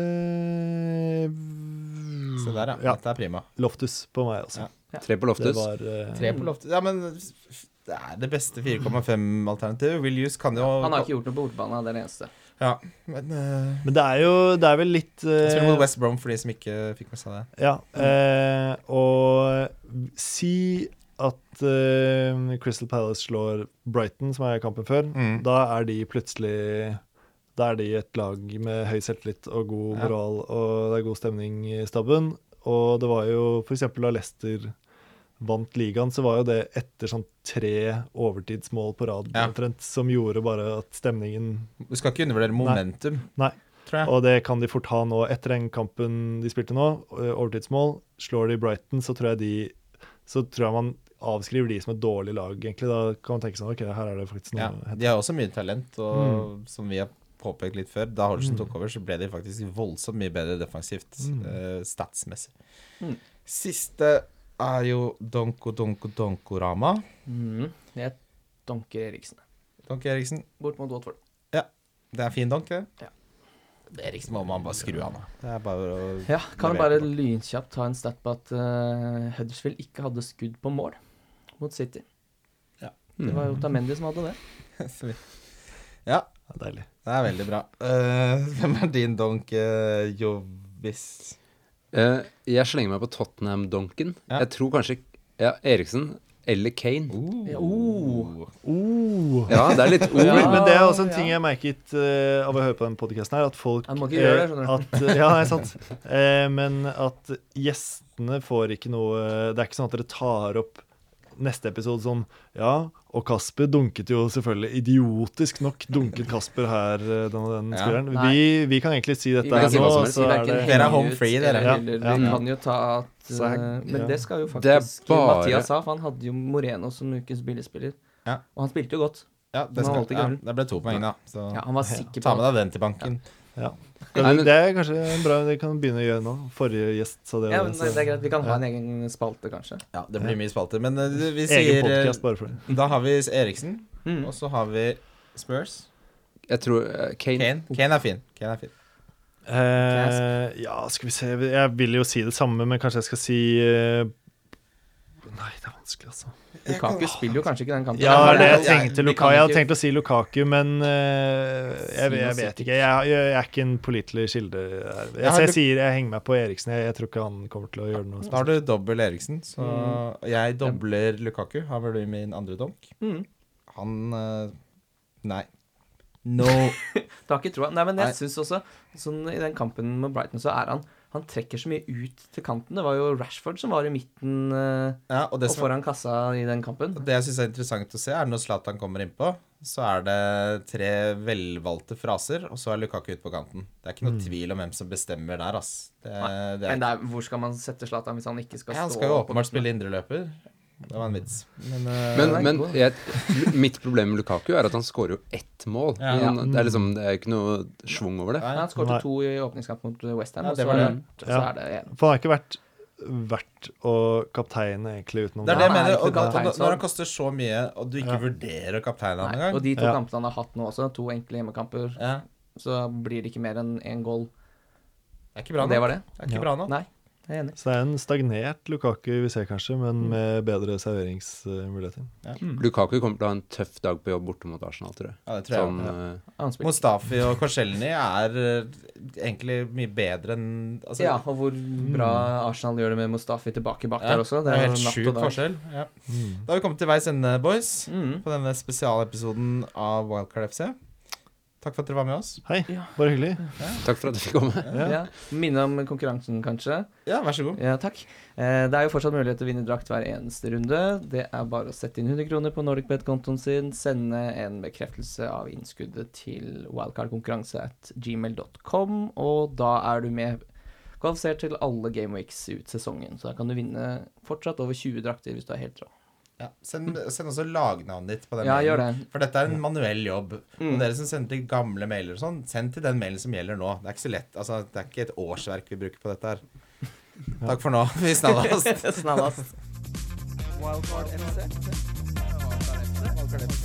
Se der, Mm. ja. Ja. Dette er prima. Loftus på meg også. Ja. Tre på Det Loftus. var eh, Tre på Loftus. Ja, men det er det beste 4,5-alternativet. Will Hughes kan jo Han har ikke gjort noe på bortebane, det er det eneste. Ja, men eh, Men det er jo Det er vel litt eh, Jeg spiller mot West Brom for de som ikke fikk med seg det. Ja. eh, og si at eh, Crystal Palace slår Brighton, som er kampen før. Mm. Da er de plutselig Da er de et lag med høy selvtillit og god Ja. moral, og det er god stemning i staben. Og det var jo f.eks. da Leicester vant ligaen, så var jo det etter sånn tre overtidsmål på rad Ja. omtrent, som gjorde bare at stemningen Du skal ikke undervurdere momentum, Nei. tror jeg. Og det kan de fort ha nå. Etter den kampen de spilte nå, eh, overtidsmål, slår de Brighton, så tror jeg de Så tror jeg man avskriver de som et dårlig lag, egentlig. Da kan man tenke sånn OK, her er det faktisk noe Ja, å hente. de har også mye talent, og som vi har påpekt litt før, da Holsen tok over, så ble de faktisk voldsomt mye bedre defensivt eh, statsmessig. Mm. Siste er jo Donko Donko Donkorama. Mm. Jeg donker Eriksen. Donk Eriksen. Bort mot Watford. Det er fin donk, det. Ja. Det Eriksen må man bare skru av nå. Det er bare å Ja, kan vi Leverte bare bort. lynkjapt ta en stat på at eh, Huddersfield ikke hadde skudd på mål mot City. Ja. Det var jo Tamendi som hadde det. Ja, Ja, deilig. det er veldig bra. Eh, hvem er din donk, uh, Jovis? Eh, jeg slenger meg på Tottenham-donken. Ja. Jeg tror kanskje ja, Eriksen eller Kane. Uh. Oh. Oh. Ja, det er litt [LAUGHS] ord. Ja. Men, men det er også en ting ja. jeg merket eh, av å høre på den podkasten her, at folk Ja, du må ikke gjøre det, eh, skjønner at, Ja, nei, sant. Eh, men at gjestene får ikke noe Det er ikke sånn at dere tar opp neste episode sånn Ja, og Kasper dunket jo selvfølgelig Idiotisk nok dunket Kasper her, eh, den og den Ja. spilleren. Nei. Vi, vi kan egentlig si dette Vi kan her si nå, hva som og helst. så Vi er verken det henger Dere er ut home free, dere. eller Ja, hyller. ja. Vi kan jo ta at Så jeg- eh, Men ja. det skal jo Det er faktisk bare- Mathias sa, for han hadde jo Moreno som ukens billigspiller. Ja. Og han spilte jo godt. Ja, det, Nå skal, holdt det ja, gul. det ble to poeng, da. Så Ja, han var sikker ta på med deg den til banken. Nei, men- Det er kanskje en bra Det kan vi begynne å gjøre nå. Forrige gjest sa det. altså Ja, men så- det er greit. Vi kan ha en egen spalte, kanskje. Ja, Det blir mye spalter. Men eh, vi Egen sier eh, podkast bare for det. Da har vi Eriksen, Mm. og så har vi Spurs. Jeg tror eh, Kane Kane. Kane er fin. Kane er fin. Eh, ja, skal vi se Jeg vil jo si det samme, men kanskje jeg skal si eh, Nei, det er vanskelig, altså. Lukaku spiller jo kanskje ikke den kampen. Ja, Han det er- jeg tenkte vi Luka, kan jeg hadde ikke- tenkt å si Lukaku, men eh, jeg, jeg Si noe vet ikke. Jeg, jeg, jeg er ikke en pålitelig kilde. her. Jeg, har så jeg Lu- sier jeg henger meg på Eriksen. Jeg, jeg tror ikke han kommer til å gjøre noe Da har spesielt. du dobbel Eriksen, så jeg dobler Lukaku. Har vel du min andre donk? Mm. Han eh, Nei. No. [LAUGHS] Det har ikke troa. Nei, men Nei. jeg synes også sånn, I den kampen med Brighton så er han Han trekker så mye ut til kanten. Det var jo Rashford som var i midten eh, Ja, og det og som foran kassa i den kampen. Det jeg syns er interessant å se, er når Zlatan kommer innpå, så er det tre velvalgte fraser, og så er Lukaku ute på kanten. Det er ikke noe tvil om hvem som bestemmer der, ass. Det, det Men er, det er, hvor skal man sette Zlatan hvis han ikke skal stå ja, han skal jo på- åpenbart spille indreløper. Det var en vits. Men, eh, Men, Nei, men god. jeg, mitt problem med Lukaku er at han skårer jo ett mål. Ja. Men Det er liksom, det er ikke noe schwung over det. Ja, han Nei. skåret to i åpningskamp mot Westham, Ja, og det så, er var det. det- og så Ja. er det en. For han har ikke vært verdt å kapteine, egentlig, utenom det er det jeg Han er mener. ikke Og, og, kaptein, så- når han koster så mye, og du ikke vurderer kapteinen Nei, engang og de to Ja. kampene han har hatt nå også, to enkle hjemmekamper, ja, så blir det ikke mer enn én goal. Det er ikke bra Og nå. det var det. Det er ikke Ja. bra nå. Nei, jeg er enig. Så det er en stagnert Lukaku vi ser, kanskje, men med bedre serveringsmuligheter. Lukaku kommer til å ha en tøff dag på jobb borte mot Arsenal, tror jeg. Ja, det Mm. tror jeg. Sånn, ja. eh, Han spilte- Mustafi og Korselny er eh, egentlig mye bedre enn altså, ja, og hvor Mm. bra Arsenal gjør det med Mustafi tilbake bak Ja, der også. Det er jo jo helt natt og sjuk dag. forskjell. Ja. Mm. Da har vi kommet til veis ende, boys, Mm. på denne spesialepisoden av Wildcard FC. Takk for at dere var med oss. Hei, Ja. bare hyggelig. takk for at jeg fikk komme. Ja. Ja. Minne om konkurransen, kanskje. Ja, vær så god. Ja, takk. Eh, Det er jo fortsatt mulighet til å vinne drakt hver eneste runde. Det er bare å sette inn 100 kroner på NordicBet-kontoen sin, sende en bekreftelse av innskuddet til wildcardkonkurranse at gmail.com, og da er du med kvalifisert til alle gameweeks ut sesongen. Så da kan du vinne fortsatt over 20 drakter hvis du er helt rå. Ja. Send, send også lagnavnet ditt på den Ja, mailen. gjør det. For dette er en manuell jobb. Og dere som sender til gamle mailer og sånn, send til den mailen som gjelder nå. Det er ikke så lett. Altså, det er ikke et årsverk vi bruker på dette her. Takk for nå. [LAUGHS] Vi snakkes. Snallast. Wildcard FC. Wildcard FC.